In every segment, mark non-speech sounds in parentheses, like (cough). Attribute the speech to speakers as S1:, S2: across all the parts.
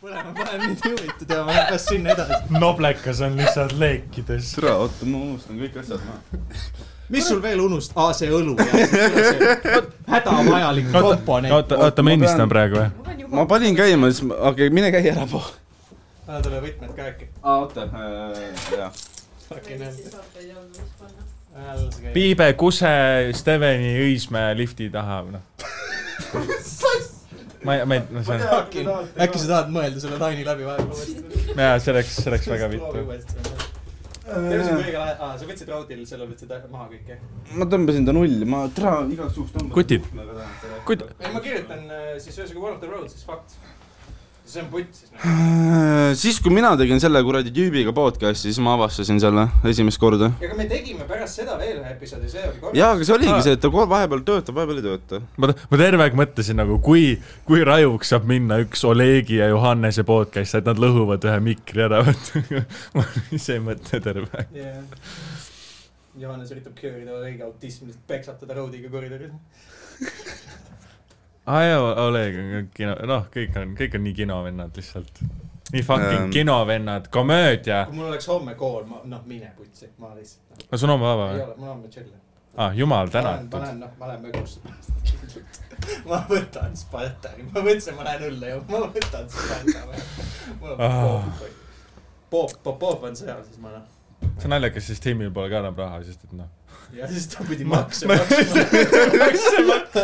S1: mõlemad , ma olen nii huvitatud ja ma lähen kas sinna edasi .
S2: noblekas on lihtsalt leekides .
S3: tere , oota , ma unustan kõik asjad maha .
S1: mis sul veel unust- , aa see õlu jah , hädavajalik komponent .
S4: oota , oota , ma ennistan praegu või ?
S5: mul on
S3: ma
S5: juba ,
S3: panin käima , siis ma , okei okay, , mine käi ära po- .
S1: anna talle võtmed ka äkki .
S3: aa , oota , jah .
S1: Fucking
S5: meil
S1: hell ,
S5: siis saab veel jõudnud , mis panna .
S1: ära lase käia .
S4: Piibe , Kuse , Steveni , Õismäe lifti taha , noh . ma ei , ma ei , no see on ,
S1: äkki sa tahad mõelda selle Taini läbi vahepeal ?
S4: jaa , see oleks , see oleks väga vittu .
S1: tervise kõige lahe , aa sa võtsid raudil , selle võtsid maha kõik jah ?
S3: ma tõmbasin ta nulli , ma tere , igaks juhuks tõmban .
S4: Kutid. Kut- .
S1: ei , ma kirjutan äh, siis ühesõnaga One of the road , siis fakt . see on putt siis noh .
S3: Äh, siis , kui mina tegin selle kuradi tüübiga podcast'i , siis ma avastasin selle esimest korda .
S1: ega me tegime pärast seda veel ühe episoodi , see oli korras .
S3: jaa , aga see oligi see , et ta kohe vahepeal töötab , vahepeal ei tööta .
S4: ma , ma terve aeg mõtlesin nagu , kui , kui rajuks saab minna üks Olegi ja Johannese podcast , et nad lõhuvad ühe mikri ära , vaata . ma ise ei mõtle terve aeg .
S1: jah . Johannes üritab köörida õige autismist , peksab teda raudiga koridoris .
S4: aa jaa , Oleg on ka kino , noh , kõik on , kõik on nii kinovennad lihtsalt . nii fucking
S3: Ähm.
S4: um... kinovennad , komöödia .
S1: kui mul oleks homme kool , ma , noh , mine putsi , ma lihtsalt .
S4: no sul on vaba
S1: ei
S4: või ?
S1: ole , mul on tšelle .
S4: aa , jumal
S1: ma
S4: tänatud .
S1: lähen , noh , ma lähen mögusse . (laughs) ma võtan Spartani , ma mõtlesin , ma lähen õlle jooma , ma võtan Spartani . mul on
S4: Ah.
S1: Popov . Pop , Popov on seal , siis ma noh ,
S4: see on naljakas , sest Heimil pole ka enam raha , sest et noh .
S1: ja siis ta pidi
S4: Ma-
S1: makse maksma . makse maksma .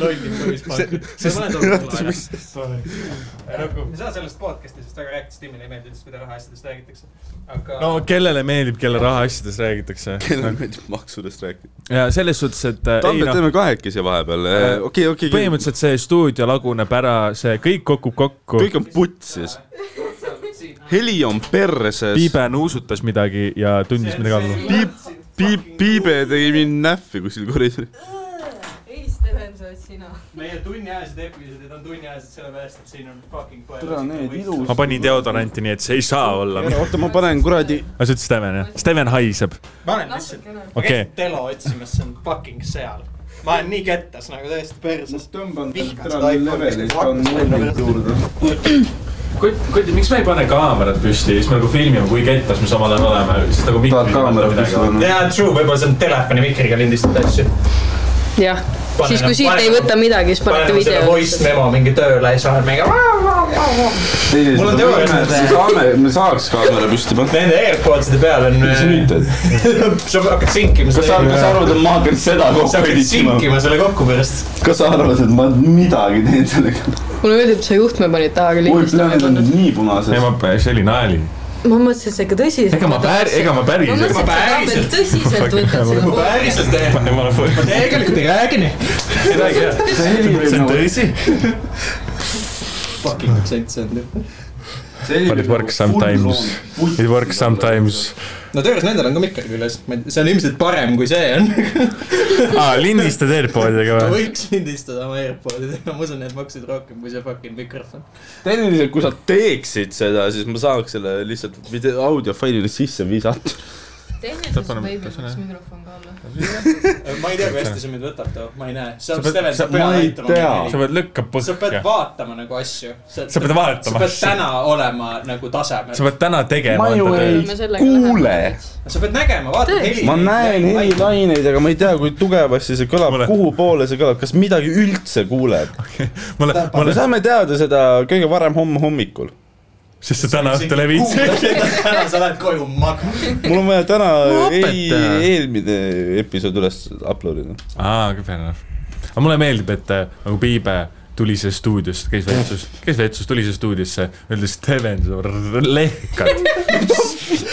S1: lolli põhispalk . ma panen talle mulle aega . me ei nagu- saa sellest podcast'i , sest väga rääkides Timile ei meeldi üldse , mida rahaasjadest räägitakse . aga
S4: no kellele meeldib , kelle rahaasjadest räägitakse ?
S3: kellele meeldib maksudest rääkida ?
S4: ja selles suhtes , et äh, ei
S3: Tambet ,
S4: noh ,
S3: teeme kahekesi vahepeal , okei , okei .
S4: põhimõtteliselt see stuudio laguneb ära , see kõik kokku kokku .
S3: kõik on putsis . heli on perses .
S4: Piibe nuusutas midagi ja tundis midagi alla .
S3: Piip- , piip , piibe tegi mind näffi kuskil koridoris .
S5: ei , Steven , sa oled sina .
S1: meie tunniajased episoodid on tunniajased sellepärast , et siin on fucking palju . nagu
S3: Tere, need ilus-
S4: ma panin deodoranti , nii et see ei saa olla .
S3: oota , ma panen kuradi ,
S4: aga sa ütlesid Steven jah ? Steven haiseb .
S1: panen lihtsalt .
S5: natukene .
S1: ma
S4: Okei.
S1: käisin Telo otsimas , see on fucking seal . ma olen nii kettas nagu täiesti perses .
S3: tõmban
S1: Vihkan seda iPhone'i, levelit, on nullid
S3: juurde .
S4: kuid , kuid miks me ei pane kaamerat püsti , siis me nagu filmime , kui kettas me samal ajal oleme , siis nagu
S3: tahad kaamera püsti panna ?
S1: jaa , true , võib-olla see on telefoni mikriga lindistatud asju .
S6: jah , siis kui siit ei võta midagi , siis panete
S1: paneme selle
S6: video .
S1: voice memo mingi tööle ja siis olen mingi . Mul on teooria, et-
S3: teooria . me saaks kaamera püsti panna .
S1: Nende AirPodside peal on .
S3: mis sa nüüd teed ?
S1: (laughs) sa hakkad sinkima
S3: kas sa ,
S1: seda .
S3: kas sa arvad , et ma hakkan seda
S1: sa
S3: kokku
S1: hakkad
S3: editsima ?
S1: sinkima selle kokku pärast .
S3: kas sa arvad , et ma midagi teen sellega ?
S6: mulle meeldib , et sa juhtme panid taha küll
S3: oi , plaanid on
S6: lindistama .
S3: nii punased
S4: ei , ma , see oli nali .
S6: ma mõtlesin , et sa ikka tõsiselt .
S4: ega ma päris , ega ma
S6: ma
S4: päris .
S6: mõtlesin , et sa Tambet tõsiselt võtad seda poolt .
S1: päriselt ei . ma tegelikult ei räägi (laughs) nii .
S3: see heli oli nagu ,
S4: tõsi ?
S1: Fucking aktsent see on nüüd .
S3: see heli
S4: But
S3: oli nagu
S4: it works sometimes. . It works . sometimes .
S1: no töös nendel on ka mikker küljes , see on ilmselt parem kui see (laughs) on .
S4: aa , lindistad AirPodidega
S1: ma
S4: või ?
S1: võiks lindistada oma AirPodidega , ma usun , need maksid rohkem kui see fucking mikrofon .
S3: tehniliselt , kui sa teeksid seda , siis ma saaks selle lihtsalt video , audiofailile sisse visata .
S6: tehniliselt võib ju üks mikrofon ka olla .
S1: ma ei tea , kui hästi see mind võtab too , ma ei näe . sa
S4: Sa pead-
S1: Steven , sa
S4: sa-
S1: pead
S3: ma ei tea.
S4: sa
S1: aitama .
S4: pead lõkka
S1: sa pead
S4: põhja .
S1: vaatama nagu asju .
S4: sa pead
S1: sa
S4: vaatama
S1: pead . täna olema nagu tasemel .
S4: sa pead täna tegema
S3: Ma ju
S4: enda
S3: ei-
S4: tööd .
S3: Kuule! .
S1: sa pead nägema , vaata
S6: Tõesti.
S1: heli .
S3: ma näen helilaineid , aga ma ei tea , kui tugevasti see kõlab
S4: Mulle- ,
S3: kuhu poole see kõlab , kas midagi üldse kuuleb .
S4: ma olen , ma
S3: me
S4: olen ,
S3: saame teada seda kõige varem homme hommikul .
S4: sest sa täna õhtul ei viitsi .
S1: täna sa lähed koju magama .
S3: mul on vaja täna
S4: Ma
S3: ei ,
S4: õpetan.
S3: eelmine episood üles upload ida .
S4: aa , fair enough . aga mulle meeldib , et äh, nagu Piibe tuli see stuudiost , käis vetsus , käis vetsus , tuli see stuudiosse , ütles Steven , sa r- lehkad .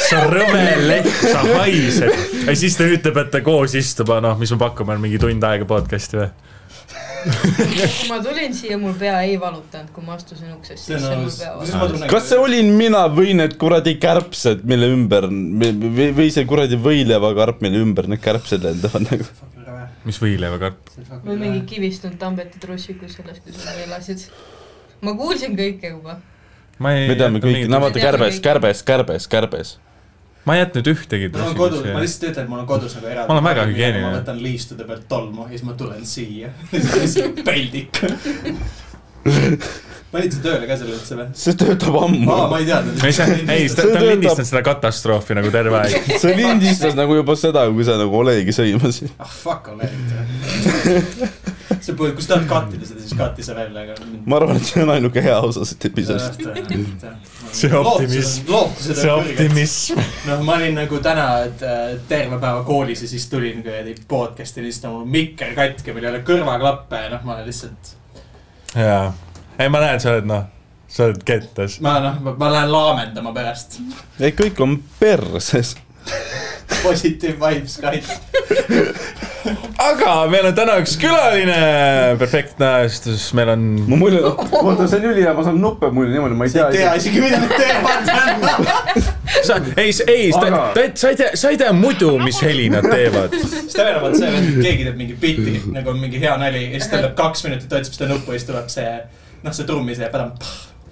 S4: sa rõve lehk , sa haised . ja siis ta ütleb , et koos istuma , noh , mis me pakume , on mingi tund aega podcast'i või ?
S6: kui ma tulin siia , mul pea ei valutanud , kui ma astusin uksest sisse ,
S1: nagu-
S6: mul pea valutas .
S3: kas see olin mina või need kuradi kärbsed , mille ümber või, või- või see kuradi võileivakarp , mille ümber need kärbsed lendavad nagu .
S4: mis võileivakarp ?
S6: või mingi kivistunud Tambeti trussikus sellest , kui sa veel elasid . ma kuulsin kõike juba .
S4: ma ei .
S3: me teame kõiki , no vaata
S6: Me teame
S3: kärbes ,
S6: kõiki.
S3: kärbes , kärbes , kärbes .
S4: ma ei jätnud ühtegi .
S1: mul on kodus , ma lihtsalt ütlen , et mul on kodus nagu eraldi .
S4: Ma olen väga hügieeniline.
S1: (laughs) ma võtan liistude pealt tolmu ja siis ma tulen siia . siis ma olen siia peldik . panid sa tööle ka selle üldse või ?
S3: see töötab ammu
S1: aa , ma ei teadnud .
S4: ei , see , ei , ta
S3: See
S4: ta on
S3: töötab.
S4: lindistanud seda katastroofi nagu terve aeg .
S3: see lindistas nagu juba seda , kui sa nagu Olegi sõimasid .
S1: ah fuck Ameerika . (laughs) sa põed , kui sa tahad kattida seda , siis katti sa välja , aga .
S3: ma arvan , et see on ainuke hea osa siit episoodist .
S7: See optimism.
S1: lootused
S7: see
S1: on kõrged .
S7: optimism .
S1: noh , ma olin nagu täna et, äh, terve päeva koolis ja siis tulin kuradi podcast'i , lihtsalt on mul mikker katki , mul ei ole kõrvaklappe ja noh , ma olen lihtsalt .
S4: jaa . ei , ma näen , sa oled noh , sa oled kettas .
S1: ma noh , ma lähen laamendama pärast .
S3: ei , kõik on perses .
S1: Positive vibes guys .
S4: aga meil on täna üks külaline , perfektne ajastus , meil on
S3: ma mulje , (laughs) oota , see on ülihea , ma saan nuppe mulje niimoodi , ma ei
S1: ei tea . isegi , mida nad teevad .
S4: sa , ei , ei ,
S3: Aga-
S4: ta , ta , sa ei tea , sa ei tea muidu , mis heli nad teevad .
S1: siis tähendab , et see vend , keegi teeb mingi biti , nagu on mingi hea nali ja siis ta läheb kaks minutit , otsib seda nuppu ja siis tuleb see , noh , see trummi see padam ,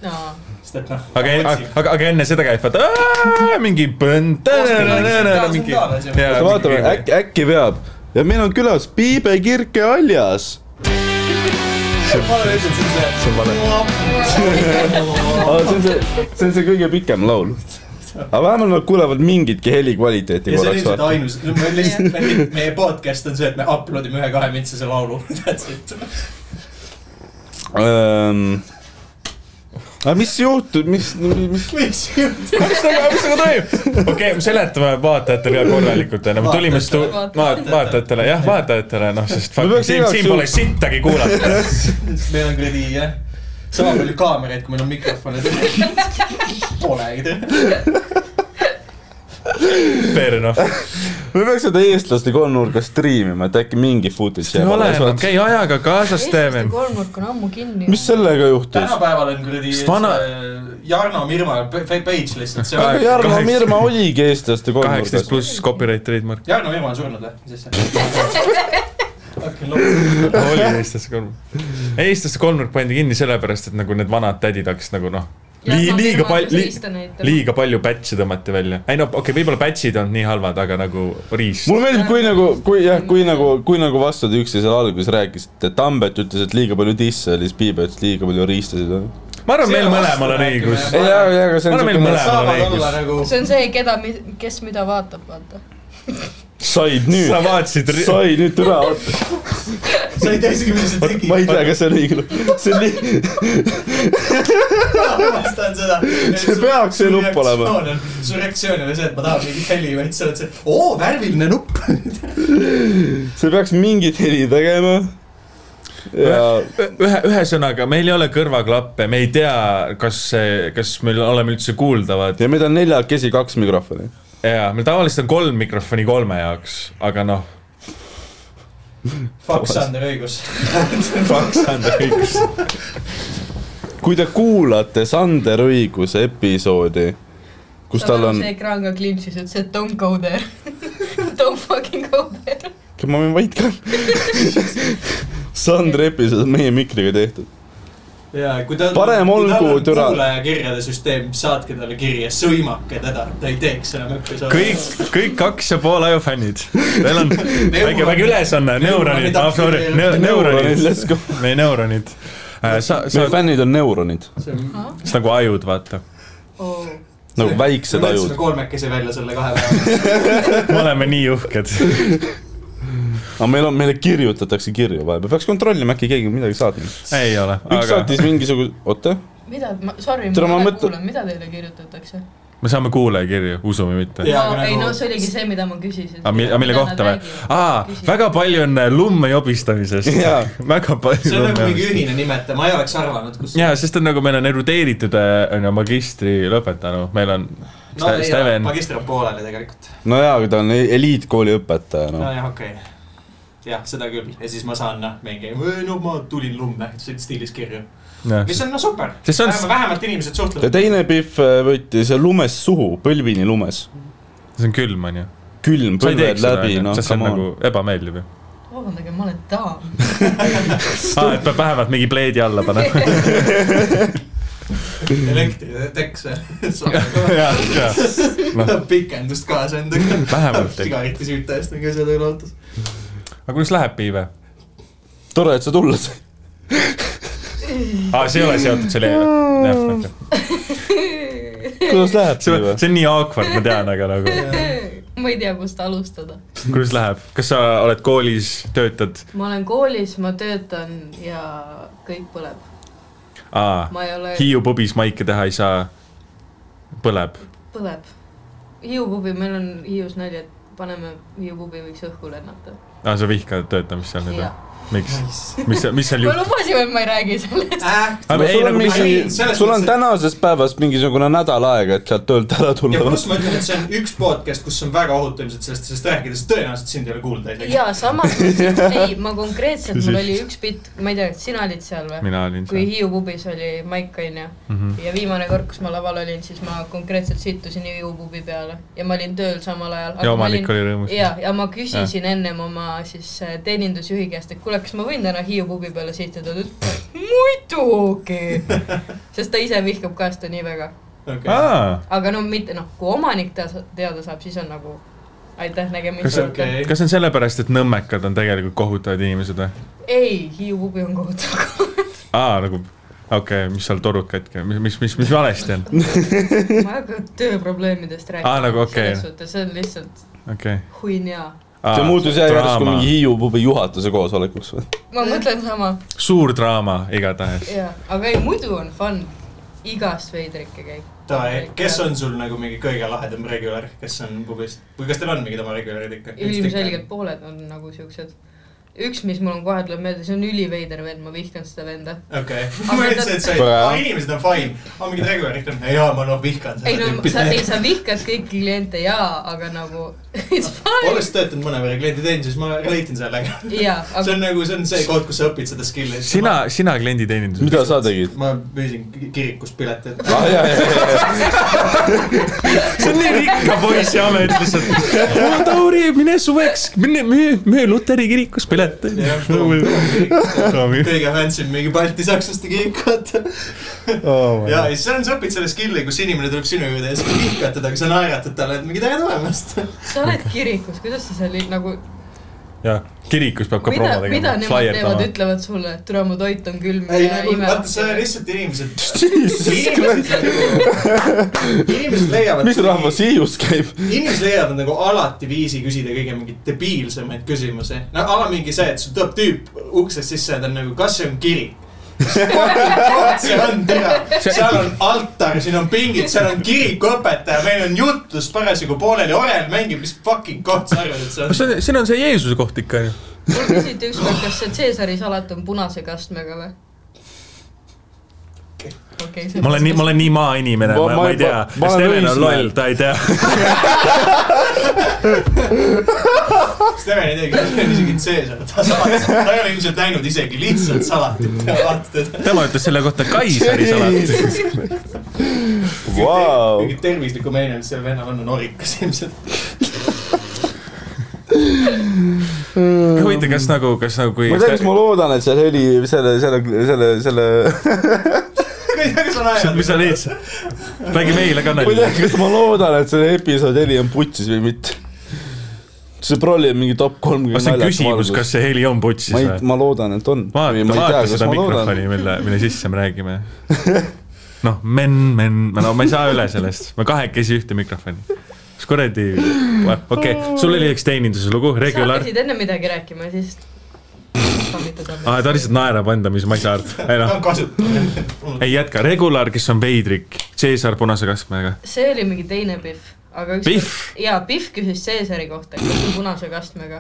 S6: aa ,
S1: sest et noh .
S4: aga , aga , aga enne seda käib vaata "Aa, mingi põnd ,
S1: Kosmine-
S4: mingi .
S1: kosmine-
S3: vaatame , äkki , äkki veab ja meil on külas Piibe Kirke Aljas .
S1: ma olen lihtsalt siukse .
S4: see on vale .
S3: see on see , see on see kõige pikem laul . aga vähemalt nad kuulevad mingitki helikvaliteeti
S1: ja see on ilmselt
S3: korraks .
S1: ainus , meil lihtsalt , meie podcast on see , et me upload ime ühe-kahe mintsase laulu . (laughs) That's it .
S3: aga Ehm, mis juhtub , mis , mis , (laughs)
S1: mis jutt .
S4: mis temaga , mis temaga toimub ? okei okay, , seletame vaatajatele ka korralikult , onju , me tulime stu- ,
S6: Vaatajatele.
S4: vaatajatele , jah , vaatajatele , noh , sest fuck,
S3: peaks
S4: siin ,
S3: igaks
S4: siin pole
S3: juhuks-
S4: sittagi kuulata .
S1: meil on kuradi jah , sama palju kaameraid , kui meil on mikrofone . (laughs) Polegi tere .
S4: Fair enough .
S3: me peaks seda eestlaste kolmnurka striimima , et äkki mingi footage
S4: ei
S3: jääb
S4: ole enam ,
S3: alles .
S4: käi ajaga kaasas , Steven .
S6: kolmnurk on ammu kinni .
S3: mis sellega juhtus ?
S1: tänapäeval on kuradi
S4: Sest vana-
S1: see äh, Jarno Mirma pe- pe- page lihtsalt , see
S3: aga
S1: on .
S3: Jarno
S4: kaheksa-
S3: Mirma oligi eestlaste
S4: kaheksateist
S3: kolmnurgas .
S4: pluss copyright trademark .
S1: Jarno Mirma on surnud või ? mis
S3: (laughs)
S1: asja ? okei , loomulikult .
S4: (laughs) oli eestlaste kolmnurk . eestlaste kolmnurk pandi kinni sellepärast , et nagu need vanad tädid hakkasid nagu noh , lii- , liiga palju , liiga palju pätse tõmmati välja . ei no okei okay, , võib-olla pätsid ei olnud nii halvad , aga nagu riist .
S3: mulle meeldib , kui nagu , kui jah , kui nagu , kui nagu vastad üksteisele alguses rääkisite , Tambet ütles , et liiga palju disse oli , siis Piibe ütles liiga palju riistasid . noh. ei ,
S4: ma arvan ,
S1: See
S4: meil
S1: on
S4: mõlemal on
S1: vastu-
S4: õigus .
S3: aga , aga see
S4: Ma
S3: on
S4: arvan, meil
S3: siukene ,
S4: mõlemad-
S1: saavad olla nagu .
S6: see on see , keda , kes mida vaatab , vaata .
S3: said
S4: sa
S3: nüüd ,
S4: vaatasid ,
S3: said nüüd üle ,
S1: sa ei tea isegi , mida sa tegid .
S3: ma ei tea , kas see on õige , see on nii ,
S1: armastan seda .
S3: See peaks see nupp olema. .
S1: su reaktsioon ei ole see , et ma tahan mingit heli , vaid sa oled see , oo , värviline nupp .
S3: see peaks mingit heli tegema . ja
S4: ühe , ühesõnaga , meil ei ole kõrvaklappe , me ei tea , kas , kas me oleme üldse kuuldavad
S3: ja meil on neljakesi kaks mikrofoni .
S4: ja meil tavaliselt on kolm mikrofoni kolme jaoks , aga noh ,
S1: Fuck Sander
S3: (laughs)
S1: õigus .
S4: kaks on ta kõik .
S3: kui te kuulate Sander Õiguse episoodi , kus tal on
S6: see , ekraan ka klimpsis , ütles , et don't go there . (laughs) Don't fucking go there .
S3: ma võin vait ka . Sandri episood on meie mikriga tehtud .
S1: ja kui tal
S3: Parem
S1: kui tal
S3: olgu,
S1: on
S3: türa.
S1: kuulajakirjade süsteem , saatke talle kirja , sõimake teda , ta ei teeks enam episoodi .
S4: kõik , kõik kaks ja pool aju fännid . Teil on väike , väike ülesanne , neuronid ,
S1: Neuronid,
S4: ah sorry ,
S3: neuronid ,
S4: neuronid ,
S3: let's go .
S4: meie neuronid . Äh, sa , sa
S3: meie , fännid on neuronid ,
S4: nagu ajud , vaata .
S6: Oh.
S3: nagu väiksed ajud .
S1: kolmekesi välja selle kahe päeva .
S4: me oleme nii uhked .
S3: aga meil on , meile kirjutatakse kirju vahepeal , peaks kontrollima , äkki keegi on midagi saatnud .
S4: ei ole ,
S3: üks
S4: aga
S3: saatis mingisuguse ,
S4: (laughs)
S3: oota ,
S6: mida , ma , sorry ,
S3: Tere, ma
S6: ma ei
S3: mõtlen-
S6: kuulen , mida teile kirjutatakse ?
S4: me saame kuulajakirju , usume mitte
S1: Jaa,
S6: no
S1: aga
S6: ei
S1: nagu-
S6: no see oligi see , mida ma küsisin .
S4: aga mille , mille kohta või ?? aa , väga palju on äh, lumme jobistamisest
S3: Jaa. .
S4: väga palju .
S3: (laughs)
S1: see on nagu mingi ühine nimetaja , ma ei oleks arvanud , kus .
S4: jaa , sest on nagu meil on erudeeritud äh, on ju magistri lõpetanu , meil on
S1: no
S4: Ste-
S1: ei ole ,
S4: Steven ,
S1: magistri on pooleli tegelikult .
S3: nojaa , aga ta on e- eliitkooli õpetaja , noh .
S1: nojah , okei okay. jah , seda küll ja siis ma saan noh , mingi , no ma tulin lumme , stiilis kirju ,
S4: jah .
S1: mis on no super ,
S4: Sest see on-
S1: vähemalt, vähemalt inimesed
S3: ja
S1: suhtlevad .
S3: teine Pihv võttis lumes suhu , põlvini lumes .
S4: see on külm , on ju . sa
S3: külm ,
S4: ei
S3: põlved
S4: teeks seda
S3: läbi , , noh ,
S4: sest see on
S3: come on .
S4: nagu ebameeldiv ju .
S6: vabandage , ma olen (laughs) daam .
S4: aa , Ah, et peab vähemalt mingi pleedi alla
S1: (laughs)
S4: panema .
S1: elektriteks
S4: jah , jah . Noh.
S1: pikendust kaasa endaga .
S4: (laughs) Vähemalt.
S1: sigareti süüta eest mingi asja tööle ootas .
S4: aga kuidas läheb , Piive ? (laughs)
S3: tore , et sa tulla said .
S4: aa , Ah, see ei ole seotud selle eelarvega .
S3: kuidas läheb
S4: see on , see on nii awkward , ma tean , aga nagu ,
S6: ma ei tea , kust alustada .
S4: kuidas läheb , kas sa oled koolis , töötad ?
S6: ma olen koolis , ma töötan ja kõik põleb .
S4: aa ,
S6: ma ei ole ,
S4: Ah, Hiiu pubis maike teha ei saa . põleb .
S6: põleb . Hiiu pubi , meil on Hiius nali , et paneme Hiiu pubi võiks õhku lennata .
S4: aa , Ah, sa vihkad töötamist seal nüüd või
S6: jah ?,
S4: miks ? mis , mis seal
S6: ma
S4: juhtub ?
S6: lubasin , et ma ei räägi
S4: (laughs)
S6: sellest .
S1: Äh,
S4: aga ei
S3: sul on
S4: nagu mis ,
S1: ei,
S3: mingi ,
S1: selles
S3: sul on
S1: mõttes-
S3: tänasest päevast mingisugune nädal aega , et sealt töölt ära
S1: ja
S3: tulla .
S1: pluss ma ütlen , et see on üks podcast , kus on väga ohutu ilmselt sellest , sellest rääkides tõenäoliselt sind ei ole kuulda isegi .
S6: ja samas ,
S4: (laughs)
S6: ei , ma konkreetselt , mul oli üks bitt , ma ei tea , kas sina olid seal või ?
S4: mina olin
S6: kui
S4: seal . Mhm.
S6: Hiiu pubis oli maik , onju , ja viimane kord , kus ma laval olin , siis ma konkreetselt sittusin Hiiu pubi peale ja ma olin tööl samal ajal .
S4: ja omanik oli rõõmus .
S6: ja , ja ma küsisin ja. ennem oma siis äh, teenindusjuhi käest , et kuule , kas ma võin täna Hiiu pubi peale sihtida , ta ütles
S4: (laughs)
S6: muidugi . sest ta ise vihkab ka seda nii väga ,
S4: aa ,
S6: aga no mitte noh , kui omanik ta teada saab , siis on nagu aitäh
S4: Kas
S6: nägemist
S4: see-
S6: okay. .
S4: kas see on sellepärast , et nõmmekad on tegelikult kohutavad inimesed või ?
S6: ei , Hiiu pubi on kohutav .
S4: aa , nagu , okei okay, , mis seal torud katki on , mis , mis , mis , mis valesti on ?
S6: (laughs) ma ei hakka tööprobleemidest rääkima
S4: Aa, nagu okei.
S6: selles suhtes , see on lihtsalt
S4: okei .
S6: huinja .
S4: Ah,
S3: see muutus jah järsku mingi Hiiu pubi juhatuse koosolekuks või ? (laughs)
S6: ma mõtlen sama ,
S4: suur draama igatahes .
S6: jaa , aga ei , muidu on fun , igast veidrike käib .
S1: kes on sul nagu mingi kõige lahedam regular , kes on pubis või kas teil on mingid oma regularid ikka ?
S6: ilmselgelt . pooled on nagu siuksed . üks , mis mul on kohe tuleb meelde , see on üliveider vend , ma vihkan seda venda .
S1: okei ,
S6: Aga
S1: ma ütlesin , et see ,
S3: Väga hea.
S1: aa inimesed on fine , aga mingid regularid on , jaa , ma noh vihkan
S4: Äh,
S6: ei
S1: seda
S6: no sa , ei
S1: tüüpi .
S6: sa vihkad kõiki kliente jaa , aga nagu (laughs) it's fine .
S1: olles töötanud mõnevõrra klienditeeninduses , ma relate in sellega .
S6: jaa ,
S1: see
S6: aga
S1: on nagu , see on see koht , kus sa õpid seda skill'i .
S4: sina , sina
S3: (laughs)
S4: klienditeeninduses .
S3: mida sa tegid ?
S1: ma müüsin ki- kirikus pileteid .
S3: ah jaa , jaa , jaa , jaa .
S4: see on nii rikka poissi amet lihtsalt . oo , Tauri , mine suveks , mine müü , müü luteri kirikus pileteid
S3: (laughs)
S1: Jah, . kõige fancy mingi Balti-sakslaste kirik , vaata . ja , ja siis on , sa õpid selle skill'i , kus inimene tuleb sinu juurde ja sa vihkad teda , aga sa naeratad talle , et mingi tere tulemast .
S6: sa oled kirikus , kuidas sa seal nagu ,
S4: jah , kirikus peab ka
S6: mida
S4: promo ,
S6: mida
S4: tegema ,
S6: nemad teevad ,
S4: flaierdama .
S6: ütlevad sulle , et türa , mu toit on külm
S1: ei
S6: ja
S1: nagu , vaata , sa
S6: ime .
S1: lihtsalt
S3: (laughs)
S1: inimesed . inimesed leiavad .
S3: mis rahvas ? Hiius käib ?
S1: inimesed leiavad nagu alati viisi küsida kõige mingeid debiilsemaid küsimusi . no ala mingi see , et sul tuleb tüüp uksest sisse ja ta on nagu , kas see on kirik ? koht see on , tea , seal on altar , siin on pingid , seal on kirikuõpetaja , meil on jutlus parasjagu pooleli , orel mängib , mis fucking koht sa arvad , et see on ?
S4: kas see on , siin on see Jeesuse koht ikka ju .
S6: mul küsiti ükskord , kas see Caesari salat on punase kastmega või ? okei , see
S4: ma olen nii , ma olen nii maainimene ,
S3: Ma-
S4: ma ,
S3: ma-
S4: ma ei tea
S3: ma- . ma olen
S4: Steven on
S3: Õismäel.
S4: loll , ta ei (laughs) tea .
S1: Steven ei teagi , see on isegi Caesar , ta saab , ta ei ole ilmselt näinud isegi lihtsalt salatit , vaata teda .
S4: tema ütles selle kohta Kaiseri salat .
S3: Vau .
S1: mingi tervisliku meene , mis seal vennal on , on orikas ilmselt . (laughs)
S4: huvitav , kas nagu , kas nagu kui
S3: ma ei tea , kas ma loodan , et see heli , selle , selle , selle , selle , (laughs)
S1: ma ei tea , kas on
S4: Sa-
S1: ajanud .
S4: mis sa leidsid ? räägi meile ka
S3: ma ei tea
S4: nalja .,
S3: kas ma loodan , et selle episoodi heli on putsis või mitte . see prolli on mingi top kolmkümmend .
S4: kas see on küsimus , kas see heli on putsis
S3: ma ei ,
S4: või ?
S3: ma loodan , et on .
S4: vaata , vaata seda mikrofoni , mille , mille sisse me
S3: (laughs)
S4: räägime . noh , men , men , no ma ei saa üle sellest , ma kahekesi ühte mikrofoni . kas kuradi , okei okay. , sul oli üks teeninduse lugu ,
S6: sa
S4: regular .
S6: hakkasid enne midagi rääkima ja siis .
S4: (laughs) aa , Ah, ta lihtsalt naerab enda , mis ma ei saa aru , ei
S1: ta
S4: noh
S1: on kasutatud .
S4: ei jätka , regular , kes on veidrik , Caesar punase kastmega .
S6: see oli mingi teine Pihv , aga üks
S4: Pihv?
S6: jaa , Pihv küsis Caesari kohta , kas on punase kastmega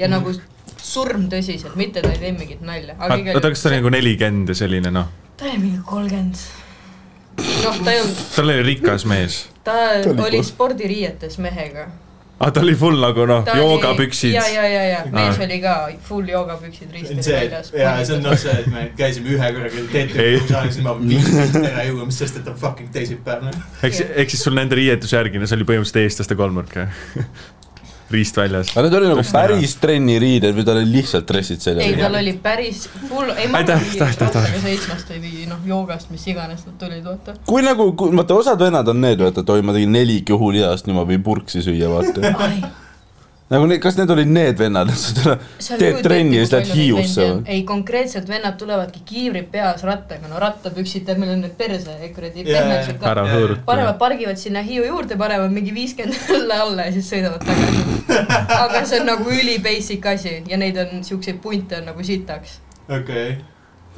S6: ja nagu surm tõsiselt , mitte ta ei teinud mingit nalja , aga igal
S4: oota , kas ta oli nagu nelikümmend ja selline noh ,
S6: ta oli mingi kolmkümmend . noh , ta ei olnud ,
S4: ta oli
S6: (laughs)
S4: rikas mees .
S6: ta
S3: oli
S6: oli
S3: kol-
S6: spordiriietes mehega .
S4: aa , ta oli full nagu noh , Noh, joogapüksid Ah.
S6: ja , ja , ja , ja mees
S4: Aa.
S6: oli ka full joogapüksid
S1: see on
S6: ristis
S1: see , jaa , see on noh see , et me käisime ühe korra
S3: (laughs)
S1: küll
S4: Ei.
S1: TTV-s , saaksime viis ära juua , mis sest , et on fucking teisipäev . noh.
S4: ehk siis , ehk siis sul nende riietuse järgi , no see oli põhimõtteliselt eestlaste kolmnurk , jah ? (laughs) riist väljas .
S3: aga need olid nagu
S4: Just
S3: päris trenniriided või tal oli lihtsalt dressid
S6: ei ,
S3: seljas ?
S6: tal oli päris full , ei ma
S4: Aitäh, aitäh, aitäh, aitäh.
S6: seitsmest või mingi noh , joogast , mis iganes nad tulid ,
S1: (laughs)
S6: vaata .
S3: kui nagu , vaata osad vennad on need , vaata , et oi , ma tegin neli kõhulihast , nüüd ma võin purksi süüa , vaata . nagu need , kas need olid need vennad , et sa täna teed trenni ja siis lähed Hiiusse või ?
S6: nagu ei , konkreetselt vennad tulevadki kiivrid peas rattaga , no rattapüksid , tead , meil on need perse , kuradi
S8: Jaa,
S6: pehmeks ka .
S4: ära hõõruta
S6: panevad , pargivad sinna Hiiu juurde , panevad mingi viiskümmend (laughs) õlle alla ja siis sõidavad tagasi . aga see on nagu üli basic asi ja neid on siukseid punte on nagu sitaks .
S8: okei .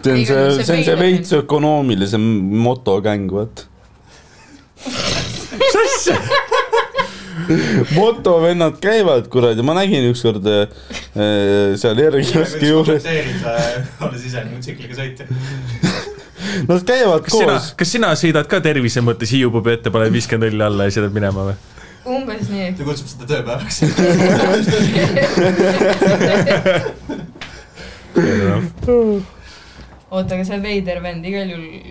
S3: see on
S6: Ei,
S3: see
S6: aga , see
S3: see on see
S6: Vader-
S3: veits ökonoomilisem motogäng ,
S6: (laughs)
S3: vaat .
S4: mis asja ?
S3: motovennad käivad , kuradi , ma nägin ükskord äh, seal R-kioski
S1: (laughs)
S3: juures ,
S1: olles äh, ise mõtsikliga sõitja .
S3: nad käivad
S4: kas sina
S3: koos ,.
S4: kas sina sõidad ka tervise mõttes hiiupubi ette , paned viiskümmend õlli alla ja sõidad minema
S6: (laughs)
S4: või ?
S6: umbes nii .
S1: (laughs) ta kutsub seda tööpäevaks .
S6: oota , aga see veider vend igal juhul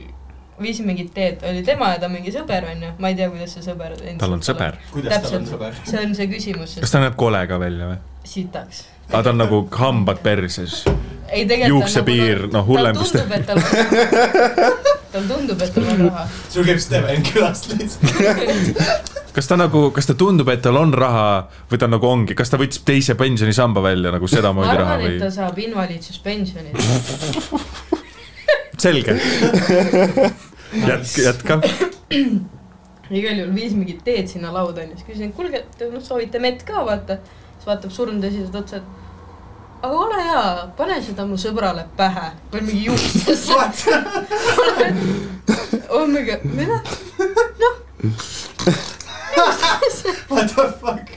S6: viis mingit teed , oli tema ja ta mingi sõber onju , ma ei tea , kuidas see sõber .
S4: tal on sõber .
S1: kuidas tal on
S6: Täpselt.
S1: sõber ?
S6: see on see küsimus ,
S4: kas
S6: sest
S4: ta näeb kole ka välja või ?
S6: sitaks .
S4: aga ta on nagu hambad perses .
S6: ei tegelikult .
S4: Juuksepiir, noh, hullem
S6: tal
S4: vist.
S6: tundub , et tal (laughs) on , tal tundub , et tal on raha .
S1: sul käib Steven külast lihtsalt .
S4: kas ta nagu , kas ta tundub , et tal on raha või ta nagu ongi , kas ta võttis teise pensionisamba välja nagu
S6: ma
S4: sedamoodi raha
S6: arvan ,
S4: või
S6: et ? ta saab invaliidsuspensioni .
S1: (laughs)
S4: selge . jätka , jätka .
S6: igal juhul viis mingit teed sinna lauda onju , siis küsisin , et kuulge , te noh soovite mett ka vaata . siis vaatab surnud esiselt otsa , et aga ole hea , pane seda mu sõbrale pähe või mingi juustesse . (laughs) oh my god , mida ?
S1: What the fuck ?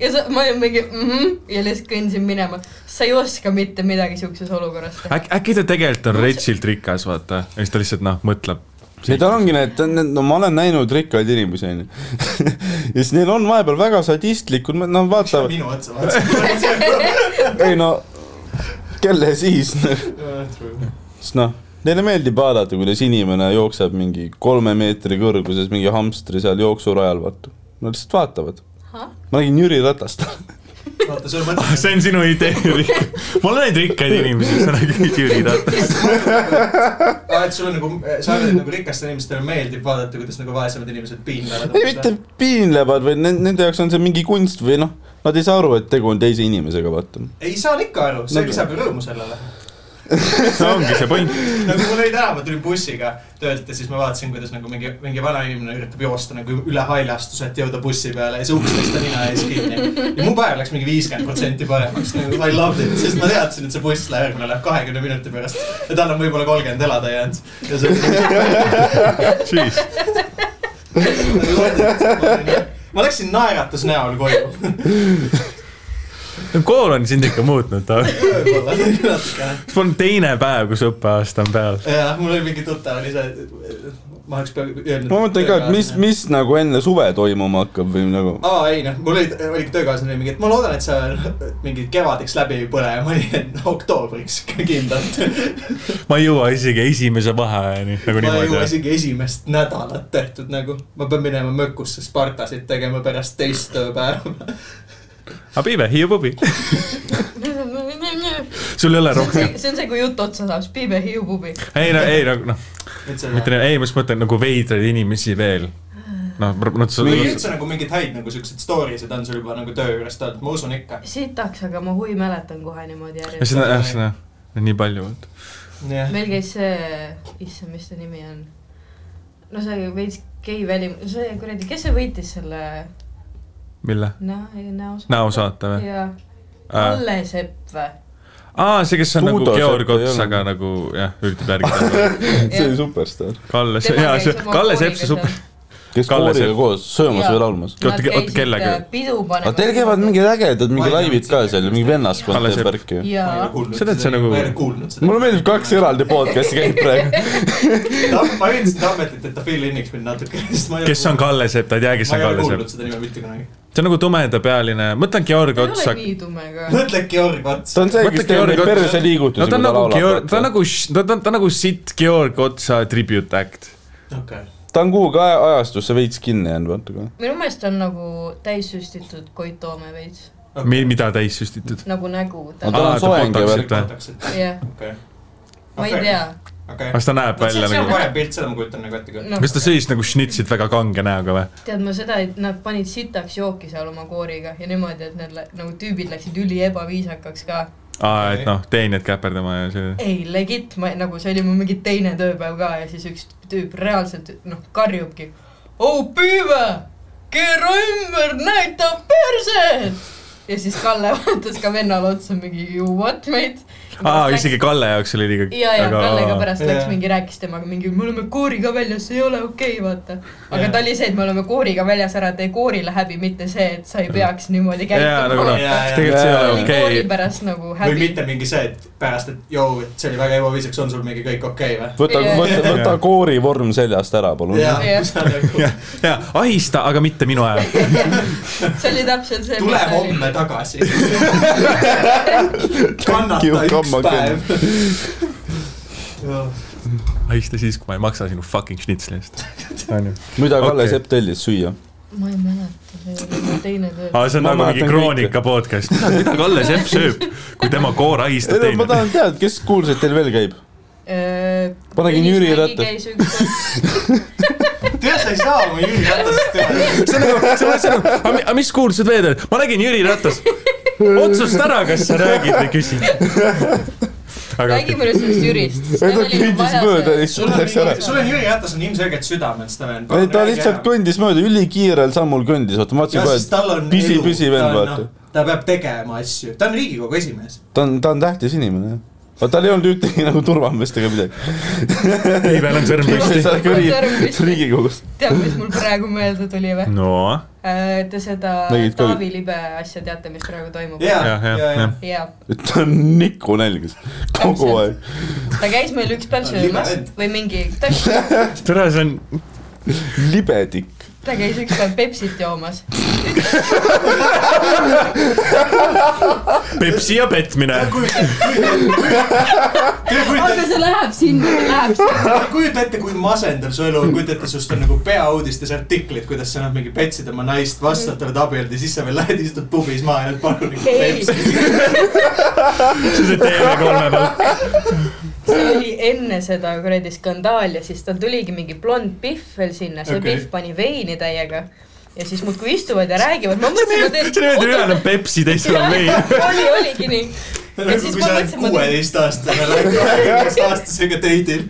S6: ja sa , ma olin mingi mhmh ja lihtsalt kõndisin minema . sa ei oska mitte midagi siukses olukorras teha . (laughs)
S4: äkki , äkki ta tegelikult on retsilt rikas , vaata , ja siis ta lihtsalt noh , mõtleb . (laughs)
S3: ei , tal ongi need , no ma olen näinud rikkaid inimesi , onju . (laughs) ja siis neil on vahepeal väga sadistlikud , nad vaatavad ,
S1: minu otsa vaatasid .
S3: ei no , kelle siis , (laughs) sest noh , neile meeldib vaadata , kuidas inimene jookseb mingi kolme meetri kõrguses mingi hamstri seal jooksurajal , vaata . Nad lihtsalt vaatavad . ma nägin Jüri Ratast ,
S1: vaata , sul
S3: Ah,
S1: mõttes ,
S4: see on sinu idee , Jüri . ma olen näinud rikkaid inimesi , sa nagu nägid Jüri Ratast .
S1: et sul on nagu , sa arvad , et nagu rikastele inimestele meeldib vaadata , kuidas nagu vaesemad inimesed piinlevad .
S3: ei mitte piinlevad , vaid ne- nende jaoks on see mingi kunst või noh , nad ei saa aru , et tegu on teise inimesega , vaata .
S1: ei saan ikka aru , see
S3: Nagu-
S1: lisab ju rõõmu sellele .
S4: see ongi see point .
S1: nagu mul oli täna , ma tulin bussiga töölt ja siis ma vaatasin , kuidas nagu mingi , mingi vanainimene üritab joosta nagu üle haljastuse , et jõuda bussi peale ja see uks läks ta nina ees kinni . ja mu päev läks mingi viiskümmend protsenti paremaks , nagu I loved it , sest ma teadsin , et see buss läheb , järgmine läheb kahekümne minuti pärast ja tal on võib-olla kolmkümmend elada jäänud . ja nagu,
S4: Jeez.
S1: nagu, see , nagu, ma läksin naeratusnäol koju .
S4: kool on sind ikka muutnud , ta .
S1: võib-olla natukene .
S4: sul on teine päev , kus õppeaasta on peal .
S1: jah , mul oli mingi tuttav oli see , ma oleks peaaegu öelnud .
S3: ma mõtlen ka , et mis , mis nagu enne suve toimuma hakkab või nagu .
S1: aa ei noh , mul olid , oligi töökaaslane mingi , et ma loodan , et sa mingi kevadeks läbi ei põle ja ma olin et no, oktoobriks kindlalt .
S4: ma ei jõua isegi esimese vaheajani nagu
S1: ma ei jõua
S4: niimoodi .
S1: isegi esimest nädalat tehtud nagu , ma pean minema mökusse Spartasid tegema pärast teist tööpäeva .
S4: aga Piive , Hiiu pubi .
S6: see
S4: sul ei ole
S6: on see
S4: rohkem ,,
S6: see on see , kui jutt otsa saab , siis piibe hiiu pubi .
S4: ei no , ei no , noh ,
S1: et see
S4: mitte , ei , ma just mõtlen nagu veidraid inimesi veel . noh , nad sa-
S1: või üldse nagu mingeid häid nagu siukseid story sid on sul juba nagu töö juures olnud , ma usun ikka . sitaks ,
S6: aga ma huvi mäletan kohe niimoodi
S4: ja
S6: järjest .
S4: seda , jah , seda , nii palju .
S1: jah ,
S6: meil käis see , issand , mis ta nimi on ? no see veits gei välim- , see kuradi , kes see võitis selle
S4: mille ?
S6: näo , näos ?
S4: näosaate või ?
S6: jaa , Kalle Sepp või ?
S4: aa , see , kes on
S3: Tuudo
S4: nagu Georg
S3: Sepp ei
S4: Ots ,
S3: olnud.
S4: aga nagu jah , üritab järgida .
S3: see oli superstaar ,
S4: Kalle ,
S6: Tema
S4: jaa , see
S6: käis oma
S4: Kalle
S6: kooliga
S4: Sepp , see super ,
S3: kes
S4: Kalle
S3: kooriga
S4: Sepp.
S3: koos söömas
S6: Jaa.
S3: või laulmas .
S4: Oota, ke- oota, kellega?
S6: äh, pidu panemas .
S3: aga teil käivad mingid ägedad mingi laivid ka seal , mingi vennaskond
S4: Kalle
S3: teeb
S4: Sepp.
S3: värki .
S1: ma ei
S6: jaa
S1: ole , kuulnud
S4: Sa tead, see nagu-
S1: ma ei ole kuulnud seda .
S3: mulle meeldib kaks eraldi podcast'i käib praegu .
S1: Ta- ma ütlesin Tammetit , et ta Phil Inniks mind natuke , sest ma ei ole
S4: kes on Kalle Sepp , ta ei tea , kes
S1: ma
S4: on
S1: ei ole
S4: Kalle
S1: kuulnud
S4: Sepp .
S1: seda nime mitte kunagi .
S4: see on nagu tumedapealine , ma ütlen
S6: ta
S4: Georg
S6: ei
S4: Ots ,
S6: ole
S4: aga
S6: nii tume ka .
S1: mõtle Georg Ots
S3: ta . on see ,
S4: Mõtle,
S3: kes teeb
S4: Georg
S3: neid
S4: Ots- no
S3: perseliigutusi ,
S4: ta on
S3: kui ta
S4: nagu
S3: laulab
S4: Georg ,. ta on nagu , ta on , ta on nagu sitt Georg Otsa tribute act .
S1: okei ,
S4: nagu-
S3: ta on kuhugi aja , ajastusse veits kinni jäänud , vaata kohe .
S6: minu meelest on nagu täissüstitud Koit Toome veits ,
S4: mida täis süstitud ?
S6: nagu nägu .
S3: Aga tal on
S4: Aa, ta
S3: soeng ja
S4: botox'i
S3: värk .
S1: kontaktsed ,
S6: jah ,
S1: okei .
S6: ma ei tea ,
S1: okei
S4: kas ta näeb
S1: Vot see
S4: välja
S1: see on
S4: nagu ,
S1: parem pilt , seda ma kujutan nagu ette küll .
S6: no,
S4: kas ta sõis nagu šnitsit väga kange näoga või ?
S6: tead ma seda , et nad panid sitaks jooki seal oma kooriga ja niimoodi , et need lä- nagu tüübid läksid üli ebaviisakaks ka .
S4: aa , et noh , teenijad käperdama ja selline .
S6: ei , legit , ma nagu see oli mu mingi teine tööpäev ka ja siis üks tüüp reaalselt noh karjubki . oo püüve , keera ümber , näita perset . ja siis Kalle (laughs) vaatas ka vennale otsa mingi you what mate .
S4: aa , isegi Kalle jaoks oli liiga .
S6: ja , ja Kalle ka pärast läks
S1: Jaa.
S6: mingi , rääkis temaga mingi , me oleme kooriga väljas , see ei ole okei okay, , vaata . aga
S1: Jaa.
S6: ta oli see , et me oleme kooriga väljas ära , tee koorile häbi , mitte see , et sa ei peaks niimoodi
S4: jaa , nagu
S6: käituma
S4: noh ,
S1: Jaa, jaa.
S4: tegelikult see ei
S6: Ta
S4: ole
S6: oli
S4: okei
S6: koori . pärast nagu
S1: või
S6: häbi .
S1: mitte mingi see , et pärast , et joo , et see oli väga ebaviisakas , on sul mingi kõik okei okay,
S3: võta ,
S6: Jaa.
S3: võta , võta
S4: Jaa.
S3: koorivorm seljast ära , palun
S1: või ?.
S6: Jah.
S1: jaa ,
S4: jaa , ahista , aga mitte minu ajal .
S6: see oli täpselt see .
S1: tule homme
S3: (laughs)
S1: tagasi .
S3: you,
S1: kannata üks
S3: come again.
S1: päev .
S4: ahista siis , kui ma ei maksa sinu fucking šnitsli eest . onju .
S3: mida Kalle
S4: Okei.
S3: okay. Sepp tellis süüa ?
S6: ma ei mäleta , see oli mu teine töö .
S4: aa , see on
S3: Ma
S4: nagu mingi
S3: mäletan
S4: Kroonika podcast . mida Kalle Sepp sööb , kui tema koor ahistab
S3: ei no ma
S4: teenijat ?
S3: tahan teada , kes kuulsad teil veel käib ? Panegi Jüri Ratas.
S6: Äh,
S4: (laughs)
S6: käis ükskord ,
S1: tead , sa ei saa oma Jüri Ratast teha .
S4: see on nagu , see on , see on , aga mis kuulsad veel on ? ma nägin Jüri Ratast . otsusta ära , kas sa räägid või küsid . aga
S6: räägime nüüd sellest
S4: (laughs)
S6: Jürist . nagu
S3: ei ta kõndis mööda
S1: sul
S3: lihtsalt
S1: on
S3: läks ära
S1: mingi ,. sul on Jüri Ratas on ilmselgelt südames , ta veel .
S3: ei ta lihtsalt kõndis mööda , ülikiirel sammul kõndis , vaata ma
S1: ja
S3: vaatasin kohe ,
S1: siis tal on
S3: et pisi , pisi vend , vaata
S1: vaata .. ta peab tegema asju , ta on Riigikogu esimees .
S3: ta on , ta on tähtis inimene , jah . aga tal ei olnud ühtegi nagu turvameest ega midagi .
S4: Ivel on sõrm
S3: miks ta
S4: püsti .
S3: seal kõri-
S6: Sõrm püsti.
S3: Riigikogus ?
S6: tead , mis mul praegu meelde tuli või ?
S4: no ,
S6: Te seda
S3: Nägid ka-
S6: Taavi Libe asja teate , mis praegu toimub ?
S1: jaa ,
S4: jah ,
S1: jaa ,
S4: jah ,
S1: jaa
S4: jah .
S6: jaa ,
S3: ta on niku nälgas kogu aeg .
S6: ta käis meil ükspäev
S1: Ta on libe
S6: söömas
S1: vend.
S6: või mingi , ta
S4: tere , see on ,
S3: libedik . (laughs)
S6: käis ükspäev Pepsit joomas .
S4: Pepsi ja petmine .
S1: Tead, kujuta-
S9: aga see läheb sinna , see läheb sinna .
S1: kujuta ette , kui masendav su elu on , kujuta ette , sinust on nagu peauudistes artiklid , kuidas sa noh , mingi petsid oma naist , vastad , oled abiellu ja siis sa veel lähed , istud pubis maha ja palun nagu
S6: (laughs) ei ,
S1: pepsi .
S6: see
S4: see on see TV3 palk .
S6: oli enne seda kuradi skandaali ja siis tal tuligi mingi blond pihv veel sinna , see
S1: Okei.
S6: pihv pani veini täiega . ja siis muudkui istuvad ja räägivad , ma
S4: see
S6: mõtlesin , et
S4: niimoodi ühel on Pepsi , teisel on
S6: (laughs)
S4: vein .
S6: oli , oligi nii . ja
S1: nagu
S6: siis
S1: kui
S6: ma
S1: sa oled
S6: mõtlesin , ma teen
S1: kuueteistaastane , nagu lähed kahekümneaastasega teidil .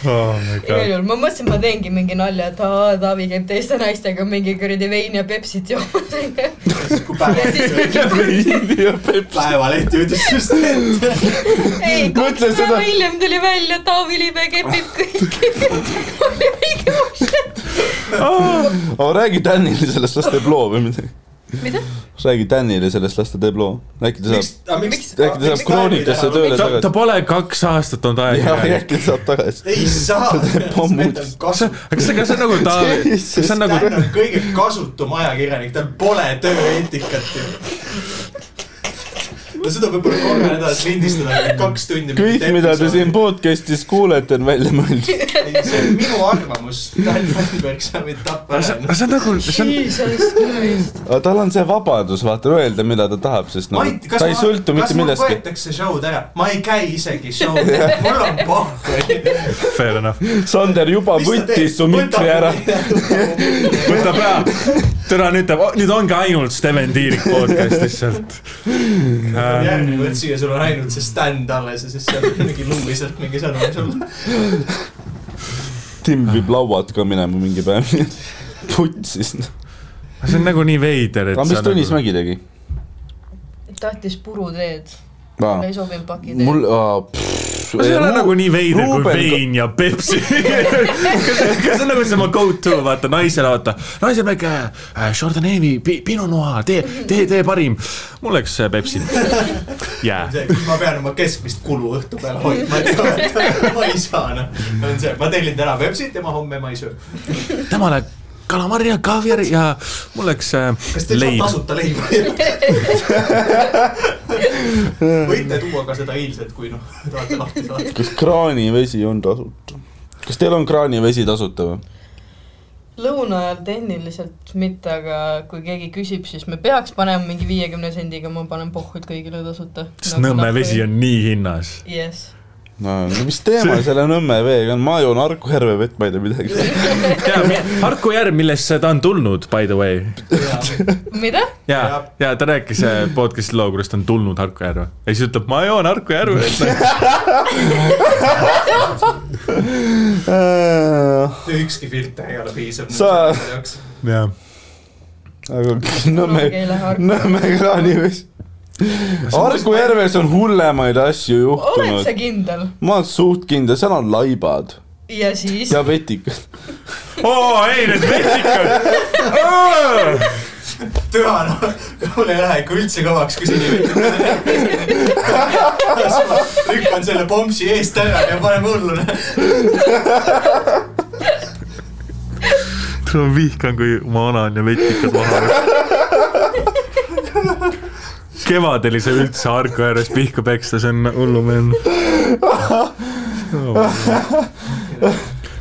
S4: oh my
S6: igal
S4: god .
S6: juhul ma mõtlesin , ma teengi mingi nalja , et aa , Taavi käib teiste naistega mingi kuradi veini ja Pepsit joomas . ja siis mingi ,
S1: päevalehti ütles just , et
S6: ei , kaks
S3: Mõtle seda-
S6: päeva hiljem tuli välja , Taavi Libe kepib kõiki . oli mingi uus .
S3: aga Oh, räägi Danile sellest , las teeb loo või midagi .
S6: mida ?
S3: räägi Danile sellest , las ta teeb loo . äkki ta
S1: miks
S3: saab ,,
S1: aga miks
S3: äkki ta saab kroonikasse
S4: ta ,
S3: tööle
S4: ta
S3: tagasi .
S4: pole kaks aastat olnud
S3: (laughs) jah ,
S4: aega .
S3: äkki ta saab tagasi .
S1: ei saa ,
S3: teeb pommud.
S1: kasu .
S4: kas see , kas see on nagu Taavi , kas see on nagu
S1: Dan on kõige kasutum ajakirjanik , tal pole tööeetikat ju . no seda võib-olla kolme nädalas lindistada , aga kaks tundi .
S3: kõik , mida te siin . podcast'is kuulete , on välja mõeldud .
S1: see on minu arvamus , Dan Vanberg , sa võid tappa
S4: aga see
S1: ära . noh.
S4: aga see on nagu , see on ,
S6: Jesus Christ .
S3: aga tal on see vabadus , vaata , öelda , mida ta tahab , sest noh ,
S1: Mait , kas
S3: ta ei sõltu mitte
S1: mul
S3: millestki .
S1: võetakse show'd ära , ma ei käi isegi
S3: (laughs)
S1: show'd , mul on pohhu .
S4: fair enough .
S3: Sander juba võttis su mikri ära . (laughs)
S4: võtab ära , täna nüüd teeb , nüüd ongi ainult Steven Tiirik podcast lihtsalt äh, .
S1: (laughs) järgmine kord siia , sul on ainult see stand alles ja siis seal mingi luui sealt mingi sõnum sulle .
S3: Tim viib lauad ka minema mingi päev . (laughs) putsis .
S4: see on nagu nii veider , et
S3: aga mis Tõnis
S4: nagu...
S3: Mägi tegi ?
S6: tahtis puruteed ,
S3: aa
S6: aga ei sobinud pakiteed .
S3: mul uh, .
S4: no see ei ole nagu nii veider kui
S3: Ruuben-
S4: vein ja Pepsi . (laughs) kas kas see on nagu see oma go to , vaata naisele , vaata , naisel väike äh, Chardonnay , Pinot Noir , tee , tee , tee parim . mul läks äh, Pepsi . jää .
S1: see , kus ma pean oma keskmist kulu õhtu peal hoidma , et ma ei saa noh . on see , ma tellin täna Pepsit ja ma homme ma ei söö .
S4: temale kalamari ja kaviari ja mul läks äh,
S1: kas teil saab
S4: leib .
S1: tasuta leiba ? võite tuua ka seda eilset , kui noh , tahate lahti saada .
S3: kas kraanivesi on tasuta ? kas teil on kraanivesi tasuta või ?
S6: lõuna ajal tehniliselt mitte , aga kui keegi küsib , siis me peaks panema mingi viiekümne sendiga , ma panen pohhuid kõigile tasuta . Nagu
S4: sest Nõmme vesi on nii hinnas .
S6: jess ,
S3: no mis teema selle Nõmme veega on , ma joon Harku järve vett , ma ei tea midagi .
S4: Harku järv , millest ta on tulnud , by the way .
S6: (laughs) mida ?
S4: ja , ja ta rääkis eh, podcast'i loo , kuidas ta on tulnud Harku järve ja siis ütleb , ma joon Harku
S1: (laughs)
S4: järve .
S3: Äh,
S1: ükski filter ei ole piisav .
S3: Sa-
S4: jah ,
S3: aga (laughs) Nõmme , Nõmme kraanimees . Harku järves on hullemaid asju
S6: oled sa
S3: juhtunud .
S6: kindel ?
S3: ma olen suht kindel , seal on laibad
S6: ja siis ?
S3: ja (laughs) vetikad .
S4: oo ei , need vetikad .
S1: türa , noh , mul ei lähe ikka üldse kõvaks , kui seni võitleb . lükkan selle pomsi eest ära ja panen noh. hullu .
S4: ma vihkan , kui ma anan ja vetikad maha võtan . kevadel ei saa üldse Harku ääres pihka peksta , see on hullumeelne oh. .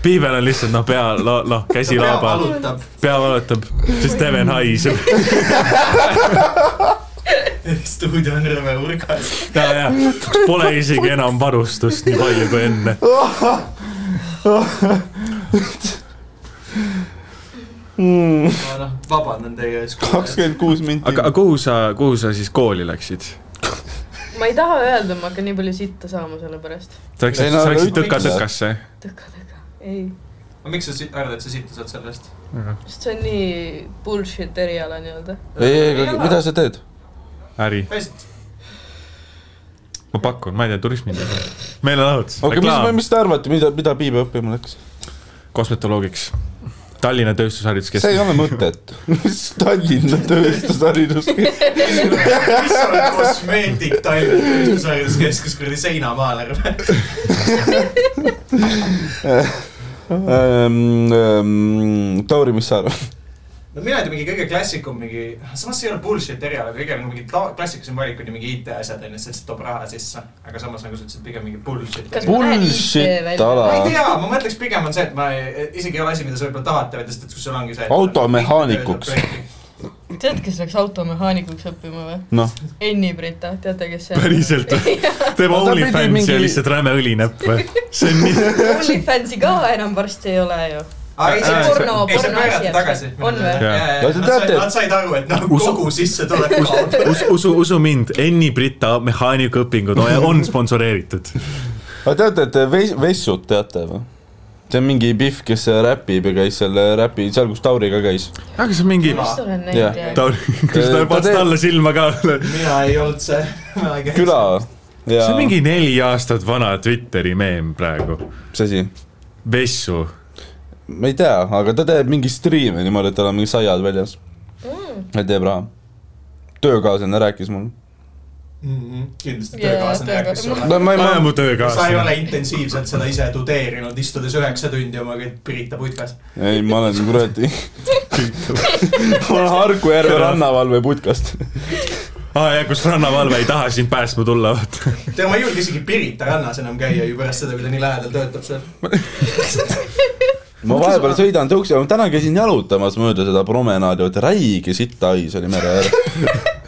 S4: Piibel on lihtsalt noh , pea , noh , käsi laabal ,
S1: valutab ,
S4: pea valutab , siis Steven haiseb .
S1: stuudio on rõve urgas .
S4: ja , ja pole isegi enam varustust nii palju kui enne .
S1: ma noh , vabandan teie ees .
S3: kakskümmend kuus minti .
S4: aga aga kuhu sa , kuhu sa siis kooli läksid ?
S6: ma ei taha öelda , ma hakkan nii palju sitta saama selle pärast .
S4: sa läksid ,
S3: Ei, no
S4: sa läksid
S3: ütle-
S4: tõka-tõkasse ?
S6: tõka-tõka , ei ,
S1: aga miks sa si- arvad , et sa sittu saad sellest ?
S6: sest see on nii bullshit eriala nii-öelda .
S3: ei , ei , aga mida sa teed ?
S4: äri , ma pakun , ma ei tea , turismitöö . meelelahutus .
S3: aga mis , mis te arvate , mida , mida Piibe õppima läks ?
S4: kosmetoloogiks . Tallinna
S3: see ei
S4: Tööstushariduskeskus .
S3: ole mõtet . (laughs) mis Tallinna tööstusharidus ?
S1: mis on kosmeetik Tallinna Tööstushariduskeskus kuradi seinamaal , aga
S3: Ehm, Tauri , mis sa arvad ?
S1: no mina ei tea , mingi kõige klassikum mingi , samas see ei ole bullshit eriala , kõige nagu mingi ta- klassikalisem valik on ju mingi IT-asjad on ju , sest see toob raha sisse . aga samas nagu sa ütlesid , pigem mingi bullshit .
S6: Kas-
S1: ma
S6: Lähen
S3: Bullshit
S6: IT
S3: ala .
S1: ei tea , ma mõtleks pigem on see , et ma ei- isegi ei ole asi , mida sa võib-olla tahad teha , sest et kui sul ongi see .
S3: Automehaanikuks. .
S6: tead , kes läks automehaanikuks õppima või ?
S3: noh ,
S6: Enni Brita , teate , kes see on ?
S4: päriselt
S6: (laughs)
S4: või ? teeme
S3: No ta pidi
S4: OnlyFansi mingi...
S3: mingi-
S4: ja lihtsalt räme õlinäpp või ? see on nii ,
S6: (laughs) OnlyFansi ka enam varsti ei ole ju .
S1: aga ei ,
S4: Äh,
S1: see
S4: porno-
S1: ei see
S6: porno asi
S1: pöörata
S6: on
S1: tagasi
S6: see. . On või?
S3: No te teate, et-
S1: Nad said aru , et noh ,
S4: Usu-
S1: kogu sissetulek kaob .
S4: usu , usu , usu mind , Enni Brita mehaanikaõpingud on- on sponsoreeritud .
S3: aga teate , et Ves- , Vessut teate või ? see on mingi Pihv , kes räpib ja käis seal räpi , seal kus Tauri ka käis .
S4: aga see on mingi ,
S6: vist olen
S3: Jah.
S6: näinud jah .
S4: ta , kas Äh, ta
S3: Ta
S4: paneb
S3: teeb-
S4: alla silma ka ? see
S1: mina ei olnud see . (laughs)
S3: küla ja
S4: on mingi neli aastat vana Twitteri meem praegu .
S3: mis asi ?
S4: Vessu .
S3: ma ei tea , aga ta teeb mingi striime niimoodi , et tal on mingi saiad väljas mm. . ja teeb raha . töökaaslane rääkis mulle .
S1: kindlasti
S6: Jaa,
S1: töökaaslane rääkis
S6: töökaaslane.
S1: sulle .
S3: no ma ei ,
S4: aja
S1: sa
S4: mu
S3: ma ,
S1: ei
S4: töökaaslane .
S1: ole intensiivselt seda ise tudeerinud , istudes üheksa tundi oma kõik Pirita putkas .
S3: ei , ma olen kuradi , (laughs) ma olen Harku järve rannavalve putkast .
S4: aa ja kus rannavalve ei taha sind päästma tulla , vaata .
S1: tead , ma ei julge isegi Pirita rannas enam käia ju pärast seda , kui ta nii lähedal töötab seal .
S3: ma vahepeal sõidan tõuksega , täna käisin jalutamas mööda seda promenaadi , vaata räige sitthais oli mere
S4: (laughs)
S3: ääres .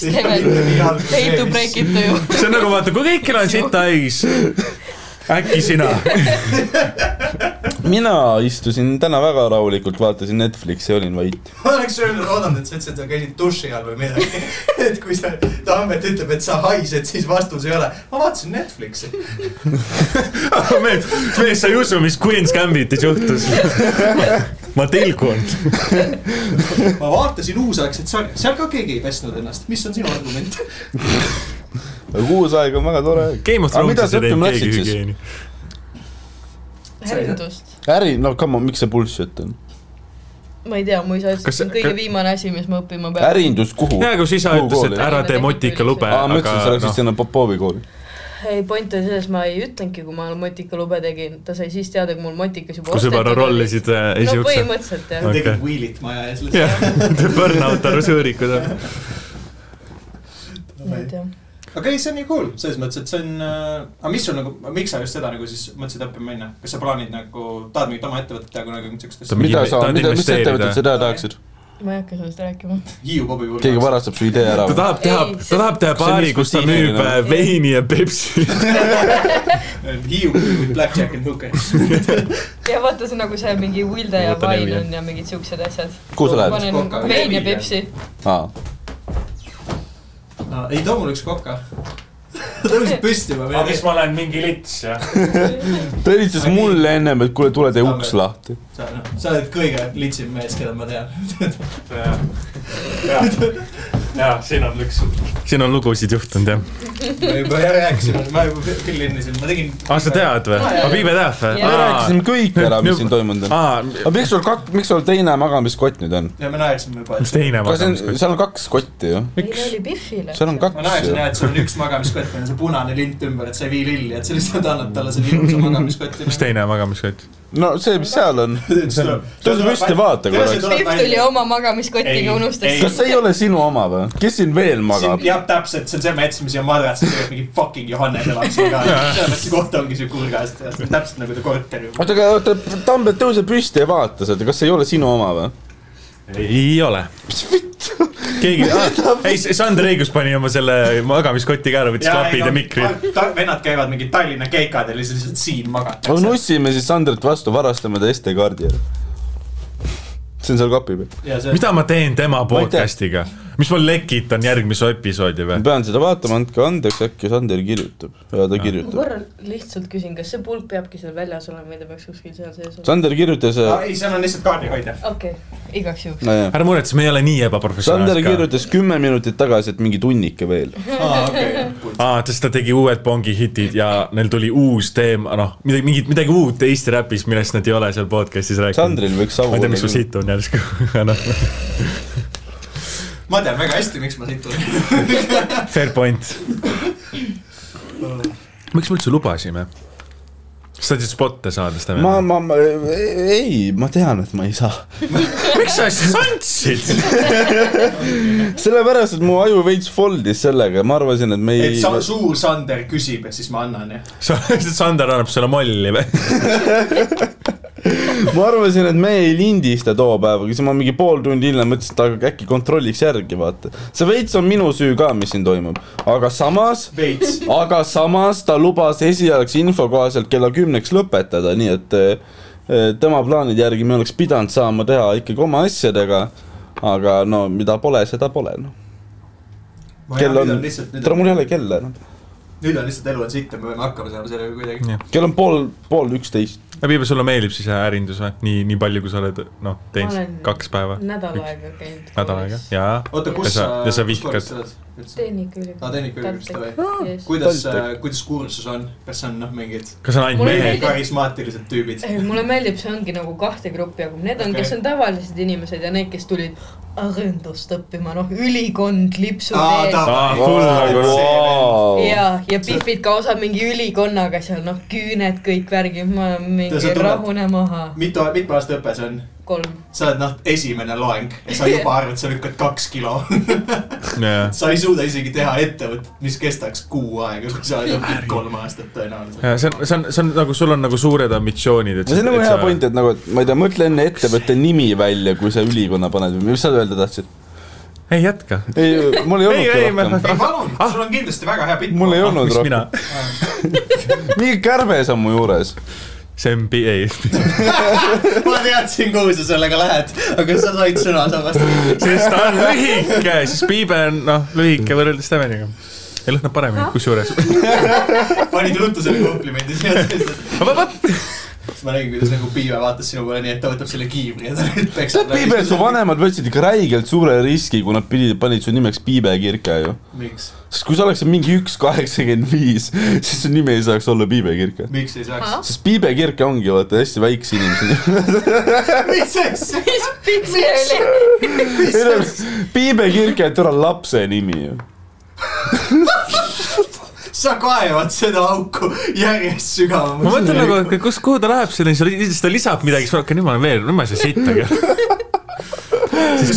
S6: Pay to break it to you . (laughs)
S4: see on nagu vaata , kui kõikil on sitais , äkki sina
S3: mina istusin täna väga rahulikult , vaatasin Netflixi ja olin vait .
S1: (laughs) ma oleks öelnud , oodanud , et sa ütlesid , et sa käisid duši all või midagi . (laughs) et kui sa , Tammet ütleb , et sa haised , siis vastus ei ole . ma vaatasin Netflixi .
S4: (laughs) mees , mees , sa ei usu , mis Queen's Gambitis juhtus . ma tilgun .
S1: ma vaatasin uusaegset sarja , seal ka keegi ei pesnud ennast . mis on sinu argument ?
S3: aga uus aeg on väga tore aeg .
S4: Game of
S3: Aga mida
S4: Thrones'is
S3: sa
S4: ei teinud
S3: õppima
S4: keegi
S3: läksid siis?
S4: hügieeni .
S6: häirindust .
S3: äri , no come on , miks see bullshit on ?
S6: ma ei tea , mu isa ütles , et
S4: Kas-
S6: see on kõige
S4: kas-
S6: viimane asi , mis ma õppima pean .
S3: ärindus kuhu ?
S4: ja , kus isa ütles , et ära tee motikalube ,
S3: aa , ma ütlesin , sa
S4: aga
S3: läksid
S4: noh ,
S3: sinna Popovi kooli .
S6: ei , point on selles , ma ei ütlenudki , kui ma motikalube tegin , ta sai siis teada , kui mul motikas juba
S4: kus juba
S6: ostetud oli.
S4: rollisid äh,
S6: no
S4: esiukse .
S6: põhimõtteliselt jah
S4: Okei.
S1: ma tegin wheel'it maja ees
S4: jah
S1: lihtsalt .,
S4: (laughs) burnout arvas õõrikud .
S6: ma ei tea .
S1: aga ei , see on nii cool , selles mõttes , et see on äh, , aga mis sul nagu , miks sa just seda nagu siis mõtlesid õppima minna , kas sa plaanid nagu , tahad mingit oma ettevõtet teha kunagi , mingit siukest
S4: Ta
S1: asja ?
S4: mingi-
S3: mida sa ,
S4: tahad
S3: mida , mis
S4: investeerida?
S3: ettevõtet sa teha tahaksid ?
S6: ma ei hakka sellest rääkima .
S1: Hiiu Bobi puhul .
S3: keegi . varastab su idee ära
S4: ta . tahab teha
S6: Ei, , see-
S4: ta tahab teha
S3: see on
S4: baari ,
S3: nii
S4: kus ta
S3: spetsiifiline.
S4: müüb äh, veini ja
S3: (laughs)
S4: Pepsi .
S1: (laughs) Hiiu with blackjack and hookers .
S6: ja vaata , see on nagu see mingi Wilde ja
S4: Vaata
S6: Vain
S4: nimi.
S6: on ja mingid siuksed asjad .
S3: Kuhu sa lähed?
S6: panen
S1: Coca-
S6: vein ja
S1: Viini.
S6: Pepsi .
S1: Ah, ei too mulle üks koka . tõusid püsti juba .
S10: aga siis ma olen mingi lits ja
S3: ta helistas mulle ennem , et kuule , tule tee uks lahti .
S1: sa , noh , sa oled kõige litsim mees , keda ma tean . (laughs)
S10: ja , ja , ja siin on üks
S4: siin on lugusid juhtunud jah .
S1: ma juba rääkisin , ma juba küll endiselt , ma tegin .
S4: aa , Ah, sa tead või ? aa , Piibe teab või ? Ah.
S6: Jaa.
S3: me rääkisime kõik ära , mis siin toimunud on .
S4: aa ,
S3: aga miks sul kak- , miks sul teine magamiskott nüüd on ?
S1: ja me naersime juba ,
S4: mis
S1: et
S4: teine
S3: kas see on ,
S4: magamiskott ?
S3: seal on kaks kotti ju ?
S6: meil oli Biffile .
S3: seal on
S1: ma
S3: kaks
S1: naersin
S3: ju .
S1: jah , et sul on üks magamiskott , meil on see punane lint ümber , et sa ei vii lilli , et sa lihtsalt annad talle selle ilusa magamiskotti .
S4: mis teine magamiskott ?
S3: no see , mis seal on . tõuse püsti , vaata korraks .
S6: Biff tuli oma magamiskotiga ,
S10: Ei.
S3: kas
S6: unustas .
S3: see ei ole sinu oma või ? kes siin veel magab ?
S1: jah , täpselt , see on see mets , mis on madras , see on mingi fucking Johannese laps ka . sellepärast see koht ongi siuke hulgas , täpselt nagu ta korter juba .
S3: oota , aga oota , Tambet , tõuse püsti ja vaata seda , kas see ei ole sinu oma või ?
S4: ei ole . keegi , ei , Sander Õigus pani oma selle magamiskoti ka ära , võttis klapid ja mikri .
S1: vennad käivad mingid Tallinna keikadel ja siis lihtsalt siin
S3: no
S1: magatakse .
S3: nussime siis Sandrit vastu , varastame ta SD-kaardi ära . see on seal kapi peal .
S1: ja see ,
S4: mida ma teen tema
S3: tea.
S4: podcast'iga ? mis ma lekitan järgmise episoodi
S3: ma
S4: või ?
S3: pean seda vaatama , andke andeks , äkki Sander kirjutab . ja ta
S6: ma
S3: kirjutab .
S6: korra lihtsalt küsin , kas see pulk peabki seal väljas olema või ta peaks kuskil seal sees olema ?
S3: Sander kirjutas , äh,
S1: ei , seal on lihtsalt kaardihoidja .
S6: okei okay. , igaks juhuks .
S3: nojah ,
S4: ära muretse , me ei ole nii
S3: Sander
S4: ebaprofessionaalsed ka .
S3: kirjutas kümme minutit tagasi , et mingi tunnike veel .
S1: aa , okei .
S4: aa , sest ta tegi uued Bongi hitid ja neil tuli uus teema , noh , midagi , mingit , midagi uut Eesti räpis , millest nad ei ole seal podcast'is rääkinud .
S3: Sandril võiks savu
S4: ma ei tea , miks sul . siit on järsku , (laughs) aga noh ,
S1: ma tean väga hästi , miks ma siit tulen .
S4: fair point . miks me üldse lubasime ? sa tahtsid spotte saada seda
S3: ma , ma , ma , ei , ma tean , et ma ei saa .
S4: miks sa siis andsid ?
S3: sellepärast , et mu aju veits fold'is sellega ja ma arvasin , et me
S1: et
S3: ei
S1: sa , suur Sander küsib ja siis ma annan ja .
S4: sa , (laughs) Sander annab sulle molli või ?
S3: ma arvasin , et me ei lindista too päev , aga siis ma mingi pool tundi hiljem mõtlesin , et aga äkki kontrolliks järgi , vaata . see veits on minu süü ka , mis siin toimub , aga samas ,
S1: veits .
S3: aga samas ta lubas esialgse info kohaselt kella kümneks lõpetada , nii et eh, tema plaanide järgi me oleks pidanud saama teha ikkagi oma asjadega , aga no mida pole , seda pole , noh . Kell on- tere , mul ei ole kella noh. enam .
S1: nüüd on lihtsalt elu on sitt ja me peame hakkama saama sellega kuidagi .
S3: kell on pool , pool üksteist .
S4: Abiba , sulle meeldib siis ärindus või ? nii , nii palju , kui sa oled , noh , teinud
S6: Ma olen-
S4: kaks päeva ,
S6: nädal aega käinud .
S4: nädal aega , jaa .
S1: oota ,
S4: Ja
S1: kus
S4: sa-
S1: sa ,
S4: ja sa vihkad.
S1: üldse ?
S6: Tehnikaülikool .
S1: aa , Tehnikaülikoolist , davai .
S6: või ?
S1: kuidas äh,
S3: Baltic. ,
S1: kuidas kursus on , kas on noh , mingid
S4: kas on ainult
S6: Mul
S4: mehed ?
S6: meeldib.
S1: karismaatilised tüübid ?
S6: ei , mulle meeldib , see ongi nagu kahte gruppi jagub , need on okay. ,
S1: Okei.
S6: kes on tavalised inimesed ja need , kes tulid arendust õppima , noh , ülikond lipsub
S1: Aa,
S6: ees
S1: ta-
S4: aa , full nagu
S1: Vau. .
S6: ja , ja Pihvid ka osa mingi ülikonnaga seal , noh , küüned kõik värgid , ma olen
S1: Ja sa
S6: mingi
S1: tuled-
S6: rahune maha ,
S1: mitu , mitme aasta õpe see on ?
S6: kolm .
S1: sa oled noh , esimene loeng ja sa juba arvad , sa lükkad kaks kilo . (laughs) sa ei suuda isegi teha ettevõtet , mis kestaks kuu aega , kui sa oled õppinud kolm aastat
S4: see on ,
S1: tõenäoliselt .
S4: see on , see on nagu , sul on nagu suured ambitsioonid , et
S3: no see on nagu hea point , et nagu , et ma ei tea , mõtle enne ettevõtte nimi välja , kui sa ülikonna paned või mis sa öelda tahtsid ?
S4: ei jätka .
S3: ei , mul ei
S4: ei , ei ,
S3: olnud
S4: ma ,
S3: rohkem .
S1: ei palun , sul on kindlasti väga hea pilt .
S3: mul ei
S4: ah ,
S3: olnud
S4: miks mina
S3: rohkem ., mingi kärbes on mu juures .
S4: see on , ei ,
S1: (laughs) ma teadsin , kuhu sa sellega lähed , aga sa said sõna sabast .
S4: (laughs) sest ta on lühike , siis piibe on , noh , lühike võrreldes Steveniga . ja lõhnab paremini , kusjuures .
S1: panid ruttu selle komplimendi siia . siis ma nägin , kuidas nagu Piive vaatas sinu poole , nii et ta võtab selle kiivri ja ta nüüd peksab .
S3: Piibe , su . vanemad võtsid ikka räigelt suure riski , kui nad pidid , panid su nimeks Piibe Kirke ju .
S1: miks ,
S3: sest kui sa oleksid mingi üks kaheksakümmend viis , siis su nimi ei saaks olla Piibe Kirke .
S1: miks ei saaks ? (laughs)
S3: sest Piibe Kirke ongi vaata hästi väikse
S4: (laughs)
S3: inimese nimi .
S1: mis asja ?
S6: mis pitsi oli ?
S3: Ei no, Piibe Kirke , et ära lapse nimi ju .
S1: sa kaevad seda auku järjest
S4: ma
S1: sügavamaks .
S4: mõtlen nagu ,
S1: (laughs)
S4: et kus , kuhu ta läheb selle , siis ta lisab midagi , siis ma hakkan , jumal veel , nüüd ma ei saa sittagi .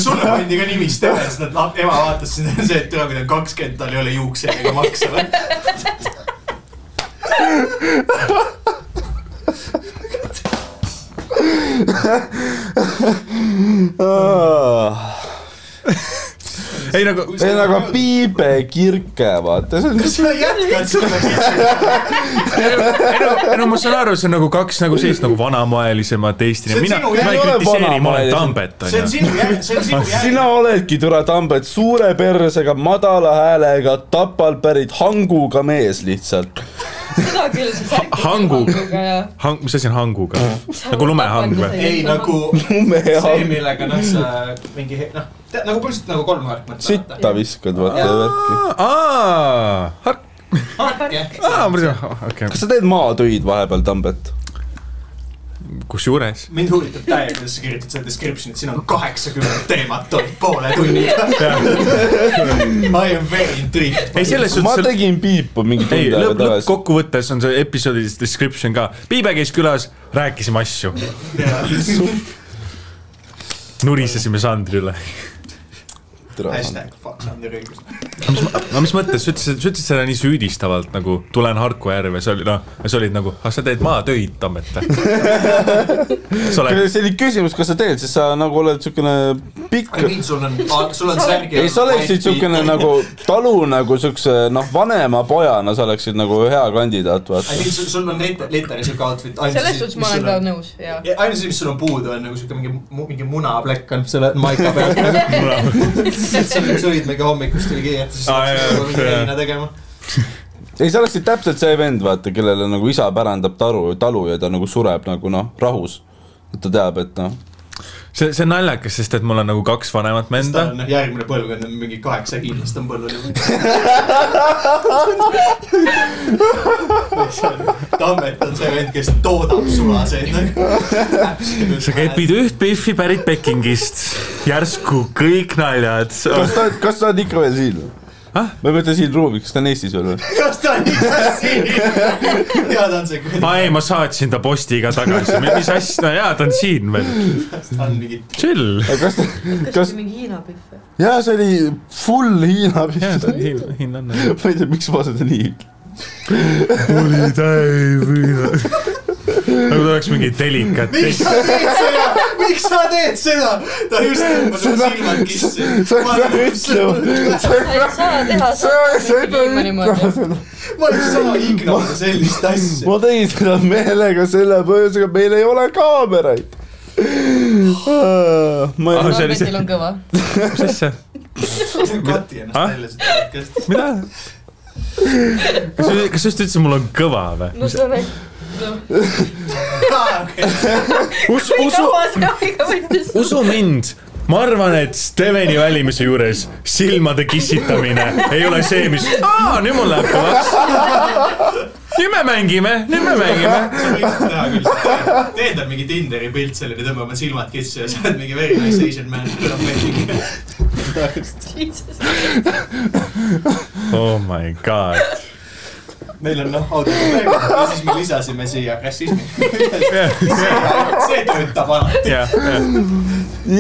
S1: sulle pandi ka nimi Steven , sest nad , ema vaatas sinna ja see , et tule , kui ta on kakskümmend , tal ei ole juukseid ega makse .
S3: ma
S4: (laughs) ei nagu ,
S3: ei , aga piibe kirke , vaata , see on
S1: kas sa jätkad seda
S4: ei no , ei no ma saan aru , see on nagu kaks nagu sellist nagu vanamoelisemat Eesti
S1: See , on
S4: mina ,
S1: sinu- ei
S4: mina ei
S3: ole
S4: kritiseeri , ma olen
S3: vanamaelisem.
S4: Tambet ,
S1: see on
S4: onju .
S1: sinu jä- , see on sinu jä-
S3: sina oledki türa Tambet , suure persega , madala häälega , Tapal pärit hanguga mees lihtsalt .
S6: seda küll , see särk .
S4: hangu.
S6: ja .
S4: hang , mis asi on hanguga ? nagu lumehang või ?
S1: ei nagu see ,
S3: lumehang ,
S1: millega noh , sa mingi he- noh , nagu põhimõtteliselt nagu kolm värk mõtled .
S3: sitta viskad , vaata ja värki .
S4: aa , hark , aa , ma ei tea , okei .
S3: kas sa teed maatöid vahepeal , Tambet ?
S4: kusjuures ,
S1: mind huvitab täiega , kuidas sa kirjutad selle description'it , siin on kaheksakümmend teemat olnud poole
S3: (laughs)
S1: tunniga . I am very intrigued .
S4: ei selles
S3: ma
S4: suhtes ,
S3: tegin piipu mingi
S4: ei
S3: tund aega
S4: lõpp ,
S3: tagasi .
S4: lõppkokkuvõttes on see episoodi description ka . Piibe käis külas , rääkisime asju , nurisesime Sandri üle .
S1: hashtag fuck Sander õigus .
S4: no mis mõttes , sa ütlesid , sa ütlesid seda nii süüdistavalt nagu tulen Harku järve , sa olid noh , sa olid nagu , ah sa teed maatöid , Tambet . (laughs) sa oled ,
S3: see oli küsimus , kas sa teed , sest sa nagu oled siukene pikk
S1: I . mean sul on , sul on särgi .
S3: ei , sa oleksid siukene . nagu talu nagu siukse noh , vanema pojana sa oleksid nagu hea kandidaat ,
S1: I
S3: vaata .
S1: mean sul , sul on lit- literaali siuke outfit .
S6: selles suhtes ma olen ka nõus , jaa .
S1: Ja ainus asi , mis sul on puudu , on nagu siuke mingi , mingi munaplekk on selle maika
S3: (laughs)
S1: peal . (laughs) sa olid mingi hommikust tuli kiire , et siis
S4: Aa, jaa,
S1: hakkasid mingi
S4: jaa.
S1: heina tegema .
S3: ei , sa oleksid täpselt see vend , vaata , kellele nagu isa pärandab taru , talu ja ta nagu sureb nagu noh , rahus . et ta teab , et noh ,
S4: see , see on naljakas , sest et mul on nagu kaks vanemat
S1: siis ta
S4: venda
S1: on noh , järgmine põlvkond on mingi kaheksa hiinlast on põllul juba . (laughs) Tammet on see vend , kes toodab sulaseid nagu .
S4: sa kepid üht Biffi pärit Pekingist , järsku kõik naljad .
S3: kas sa , kas sa oled ikka veel siin või ?
S4: Ah?
S3: ma ei mõtle siin ruumis , kas ta on Eestis veel või ?
S1: kas ta on ikka siin ? ja ta on see ,
S4: aa ei , ma saatsin ta postiga tagasi , mis asja , jaa , ta on siin veel ,
S1: ta on mingi
S4: chill .
S3: aga kas ta ,
S6: kas
S3: kas
S6: see , mingi Hiina pihv või ?
S3: jaa , see oli full Hiina
S4: jaa ,
S3: pilt
S4: ta . on nagu- hiin- hiinlane .
S3: ma ei tea , miks ma seda nii
S4: oli täis hiinlane . nagu ta oleks mingi delikat .
S1: miks sa teed seda , miks sa teed seda ? ta just tõmbas mu silmad kissi .
S3: sa ei pea ütlema , sa ei
S6: sa ei saa teha
S3: pea , sa ei pea
S6: seda
S3: ütlema seda .
S1: ma ei saa ignorida sellist asja
S3: (laughs) ma . tegin seda meelega selle põhjusega , meil ei ole kaameraid . ma
S4: Ah,
S3: ei ,
S4: see oli see-
S6: Norbetil on kõva .
S4: mis asja ?
S1: kati ennast
S4: Ah?
S1: välja siit podcast'ist .
S4: mida ? kas , kas sa just ütlesid , mul on kõva või
S6: no ? see on äkki , noh ,
S4: usu ,
S6: kui
S4: usu ,
S6: kaua see aega võttis ?
S4: usu mind , ma arvan , et Steveni välimise juures silmade kissitamine ei ole see , mis , aa , nüüd mul läheb kõvaks . nüüd me mängime , nüüd me mängime .
S1: sa võiksid teha küll seda . tee endale mingi Tinderi pilt selline , tõmba oma silmad kissi ja sa oled mingi very nice asian man .
S4: oh my god .
S1: meil on noh , autoprobleem ja siis me lisasime siia rassismi . see töötab alati .
S4: jah ,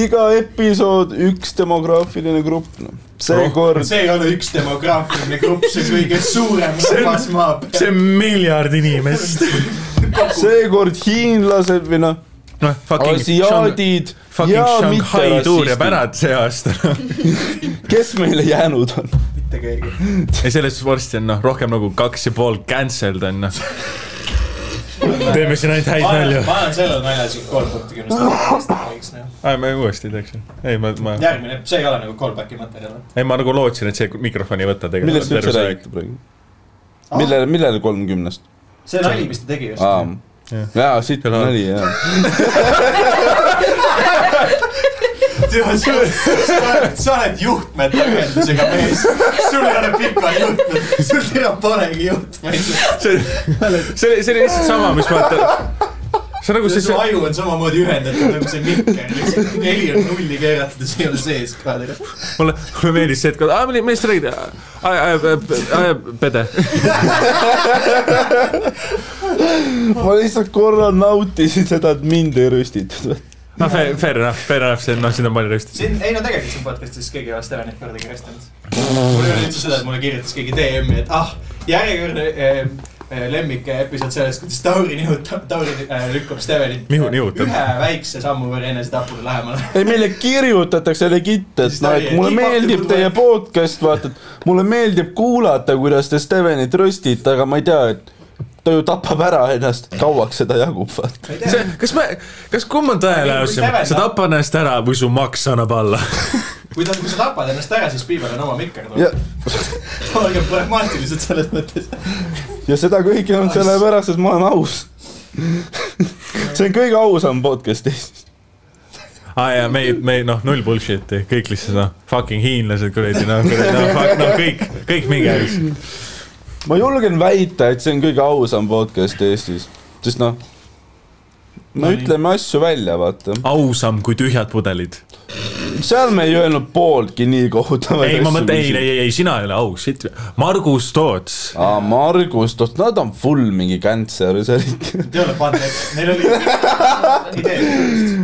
S3: iga episood üks demograafiline grupp , noh . seekord ,
S1: see ei ole üks demograafiline grupp , see kõige suurem rahvas maa peal .
S4: see on miljard inimest .
S3: seekord hiinlased või noh ,
S4: noh , fucking ,
S3: asiaadid ja
S4: fucking Shanghai tuur jääb ära see
S3: mitterassistid ,
S4: aasta .
S3: kes meile jäänud on .
S1: mitte keegi .
S4: ei , selles suhtes varsti on noh , rohkem nagu kaks ja pool cancelled on noh . teeme siin ainult häid
S1: ma
S4: nalju
S1: annan , ma annan sellele naljale siin kolm punkti kümnest .
S4: aa , ma uuesti teeksin . ei , ma , ma ,
S1: järgmine , see ei ole nagu callback'i materjal .
S4: ei ma nagu lootsin , et see mikrofon ei võta
S3: millest te
S4: tegelikult .
S3: üldse ? räägite praegu ? millele , millele kolmkümnest ?
S1: see nali , mis ta tegi just .
S3: aa
S4: Jah. ,
S3: jaa , siit
S4: Kõlab.
S3: nali , jaa .
S1: sa oled juhtmetagendusega mees , sul ei ole pika juhtmed , sul ei ole paregi juhtmeid .
S4: see , see oli , see oli lihtsalt sama , mis vaata . see on nagu see ,
S1: su
S4: see ,
S1: aju on samamoodi ühendatud nagu see mikker , lihtsalt neli on nulli keeratud ja see ei ole sees ka .
S4: mulle , mulle meeldis see , et kui , aa , millest te räägite ? Pede .
S3: ma lihtsalt korra nautisin seda , et mind ei röstitud .
S4: noh , fair enough , fair enough , see on , noh , siin on palju rösti .
S1: siin , ei no tegelikult siin podcast'is keegi ei ole Stevenit kordagi arestinud . mul ei ole üldse seda , et mulle kirjutas keegi DM-i , et ah , järjekordne äh, lemmik episood sellest , kuidas Tauri nihutab , Tauri äh, lükkab Stevenit
S4: Nihu- nihutab.
S1: ühe väikse sammu võrra enesetapule lähemale .
S3: ei , meile kirjutatakse legit , et
S1: Siis ta
S3: noh ,
S1: oli,
S3: et
S1: et keep
S3: mulle
S1: up the
S3: meeldib
S1: good
S3: teie
S1: work.
S3: podcast , vaata , et mulle meeldib kuulata , kuidas te Stevenit röstite , aga ma ei tea , et ta ju tapab ära ennast , kauaks seda jagub , vaata .
S4: see , kas me , kas kumb on tõelähedasem , sa
S3: noh.
S4: tapad ennast ära või su maks annab alla ?
S1: kui ta , kui sa tapad ennast ära , siis piibad on oma mikker
S3: ja
S1: tuleb ., olgem pragmaatilised selles mõttes .
S3: ja seda kõike on sellepärast , et ma olen
S4: (laughs)
S3: aus . see on kõige ausam podcast Eestis .
S4: aa Ah, jaa , me ei , me ei , noh , null bullshit'i , kõik lihtsalt noh , fucking hiinlased kuradi , noh , kuradi , noh , fuck , noh , kõik , kõik minge .
S3: ma julgen väita , et see on kõige ausam podcast Eestis , sest noh , no
S4: Nonii.
S3: ütleme asju välja , vaata .
S4: ausam kui tühjad pudelid .
S3: seal me ei öelnud pooltki nii kohutavaid
S4: ei , ma mõtlen , ei , ei , ei , sina ei ole aus , shit . Margus Toots ,
S3: aa , Margus , nad on full mingi cancer , see oli ikka .
S1: Te olete pandud , neil oli idee .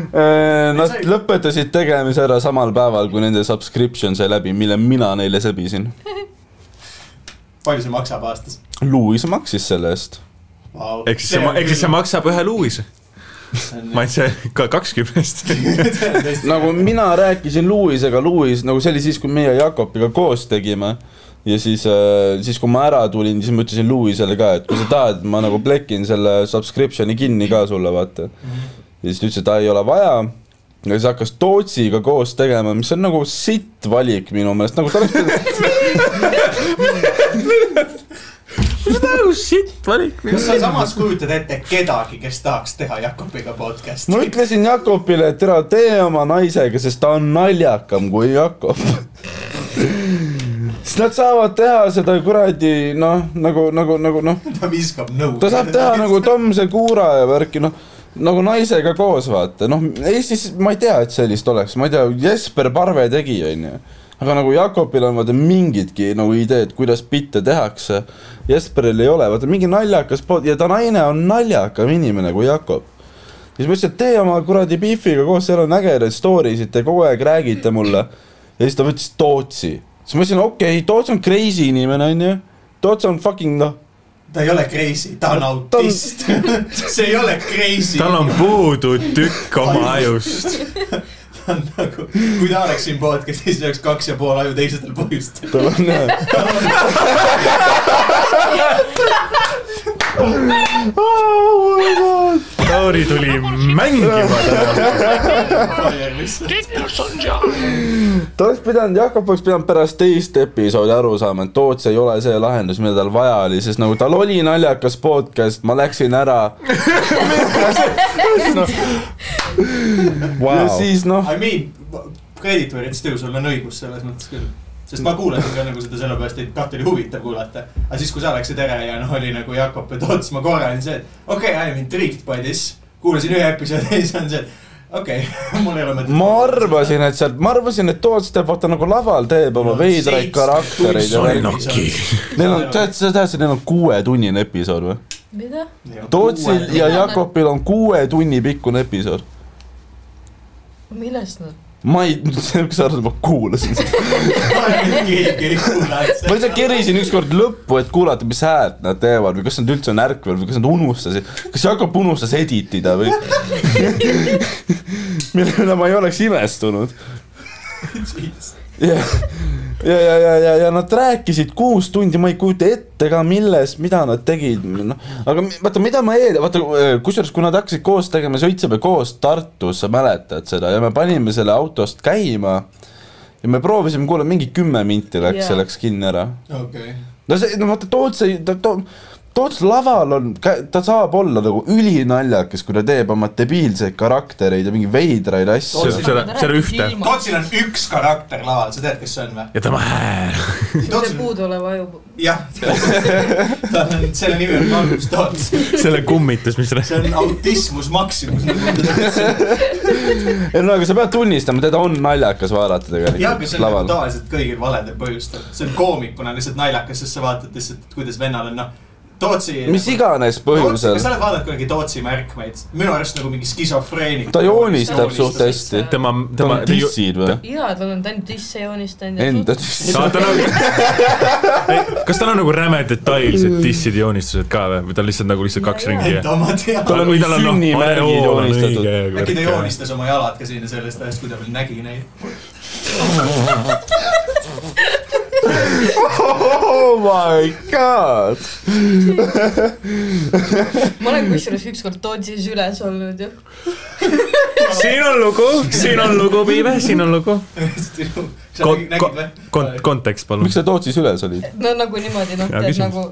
S3: Äh, Nad
S1: sai-
S3: lõpetasid tegemise ära samal päeval , kui nende subscription sai läbi , mille mina neile sebisin .
S1: palju see maksab aastas ?
S3: Louis maksis selle eest .
S4: ehk siis see , ehk siis
S1: (laughs)
S4: see maksab ühe luuise , ma ei tea , ka kakskümnest .
S1: maksab
S3: nagu mina rääkisin Louisega , Louis , nagu see oli siis , kui meie Jakobiga koos tegime ja siis , siis kui ma ära tulin , siis ma ütlesin Louisele ka , et kui sa tahad , ma nagu plekin selle subscription'i kinni ka sulle , vaata . ja siis ta ütles , et aa , ei ole vaja . ja siis hakkas Tootsiga koos tegema , mis on nagu sitt valik minu meelest , nagu ta oleks pidanud
S4: shit , valik .
S1: kas sa samas kujutad ette kedagi , kes tahaks teha Jakobiga podcast'i
S3: ma ? ütlesin Jakobile , et ära tee oma naisega , sest ta on naljakam kui Jakob . (laughs) siis nad saavad teha seda kuradi noh , nagu , nagu , nagu noh ,
S1: (laughs) ta viskab nõu .
S3: ta saab teha nagu Tom Segura ja värki , noh , nagu naisega koos , vaata , noh , Eestis ma ei tea , et sellist oleks , ma ei tea , Jesper Parve tegi , onju . aga nagu Jakobil on vaata mingidki nagu ideed , kuidas bitte tehakse . Jesperil ei ole , vaata mingi naljakas pood ja ta naine on naljakam inimene kui Jakob . siis ma ütlesin , et tee oma kuradi Biffiga koos , seal on ägedaid story sid , te kogu aeg räägite mulle . ja siis ta võttis Tootsi . siis ma ütlesin , okei okay, , Toots on crazy inimene , onju . Toots on fucking noh ,
S1: ta ei ole crazy , ta on autist . (laughs) see ei ole crazy .
S4: tal on puudu tükk oma ajust .
S1: ta on nagu , kui ta oleks siin podcast'is , siis oleks kaks ja pool aju teistel
S3: (laughs)
S1: põhjustel .
S3: tal on jah Oh
S4: Tauri tuli mängima täna .
S3: ta oleks pidanud , Jakob oleks pidanud pärast teist episoodi aru saama , et Toots ei ole see lahendus , mida tal vaja oli , sest nagu tal oli naljakas podcast , ma läksin ära . ja siis noh ,
S1: I mean , credit where it's due , sul on õigus selles mõttes küll . sest ma kuulasin ka nagu seda sellepärast , et taht oli huvitav kuulata . aga siis , kui sa läksid ära ja noh , oli nagu Jakob ja Toots , ma korra olin see , et okei okay, , I am intrigued by this . kuulasin ühe episoodi ja siis on see , et okei (laughs) okay, , mul ei ole mõtet .
S3: ma arvasin , et sealt , ma arvasin , et Toots teeb vaata nagu laval teeb oma veidraid karaktereid ja värki .
S4: Solnoki.
S3: Neil on , tead , sa tead , neil on kuuetunnine episood või ?
S6: mida ?
S3: Tootsil ja Jakobil on kuue tunni pikkune episood .
S6: millest nad ?
S3: ma ei , (laughs) kas sa arvad , ma kuulasin seda ?
S1: (laughs) keegi ei kuula , et
S3: ma
S1: see .
S3: lihtsalt kerisin ükskord lõppu , et kuulata , mis häält nad teevad või kas nad üldse on ärkvel või kas nad unustasid , kas Jakob unustas edit ida või ? (laughs) mille üle ma ei oleks imestunud . ja , ja , ja , ja , ja , ja nad rääkisid kuus tundi , ma ei kujuta ette ka , milles , mida nad tegid , noh . aga mi- vaata , mida ma eel- , vaata kusjuures , kui nad hakkasid koos tegema , sõitsime koos Tartus , sa mäletad seda , ja me panime selle autost käima ja me proovisime , kuule , mingi kümme minti läks , see
S6: Jaa.
S3: läks kinni ära
S1: okei ,
S3: no see , no vaata Toots ei , ta , ta , Toots laval on , ta saab olla nagu ülinaljakas , kui ta teeb oma debiilseid karaktereid ja mingeid veidraid asju .
S1: Tootsil-
S4: seda , seda ühte
S1: Tootsil on üks karakter laval , sa tead , kes see on või ?
S4: ja tema hääl .
S6: see
S1: Tootsil ,
S6: puuduolev aju .
S1: jah , (laughs) ta on , selle nimi on Margus Toots ,
S4: selle kummitus , mis
S1: see on autismus maksimus . (laughs)
S3: ei no aga sa pead tunnistama , teda on naljakas vaadata
S1: jah , aga
S3: tegelikult
S1: see on nagu
S3: laval .
S1: tavaliselt kõigil valedel põhjustel , see on koomikuna lihtsalt naljakas , sest sa vaatad lihtsalt , kuidas vennal on noh , Tootsi .
S3: mis iganes põhjusel
S1: kas sa . oled vaadanud kunagi Tootsi märkmeid ? minu arust nagu mingi skisofreenik .
S3: ta joonistab suht hästi .
S4: tema ,
S3: ta
S4: tema
S3: on , dissid või ?
S6: jaa , tal on ta ainult disse joonistanud .
S3: Enda . dissid .
S4: ta , tal on , kas tal on nagu räme detailsed dissid joonistused ka või , või tal lihtsalt nagu lihtsalt kaks ringi ja
S1: enda oma teada .
S3: Mm. Tal on mingi
S4: noh,
S3: sünnimärgid joonistatud.
S4: äkki
S1: äkki ta . joonistas oma jalad ka sinna sellest ajast , kui ta veel nägi neid . (laughs)
S3: oh my god .
S6: ma olen kusjuures ükskord Tootsis üles olnud ju .
S4: siin on lugu , siin on lugu , Piive , siin on lugu .
S1: sa
S4: Kon-
S1: nägid- nägid või ?
S4: kont- , kontekst palun
S3: miks . sa Tootsis üles olid ?
S6: no nagu niimoodi , noh ,
S4: Hea
S6: tead
S4: küsimus.
S6: nagu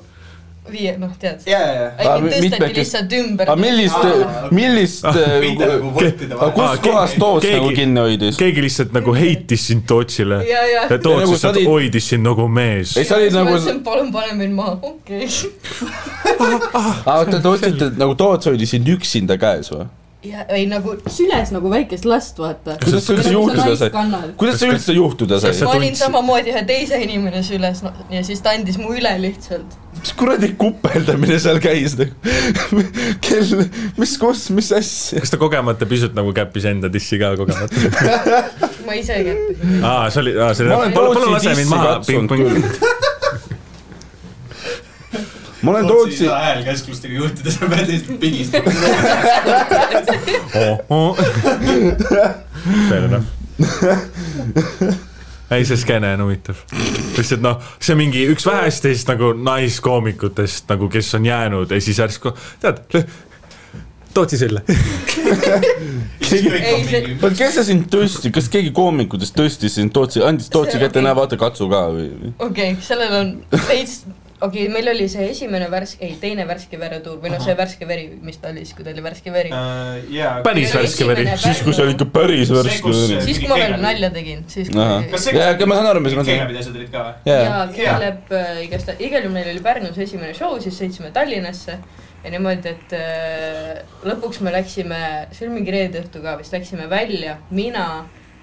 S6: viie , noh , tead .
S1: ja , ja , ja .
S3: Aga
S6: ainult tõsteti
S3: mitmekes-
S6: lihtsalt ümber
S3: aga . millist
S1: Aa. ,
S3: millist ,
S1: mitte nagu võttida
S3: aga
S4: Aa,
S3: kust
S4: keegi-
S3: kohast Toots
S4: keegi-
S3: nagu kinni hoidis ?
S4: keegi lihtsalt nagu heitis sind Tootsile .
S6: ja , ja .
S4: ja Toots
S3: Nagu sa
S4: lihtsalt
S3: olid-
S4: hoidis sind nagu mees .
S3: ei , sa olid
S6: ma
S3: nagu ,
S6: ütlesin , palun pane mind maha , okei okay. .
S3: oota , te ütlesite , et nagu Toots hoidis sind üksinda käes või ?
S6: ja ei nagu ,
S5: süles nagu väikest last , vaata .
S3: Kuidas see üldse juhtuda sai?
S5: sai ?
S3: kuidas see üldse juhtuda sai
S4: Kas sa ?
S6: Nagu ma olin
S4: tundsid-
S6: samamoodi ühe teise inimene süles no, ja siis ta andis mu üle lihtsalt .
S3: mis kuradi kupeldamine seal käis nagu ? (laughs) kel , mis , kus , mis asja ?
S4: kas ta kogemata pisut nagu käppis enda dissi ka kogemata ?
S6: ma ise kättesin .
S4: aa , see oli , aa , see
S3: Ma
S4: oli
S3: olen ,
S4: palun ,
S3: Tootsi
S4: palun lase mind
S3: dissi
S4: maha .
S3: katsunud küll. ma olen Tootsi ,
S1: hääl käsklustega (laughs) juhtida , sa pead lihtsalt pigistama .
S4: Fair enough . ei , see skeene on huvitav . lihtsalt noh , see on mingi üks vähestest nagu naiskoomikutest nagu , kes on jäänud ja siis järsku , tead , Tootsi selle .
S6: Ei, see-
S3: oota , kes see sind tõstis , kas keegi koomikutest tõstis sind Tootsi , andis Tootsi kätte , näe , vaata , katsu ka või ?
S6: okei okay, , sellel on veits , okei okay, , meil oli see esimene värske , ei teine värske veretuur või noh , see värske veri , mis ta oli siis , kui ta oli värske veri .
S1: Äh, jaa .
S4: päris värske veri .
S3: siis , kui sa olid ikka päris
S1: See,
S3: värske
S1: kus- .
S6: siis , kui ma veel nalja tegin , siis
S3: Ahah.
S6: kui
S1: Kas see-
S3: jaa , ma saan aru , mis ma saan .
S1: keemid asjad olid ka või ?
S3: jaa ,
S6: ja Kelep äh, igast , igal juhul meil oli Pärnus esimene show , siis sõitsime Tallinnasse ja niimoodi , et äh, lõpuks me läksime , see oli mingi reede õhtu ka vist , läksime välja , mina ,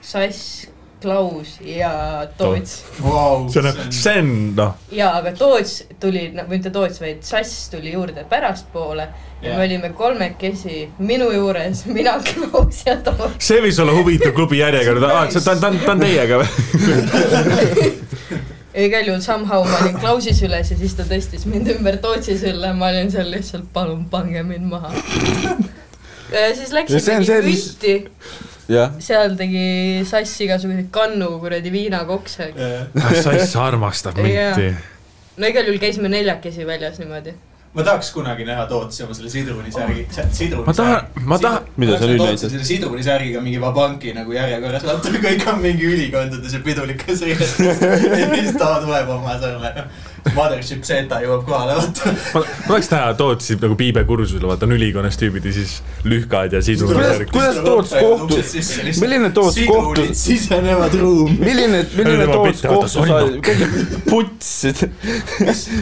S6: Sass , Klaus ja Toots .
S1: Vau ,
S4: see on , see on noh ,
S6: ja , aga Toots tuli , no mitte Toots , vaid Sass tuli juurde pärastpoole ja
S1: Jah.
S6: me olime kolmekesi minu juures , mina , Klaus ja Toots .
S4: see võis olla huvitav klubi järjekord , aa , ta on , ta on , ta on teiega või ?
S6: ja igal juhul somehow ma olin Klausi süles ja siis ta tõstis mind ümber Tootsi sülle , ma olin seal lihtsalt palun pange mind maha . siis
S3: Ja see on
S6: läksimegi
S3: see, mis-
S6: püsti ,
S3: jah .
S6: seal tegi Sass igasuguseid kannu kuradi viinakokse .
S1: Äh,
S4: Sass Ah, armastab minti .
S6: no igal juhul käisime neljakesi väljas niimoodi .
S1: ma tahaks kunagi näha Tootsi oma selle sidrunisärgi , sidrunisärgi .
S4: Ma tahan- ma tahan-
S3: Mida sa nüüd näitasid?
S1: selle sidrunisärgiga mingi vabanki nagu järjekorras , vaata kõik on mingi ülikondades ja pidulikas riietes . ja siis ta tuleb oma selle Mothership Zeta jõuab kohale , vaata .
S4: ma ma tahaks näha Tootsi nagu piibekursusel , vaata on ülikonnas tüübid ja siis lühkad ja sidrud .
S3: Kuidas- kuidas Toots kohtus- milline Toots kohtus-
S1: sisenevad ruumi .
S3: milline , milline
S4: tema
S3: Toots
S4: pilt vaatas,
S3: (laughs) kohtusaal , putsid .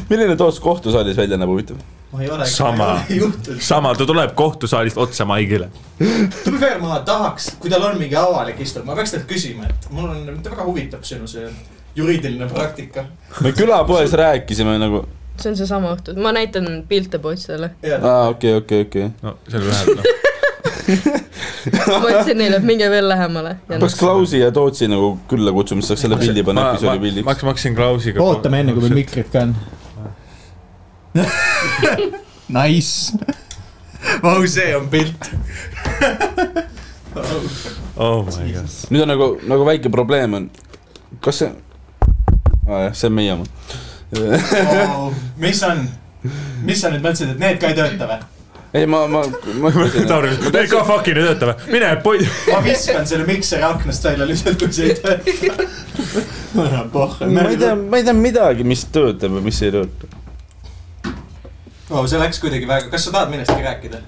S3: milline Toots kohtusaalis välja näeb huvitav ?
S1: ma ei ole .
S4: Sama.
S1: juhtunud .
S4: sama , ta tuleb kohtusaalist otse Maigile .
S1: to be fair , ma tahaks , kui tal on mingi avalik istung , ma peaks talt küsima , et mul on , mind väga huvitab sinu see juriidiline praktika .
S3: me külapoes rääkisime nagu ,
S6: see on seesama õhtu , ma näitan pilte poistele .
S1: ja
S3: aa okei , okei , okei .
S4: no see oli vähemalt noh ,
S6: ma ütlesin neile , et minge veel lähemale .
S3: peaks Klausi ja Tootsi nagu külla kutsuma , siis saaks selle pildi panna episoodi
S4: ma
S3: pildiks .
S4: hakkasin , ma hakkasin Klausiga .
S11: ootame enne , kui meil . mikrid ka on .
S1: (laughs)
S11: Nice .
S1: vau , see on pilt .
S4: oh my god .
S3: nüüd on nagu , nagu väike probleem on , kas see , aa jah , see on meie oma .
S1: mis on , mis sa nüüd mõtlesid , et need ka ei tööta või ?
S3: ei , ma , ma ,
S4: (laughs)
S3: ma ,
S4: Tauri , me ka fucking ei tööta või ? mine poi- .
S1: ma viskan selle mikseri aknast välja lihtsalt , kui see ei tööta . ära pohha .
S3: ma ei tea , ma ei tea midagi , mis töötab ja mis ei tööta .
S1: oh, . see läks kuidagi väga , kas sa tahad millestki rääkida ?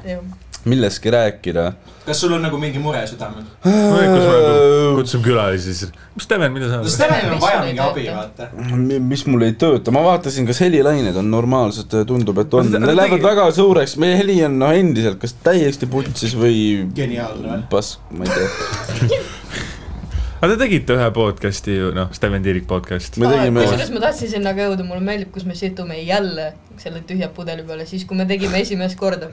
S3: millestki rääkida .
S1: kas sul on nagu mingi mure südamel ?
S4: kutsub nagu külalisi siis . mis Steven , mida sa
S1: sest Stevenil on
S4: arvad ?
S6: Mis
S1: vaja
S6: sul ei
S1: mingi abi ,
S6: tööta?
S1: vaata .
S3: Mi- mis mul ei tööta , ma vaatasin , kas helilained on normaalsed , tundub , et on ,
S4: Aga ta- aga
S3: need
S4: ta
S3: lähevad
S4: tegi-
S3: väga suureks , meie heli on noh endiselt kas täiesti putsis või
S1: geniaalne või ?
S3: pask , ma ei tea .
S4: aga te tegite ühe podcast'i ju, noh , Steven Tiirik podcast .
S3: me tegime ,
S6: kusjuures ma tahtsin sinna ka jõuda , mulle meeldib , kus me situme jälle selle tühja pudeli peale , siis kui me tegime esimest korda .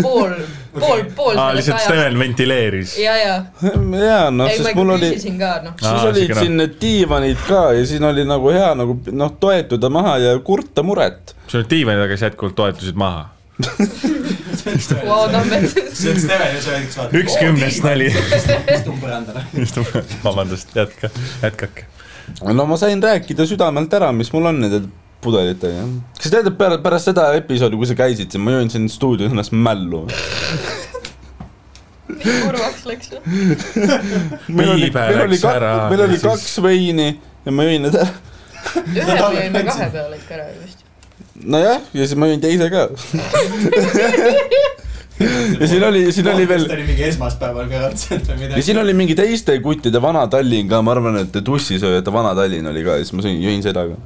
S6: pool , pool , pool
S4: aa , lihtsalt . Steven ventileeris .
S6: ja , ja .
S3: (laughs) jaa noh ,
S6: ei , ma
S3: sest
S6: ikka
S3: mul oli ,
S6: küsisin ka , noh .
S4: Aa,
S3: siis olid
S4: siukene-
S3: siin need diivanid ka ja siin oli nagu hea nagu noh , toetuda maha ja kurta muret .
S4: sul olid diivani taga , sa jätkuvalt toetusid maha .
S6: Vau , Tambet .
S1: see on Steven ja see on üks vaata .
S4: üks kümnest . nali .
S1: istun põrandale .
S4: (laughs) vabandust , jätka , jätkake .
S3: no ma sain rääkida südamelt ära , mis mul on nende pudelitega . kas tead , et pärast , pärast seda episoodi , kui sa käisid siin , ma jõin siin stuudios ennast mällu .
S6: (laughs) nii kurvaks läks .
S3: meil oli ,
S4: Piibe
S3: meil oli
S4: läks ära
S3: ka- , meil
S4: ja
S3: oli
S4: siis-
S3: kaks veini ja ma jõin need ära .
S6: ühe
S1: Tambet
S6: jõime
S1: läks.
S6: kahe peale ikka ära vist .
S3: nojah , ja siis ma jõin teise ka . ja siin oli , siin oli veel
S1: ta oli mingi esmaspäeval ka raudselt või
S3: ja
S1: midagi .
S3: siin oli mingi teiste kuttide Vana Tallinn ka , ma arvan , et tussisööjate Vana Tallinn oli ka ja siis ma sõin , jõin seda ka .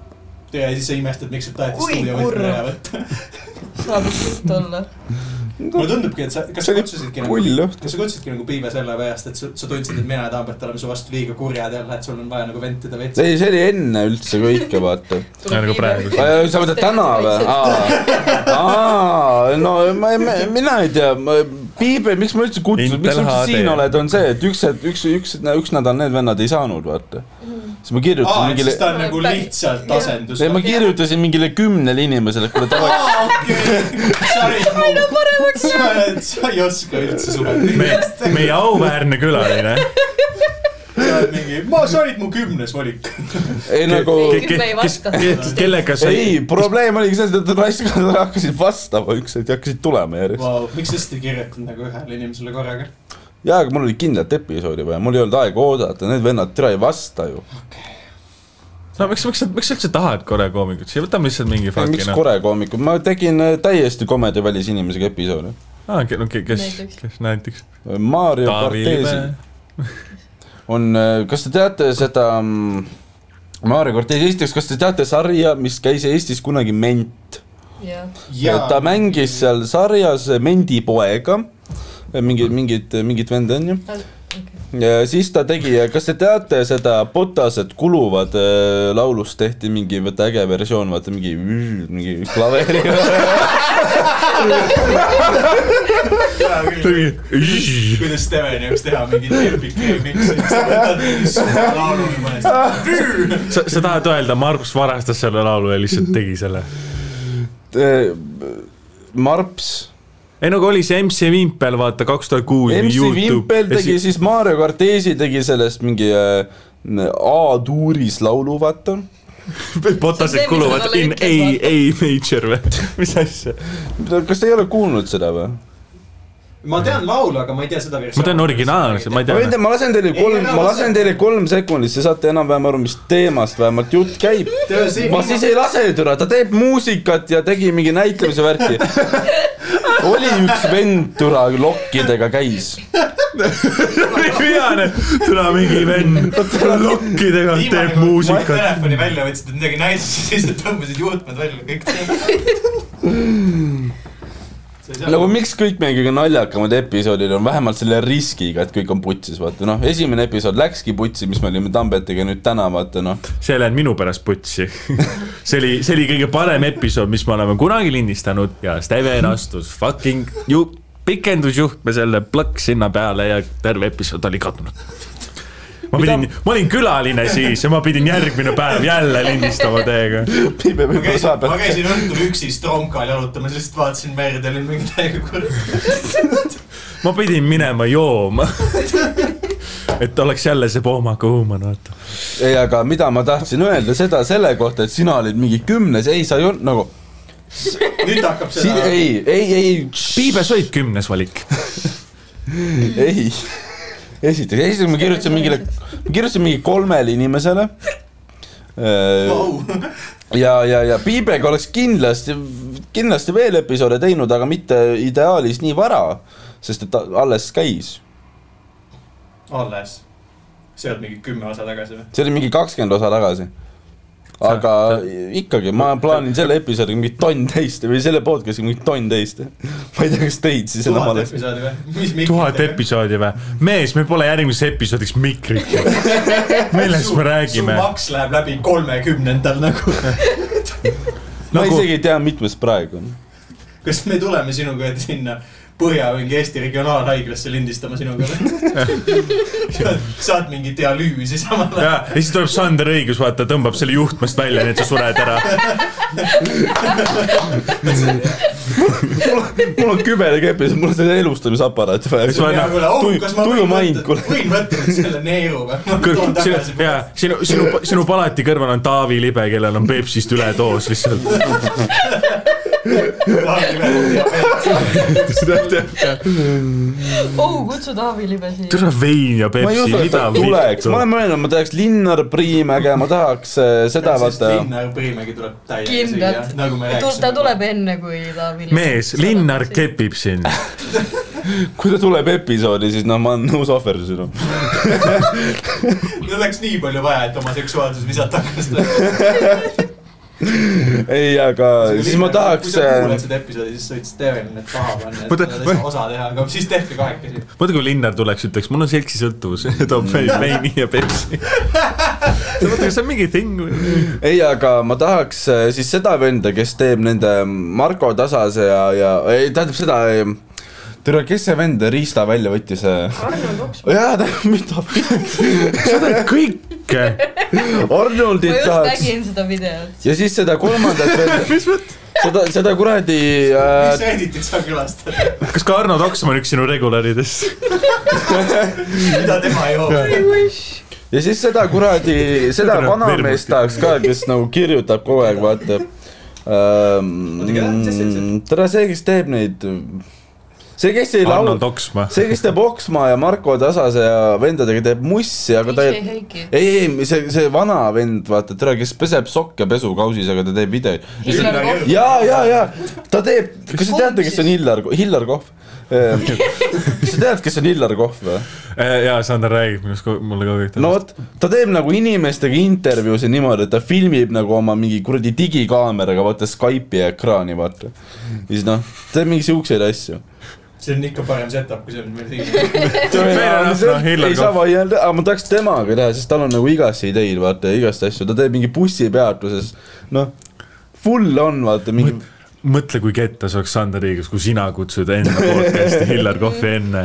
S1: ja siis sa imestad , miks sa tahad
S6: Kui
S1: stuudio
S6: kurb.
S1: võtta ära võtta .
S6: saab just olla .
S1: mulle tundubki , et sa , kas sa
S3: See oli
S1: kutsusidki nagu
S3: pull õht- .
S1: kas sa kutsusidki nagu piibe sellepärast , et sa, sa tundsid , et mina ja Tambet oleme su vastu liiga kurjad jälle , et sul on vaja nagu ventida veits .
S3: ei , see oli enne üldse kõike , vaata .
S4: nagu praegu.
S3: sa võtad täna või ?? aa , no ma , mina ei tea , Piibe , miks ma üldse kutsun , miks sa
S4: Intel
S3: üldse
S4: HD.
S3: siin oled , on see , et üks , üks , üks , üks nädal need vennad ei saanud , vaata . siis ma kirjutasin
S1: aa , et
S3: mingile
S1: siis , ta on nagu lihtsalt asendus .
S3: ei ma kirjutasin mingile kümnele inimesele , et kuule davai ,
S1: aa , okei . aina paremaks . (laughs) sa oled , sa ei oska üldse (laughs) suhelda .
S4: meie auväärne külaline ,
S1: sa oled mingi , ma , sa olid mu kümnes valik .
S3: ei nagu
S6: Ei, kümme ei
S4: kes
S6: vasta. ,
S4: kellega sa
S3: ei , probleem oligi selles , et raiskajad hakkasid vastama üksteist ja hakkasid tulema järjest .
S1: Vau , miks sa seda ei kirjutanud nagu ühele inimesele korraga ?
S3: jaa , aga mul oli kindlat episoodi vaja , mul ei olnud aega oodata , need vennad türa ei vasta ju .
S4: no miks , miks sa , miks sa üldse tahad Korea koomikut , siia võtame lihtsalt mingi fucking noh.
S3: miks Kore koomikut , ma tegin äh, täiesti komedi välisinimesega episoodi .
S4: aa , no Ah, ke- kes
S6: Näiteks. ,
S4: kes näiteks ?
S3: Mario
S4: Taavi
S3: Cortesi
S4: Libe .
S3: on , kas te teate seda mm, Mario Cortesi , esiteks , kas te teate sarja , mis käis Eestis kunagi Ment ?
S6: jah ,
S3: ta mängis seal sarjas mendipoega , mingid , mingid , mingit venda onju . ja siis ta tegi , kas te teate seda Botased kuluvad äh, laulust tehti mingi , vaata äge versioon , vaata mingi , mingi klaveri . (laughs)
S4: tegi ,
S1: kuidas Steven jõuaks teha mingi terviki remix'i , sa võtad mingi suure laulu ja paned seda .
S4: sa , sa tahad öelda , Margus varastas selle laulu ja lihtsalt tegi selle ?
S3: Äh, Marps ,
S4: ei no aga oli see MC Vimpel , vaata kaks tuhat kuus .
S3: MC Vimpel tegi siis Mario Cortesi tegi sellest mingi äh, A-tuuris laulu , vaata .
S6: See on
S4: botased
S6: see, mis
S4: kuluvad
S6: talle
S4: in
S6: ütles,
S4: A ,
S6: vaata.
S4: A major või ? mis asja ?
S3: kas te ei ole kuulnud seda või ?
S1: ma tean laulu , aga ma ei tea seda versiooni .
S4: ma tean originaalse , ma ei
S3: ma võin
S4: tea .
S3: teha , ma lasen teile
S1: Ei,
S3: kolm ,
S1: ära
S3: ma
S1: lase.
S3: lasen teile kolm sekundit , te saate enam-vähem aru , mis teemast vähemalt jutt käib . ma siis ei lase türa , ta teeb muusikat ja tegi mingi näitlemise värki . oli üks vend türa lokkidega käis .
S4: vihane , tule mingi vend , lokkidega teeb
S1: ma
S4: muusikat .
S1: telefoni välja võtsid , et midagi näidata , siis nad tõmbasid juhtmed välja kõik .
S3: nagu miks kõik meie kõige naljakamad episoodid on vähemalt selle riskiga , et kõik on putsis , vaata noh , esimene episood läkski putsi , mis me olime Tambetiga nüüd täna vaata noh . (laughs)
S4: see läheb minu pärast putsi . see oli , see oli kõige parem episood , mis me oleme kunagi lindistanud ja Steven astus fucking ju pikendusjuhtme selle plõkk sinna peale ja terve episood oli kadunud . ma pidin , ma olin külaline siis ja ma pidin järgmine päev jälle lindistama teiega .
S3: Piibe
S1: ma
S3: võib-olla
S1: käisin ,
S3: saab
S1: ma käisin õhtul üksi Stromkal jalutamas , lihtsalt vaatasin merd ja olin mingi täiega kurb .
S4: ma pidin minema jooma . et oleks jälle see poomaga huuman , vaata .
S3: ei , aga mida ma tahtsin öelda seda selle kohta , et sina olid mingi kümnes , ei sa ei olnud nagu ,
S1: nüüd hakkab
S3: ei ,
S1: seda .
S3: ei , ei , ei ,
S4: piibes olid kümnes valik .
S3: ei . esiteks , esiteks ma kirjutasin mingile , ma kirjutasin mingi kolmele inimesele .
S1: Vau ,
S3: ja , ja , ja Piibega oleks kindlasti , kindlasti veel episoode teinud , aga mitte ideaalis nii vara , sest et ta alles käis .
S1: alles . see on mingi kümme osa tagasi või ?
S3: see oli mingi kakskümmend osa tagasi . aga ikkagi , ma plaanin selle episoodiga mingi tonn teist või selle podcast'iga mingi tonn teist . ma ei tea , kas teid siis enam
S1: tuhat
S3: alles .
S1: episoodi või ?
S4: tuhat . episoodi või ? mees , me pole järgmiseks episoodiks mikrit . millest me räägime
S1: su ? maks läheb läbi kolmekümnendal nagu .
S3: ma
S4: nagu
S3: isegi ei tea , mitmes praegu on .
S1: kas me tuleme sinuga sinna Põhja mingi Eesti Regionaalhaiglasse lindistama sinuga või ?
S3: (laughs)
S1: saad mingi dialüüsi samal
S4: ja
S1: ajal .
S4: ja siis tuleb Sander Õigus , vaata , tõmbab selle juhtmest välja , nii et sa sured ära .
S3: mul on , mul on küberega episood , mul on selle elustamisaparaat
S4: Siis ma-
S3: vaja .
S1: ja kuule , oh
S3: tuju- ,
S1: kas ma
S3: tuju
S1: võin
S3: maing,
S1: võtta
S3: kuule. ,
S1: võin võtta nüüd selle neeru või ? ma toon
S4: sinu
S1: tagasi ,.
S4: ja sinu , sinu , sinu palati kõrval on Taavi Libe , kellel on Peipsist üledoos lihtsalt .
S6: oh , kutsu Taavi Libe siia .
S4: türa vein ja
S3: ma ei
S4: Peipsi ,
S3: usu , et
S4: mida
S3: ta tuleks , ma olen mõelnud , ma tahaks Linnar Priimäge , ma tahaks äh, seda vaata .
S1: Linnar Priimägi tuleb täiega siia
S6: kindlalt ,,
S1: nagu me
S6: ta
S1: rääkisime .
S6: tuleb enne , kui Taavi Libe .
S4: mees , Linnar . kepib sind .
S3: kui ta tuleb episoodi , siis noh , ma olen nõus ohverdusena .
S1: mul oleks nii palju vaja , et oma seksuaalsus visata hakata .
S3: ei , aga siis ma
S1: kui
S3: tahaks äh,
S1: sa kuuled seda episoodi , siis sa võid Steven need taha panna , et
S4: Oota,
S1: nad ei
S4: ma-
S1: saa osa teha , aga siis tehke kahekesi .
S4: mõtle , kui Linnar tuleks , ütleks , mul on seksisõltuvus , (laughs) toob veini ja Peipsi . (laughs) mõtle , kas see on mingi thing või ?
S3: ei , aga ma tahaks äh, siis seda venda , kes teeb nende Marko Tasase ja , ja ei tähendab seda , tere , kes see vend riista välja võttis ?
S6: Arno Koks .
S3: jaa , mida ,
S4: sa teed kõike .
S6: ma
S3: Arnoldit
S6: just
S3: tahaks
S6: nägin seda videot .
S3: ja siis seda
S1: (laughs)
S3: kolmandat venda , seda , seda kuradi
S1: mis
S3: äh,
S1: sa editit sa külastad ,
S4: kas ka Arno Toksmann on üks sinu regularidest ?
S1: mida tema joob ?
S3: ja siis seda kuradi , seda
S4: Tere,
S3: vanameest
S4: Virmuti.
S3: tahaks ka , kes nagu kirjutab kogu aeg , vaata
S1: Oota, keda? Kes see
S3: ähm,
S1: üldse- .
S3: tere , see , kes teeb neid , see , kes ei
S4: Arno
S3: laula ,
S4: Toksma .
S3: see , kes teeb Oksmaa ja Marko Tasase ja vendadega teeb mussi , aga ta ei ,
S6: Heiki .
S3: ei , ei , see , see vana vend , vaata , tere , kes peseb sokke pesukausis , aga ta teeb videoid .
S6: Hillar Kohv .
S3: ja , ja , ja ta teeb , kas te
S6: Kumb
S3: teate , kes on
S6: siis?
S3: Hillar , Hillar Kohv ? kas sa tead , kes on Hillar Kohv või ?
S4: jaa , Sander räägib minust , mulle kogu aeg .
S3: no vot , ta teeb nagu inimestega intervjuusid niimoodi , et ta filmib nagu oma mingi kuradi digikaameraga , vaata Skype'i ekraani , vaata . ja siis noh , teeb mingi siukseid asju .
S1: see on ikka parem setup kui see , mis meil siin on .
S4: enough, noh, Hillar
S3: ei saa
S4: Kohv.
S3: vaielda , aga ma tahaks temaga teha , sest tal on nagu igast ideid , vaata , igast asju , ta teeb mingi bussipeatuses , noh , full on , vaata , mingi
S4: mõtle , kui kettas oleks Sander Õigus , kui sina kutsud enda podcast'i Hillar Kohvi enne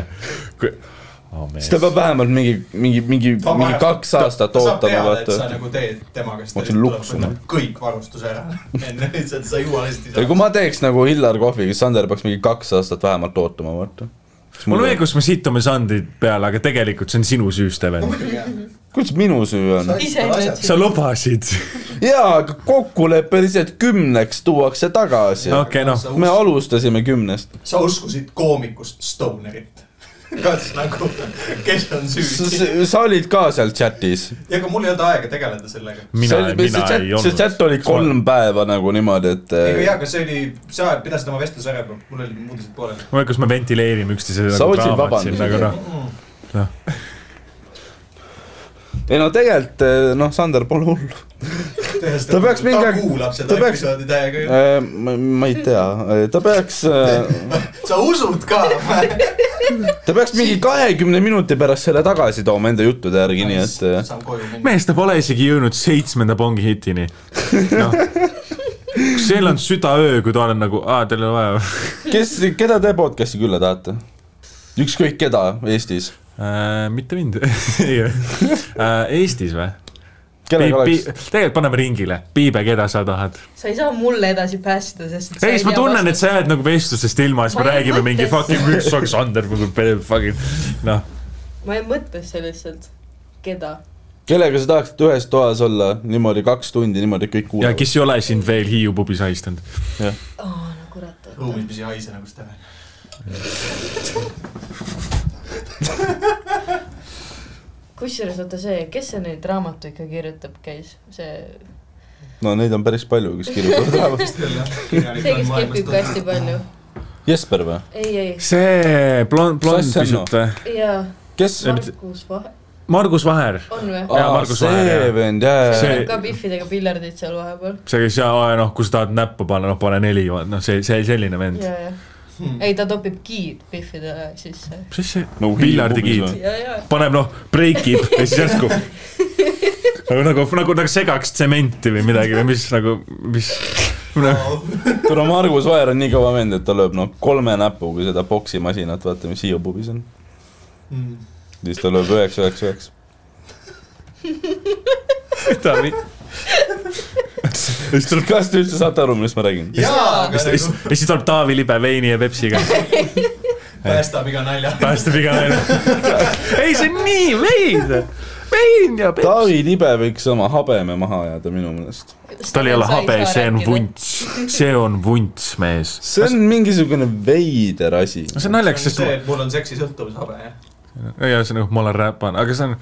S4: kui... . Oh, mees.
S3: siis ta peab vähemalt mingi , mingi , mingi , mingi kaks aastat ootama ,
S1: sa
S3: vaata .
S1: nagu teed tema käest .
S3: Ma noh. hakkasin luksuma.
S1: kõik varustuse ära . (laughs) enne lihtsalt sa ei jõua hästi
S3: ja kui . ma teeks nagu Hillar Kohvi , siis Sander peaks mingi kaks aastat vähemalt ootama , vaata .
S4: mul on õigus , me situme Sandrit peale , aga tegelikult see on sinu süü , Steven .
S3: kuidas minu süü on ?
S6: ise
S4: sa lubasid .
S3: jaa , aga kokkuleppeliselt kümneks tuuakse tagasi okay. .
S4: okei , noh ,
S3: me alustasime kümnest .
S1: sa uskusid koomikust Stonerit . (laughs) kas nagu , kes on süüdi ?
S3: sa olid ka seal chatis .
S1: ja ega mul ei olnud aega tegeleda sellega .
S4: mina , mina ei
S3: see
S4: olnud .
S3: chat oli kolm päeva nagu niimoodi , et
S1: ega
S3: eh,
S1: jaa , aga see oli , sa pidasid oma vestluse ära , mul olid muud asjad pooleli .
S4: ma ei tea , kas me ventileerime üksteise
S3: Sa
S4: nagu
S3: otsid
S4: draamat siin ,
S3: vabandusi.
S4: aga noh ,
S3: ei no tegelikult eh, noh , Sander pole hullu .
S1: ta
S3: peaks mingi
S1: ta
S3: aeg-
S1: kuulab seda
S3: ta peaks-
S1: episoodi täiega ju .
S3: Eh, ma ei tea , ta peaks ,
S1: sa usud ka või ?
S3: ta peaks mingi kahekümne minuti pärast selle tagasi tooma enda juttude järgi , nii et eh,
S1: saan koju minna .
S4: mees , ta pole isegi jõudnud seitsmenda pongi hitini no. . seal on südaöö , kui ta on nagu , aa , teil on vaja
S3: kes , keda te podcast'i külla tahate ? ükskõik keda Eestis ,
S4: äh, . mitte mind , (laughs) ei äh, , Eestis või ?
S3: kellega
S4: Pi-
S3: oleks
S4: pi- ? tegelikult paneme ringile , Piibe , keda sa tahad .
S6: sa ei saa mulle edasi päästa , sest .
S4: ei , siis ma tunnen , et sa jääd nagu vestlusest ilma , siis me
S6: Ma ei
S4: räägime mingi
S6: mõtle-
S4: fucking üks Aleksander , fucking noh .
S6: ma ei mõtle seda lihtsalt , keda .
S3: kellega sa tahaksid ühes toas olla niimoodi kaks tundi niimoodi et kõik
S4: ja
S3: kuulavad ?
S4: kes ei ole sind veel Hiiu pubis haistanud .
S6: aa , no kurat .
S1: ruumis , mis ei haise nagu Steven .
S6: kusjuures vaata see , kes see neid raamatu ikka kirjutab , käis see ,
S3: no neid on päris palju , kes
S4: (laughs)
S3: kirjutavad raamatust .
S6: see , kes kepib ka hästi palju .
S3: Jesper või ?
S6: ei , ei ,
S4: see blond , blond
S3: Sass Sanno.
S4: pisut või ?
S6: jaa ,
S3: kes ?
S6: Markus Vahe ,
S4: Margus Vaher ,
S6: on või ?
S4: Jaa, Margus Vaher,
S3: see
S4: jah.
S3: vend , jaa .
S4: see ,
S6: ka Biffidega piljardid seal vahepeal .
S4: see , kes ja noh , kui sa tahad näppu panna , noh pane neli , noh see , see selline vend .
S6: ja , ja . ei , ta topib kiid Biffide sisse .
S4: mis asja
S3: No,
S4: no, , pillardikiid ,
S6: ja , ja .
S4: paneb noh , breikib ja siis
S6: (laughs)
S4: järsku nagu , nagu , nagu , nagu segaks tsementi või midagi või mis nagu , mis noh,
S3: tule , Margus Vaher on nii kõva vend , et ta lööb noh , kolme näpuga seda poksimasinat , vaata mis Hiiu pubis on . siis ta lööb üheksa , üheksa , üheksa .
S4: (laughs) mida mi-
S3: siis tuleb , kas te üldse saate aru , millest ma räägin ?
S1: jaa , aga
S4: ja siis
S1: nagu
S4: ja siis tuleb Taavi Libe veini ja (laughs) Pepsiga ,
S1: päästab iga nalja .
S4: päästab iga naine . ei , see on nii veider , vein ja Pepsi .
S3: Taavi Libe võiks oma habeme maha ajada minu meelest .
S4: tal ei ole habe , see on . vunts , see on vunts , mees .
S3: see on mingisugune veider asi .
S4: no see on
S1: see
S4: naljakas ,
S1: on
S4: sest
S1: see ,
S4: ma-
S1: et mul on seksisõltuvus habe , jah .
S4: ei ole see nagu , ma olen räpane , aga see on ,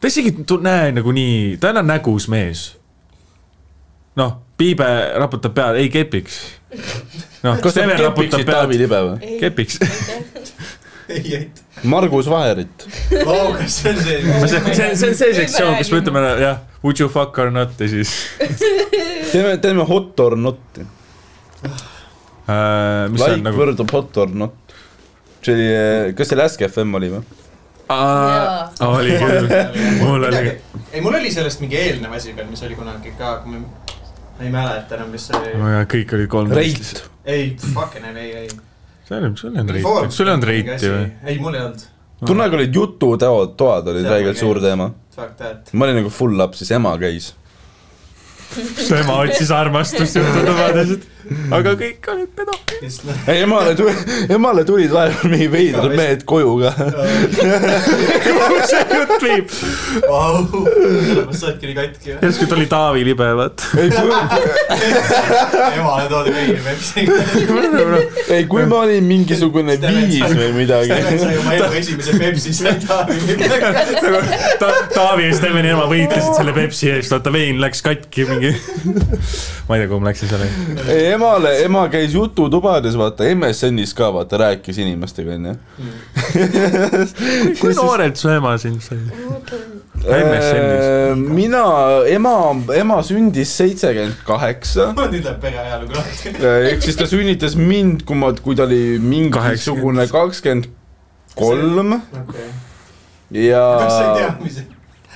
S4: ta isegi tu- näe nagu nii , ta ei ole nägus mees . noh , piibe raputab pead , ei kepiks . noh ,
S3: kas sa
S4: Steven raputab
S3: kepiksid
S4: pead
S3: Taavi , Libe või ? (laughs)
S4: kepiks .
S1: ei , ei .
S3: Margus Vaherit .
S1: oo , kas see on see ?
S4: see , see , see on see sektsioon , kus me ütleme jah , would you fuck or not ja siis
S3: teeme , teeme hot or not'i .
S4: äh, , mis see
S3: like
S4: on nagu ,
S3: võrdub hot or not . see oli , kas see Lask FM oli või ?
S4: oli (laughs) küll , mul oli ,
S1: ei , mul oli sellest mingi eelnev asi veel , mis oli kunagi ka , kui me , ma ei mäleta enam , mis see oli .
S4: kõik olid kolmteist .
S3: Reit .
S1: ei , fucking hell , ei , ei .
S4: sul ei olnud reiti , sul ei olnud reiti või ??
S1: ei , mul ei olnud .
S3: kunagi olid jututeod , toad olid
S1: Teema
S3: väikelt suur
S1: käis.
S3: teema .
S1: Fuck that .
S3: ma olin nagu full laps , siis ema käis .
S4: su ema otsis armastust (laughs) jututubades , aga kõik olid pedo . (laughs)
S3: ei , emale tuli , emale tulid vahepeal mingi veidrad mehed koju ka .
S1: (laughs)
S4: kuhu see jutt viib ?
S1: Vau , sa oledki nii katki , jah .
S4: järsku ta oli Taavi Libe , (laughs) vaata .
S3: ei , kui ,
S1: emale toodi veini Pepsiga .
S3: ei , kui ma olin mingisugune
S1: Steven
S3: viis
S1: sai-
S3: või midagi .
S1: Steven sai oma elu esimese Pepsi sedaami .
S4: ta , Taavi ja Steveni ema võitlesid selle Pepsi eest , vaata vein läks katki mingi . (laughs) ma ei tea , kuhu ma läksin selle .
S3: ei , emale , ema käis jututubades , vaata MSN-is ka , vaata , rääkis inimestega , onju .
S4: kui noorelt su ema sind sai ? MSN-is.
S3: Äh, mina , ema , ema sündis seitsekümmend kaheksa ,
S1: nüüd läheb pere ajalugu lahti .
S3: Äh, ehk siis ta sünnitas mind , kui ma , kui ta oli mingisugune kakskümmend kolm
S1: okei .
S3: ja
S1: kas sa ei teadmisi ?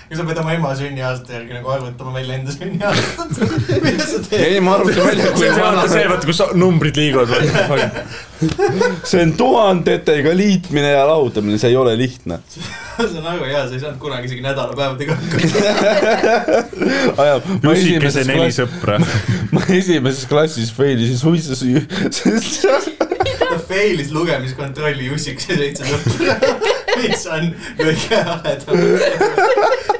S1: kas sa pead oma ema sünniaasta järgi nagu arvutama välja enda sünniaastat ? (laughs) mida sa (laughs) teed ?
S3: ei , ma arvutan välja , kui
S4: see on see ,
S3: vana
S4: vaata see , vaata kus numbrid liiguvad .
S3: see on tuhandetega liitmine ja lahutamine , see ei ole lihtne .
S1: ma saan aru jaa , sa ei saanud kunagi isegi nädalapäevadega (laughs) hakkama .
S3: ajab , ma
S4: Jussikese
S3: esimeses
S4: neli
S3: klassis ,
S4: sõpra .
S3: ma esimeses klassis failisin suitsu süüa . (laughs)
S1: ta fail'is lugemiskontrolli Jussiks ja seitse tuhat . (laughs) mis on kõige (laughs) haledam .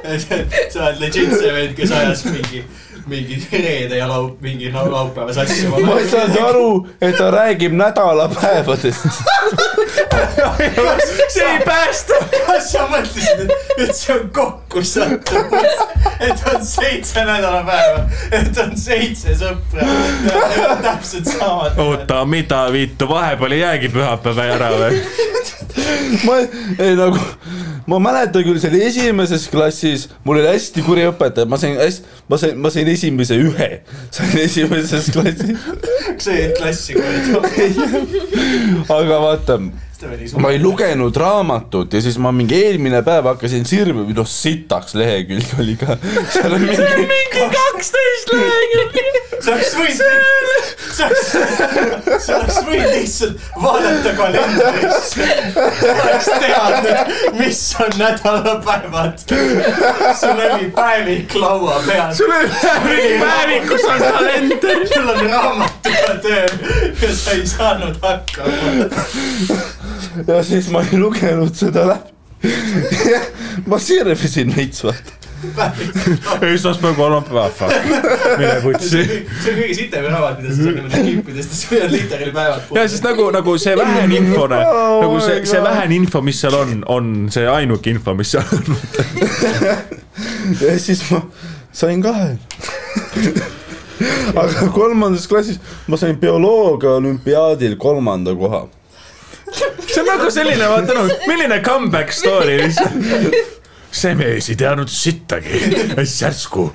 S1: sa oled legit see vend , kes ajas mingi , mingi reede ja laup- , mingi lau- laupäevas asju .
S3: ma ei saanud aru , et ta räägib nädalapäevadest .
S4: (laughs) see ei päästa .
S1: kas sa mõtlesid , et , et see on kokku sattumus , et on seitse nädalapäeva , et on seitse sõpra , täpselt samad .
S4: oota , mida vittu , vahepeal ei jäägi pühapäeva ära (laughs) või ?
S3: ma ei nagu , ma mäletan küll , see oli esimeses klassis , mul oli hästi kuri õpetaja , ma sain hästi , ma sain , ma sain esimese ühe , sain esimeses klassis ,
S1: kas sa jäid klassi kohe ?
S3: aga vaata ma ei . lugenud raamatut ja siis ma mingi eelmine päev hakkasin sirvi , või noh , sitaks lehekülg oli ka . seal on mingi ,
S4: kaksteist lehekülge .
S1: sa oleks võinud , sa oleks , sa oleks võinud lihtsalt vaadata kalendrisse , oleks teadnud , mis on nädalapäevad . sul oli päevik laua peal .
S4: sul on päevikus on kalender .
S1: sul on raamatuga töö ja sa ei saanud hakkama .
S3: ja siis ma ei lugenud seda läbi . ma sirvisin veits vaata .
S4: esmaspäev , kolmapäev , fuck , mine
S1: see
S4: putsi .
S1: see on kõige sitem raamat , mida sa saad niimoodi kimpidest , sest sul on literaali päevad
S4: ja siis nagu , nagu see vähene info , nagu see , see vähene info , mis seal on , on see ainuke info , mis seal on .
S3: ja siis ma sain kahe . aga kolmandas klassis ma sain bioloogia olümpiaadil kolmanda koha .
S4: nagu, see on nagu selline , vaata noh , milline comeback story lihtsalt . see mees ei teadnud sittagi , särsku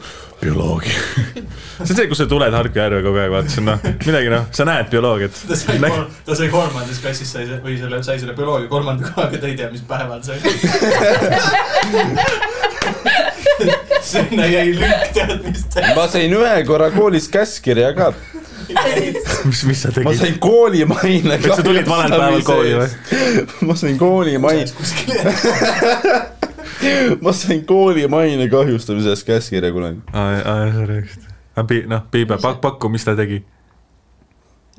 S4: bioloogia . see on see , kus sa tuled Harku järve kogu aeg , vaata , see on noh , midagi noh , sa näed bioloogiat .
S1: ta sai , ta sai kolmandas klassis sai , või selle , sai selle bioloogia kolmanda kohaga , ta ei tea , mis päeval see oli . (laughs) sinna jäi lünk teadmiste .
S3: ma sain ühe korra koolis käskkirja ka ,
S4: mis , mis sa
S3: ma
S4: tegid ?
S3: sain koolimaine .
S4: et sa tulid valel päeval kooli või ??
S3: ma sain koolimaine ,
S1: kuskile .
S3: ma sain koolimaine kahjustamise eest käskkirja kunagi .
S4: aa , jaa , sorry , just . aga Pi- , noh , Piibe , pak- , paku , mis ta tegi .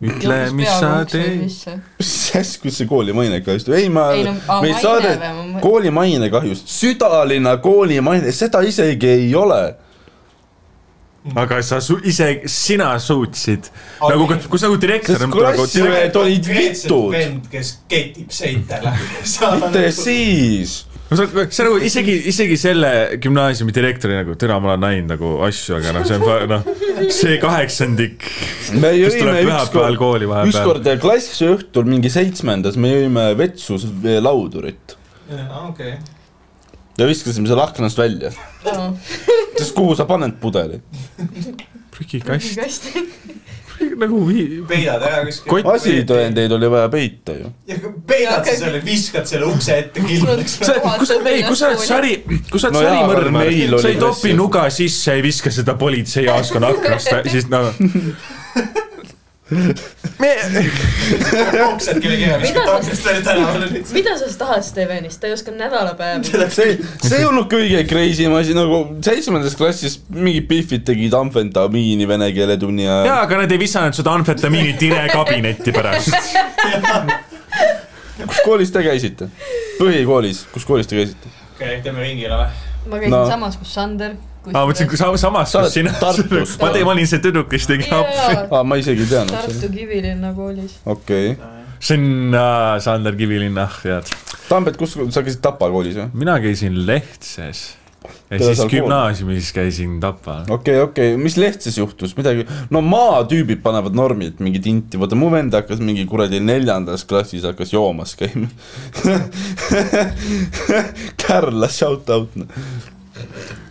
S4: ütle , mis sa tegid .
S3: mis asja , kus see koolimaine kahjustab , ei ma
S6: ei no ,
S3: meil saade- kooli maine kahjust , südalinna kooli maine , seda isegi ei ole .
S4: aga sa su- , ise , sina suutsid . nagu , kui sa nagu direktor .
S3: sest klassiõed olid vitud ,
S1: vend , kes ketib seitele . nagu-
S3: mitte siis .
S4: no sa , sa nagu isegi , isegi selle gümnaasiumi direktori nagu , täna ma olen näinud nagu asju , aga noh , see on pa- noh , see kaheksandik ,
S3: me
S4: kes tuleb
S3: jõime
S4: pühapäeval
S3: ükskord ,
S4: kooli vahepeal .
S3: ükskord klassiõhtul äh, mingi seitsmendas me jõime vetsus laudurit
S1: okei .
S3: ja viskasime selle aknast välja , sest kuhu sa paned pudeli .
S4: prügikast , nagu vi-
S1: peidad ära kuskile .
S4: kott .
S3: asitõendeid oli vaja peita ju .
S1: peidad sa selle , viskad selle ukse ette (laughs) kindlaks .
S4: sa , kus sa , ei , kus sa oled sari , kus sa oled
S3: No
S4: no
S3: jaa, aga
S4: sarimõrvar
S3: meil ,
S4: sa
S3: oli
S4: ei topi
S3: klassi-
S4: nuga sisse , ei viska seda politseijaoskonna aknast , siis noh . me ,
S1: oksed kellegi ära , viskad takist välja tänavale lihtsalt .
S6: mida sa tahad Stevenist , ta ei oska nädalapäevi .
S3: see , see ei olnud kõige crazy im asi , nagu seitsmendas klassis mingid pihvid tegid amfetamiini vene keele tunni ajal .
S4: jaa , aga nad ei visanud seda amfetamiini tire kabinetti
S6: (laughs)
S4: pärast .
S3: kus koolis te käisite ? põhikoolis , kus koolis te käisite ?
S1: okei , teeme ringile või ?
S6: ma käisin
S3: No.
S6: no. samas , kus Sander .
S4: aa , ma mõtlesin , kui sa samas , kus
S3: Sa oled
S4: sina .
S3: Tartust.
S4: ma tean , ma olin see tüdruk , kes tegi appi .
S6: jaa ,
S3: aa , ma isegi ei teadnud seda .
S6: Tartu Kivilinna koolis .
S3: okei okay. ,
S4: see on äh, Sander Kivilinn , ah head .
S3: Tambet , kus sa käisid Tapa koolis või ?
S4: mina käisin Lehtses ja
S3: Teda
S4: siis
S3: seal kool-
S4: gümnaasiumis käisin Tapal .
S3: okei okay, , okei okay. , mis Lehtses juhtus , midagi , no maatüübid panevad normilt mingi tinti , vaata mu vend hakkas mingi kuradi neljandas klassis hakkas joomas käima . (laughs) Kärla shout out .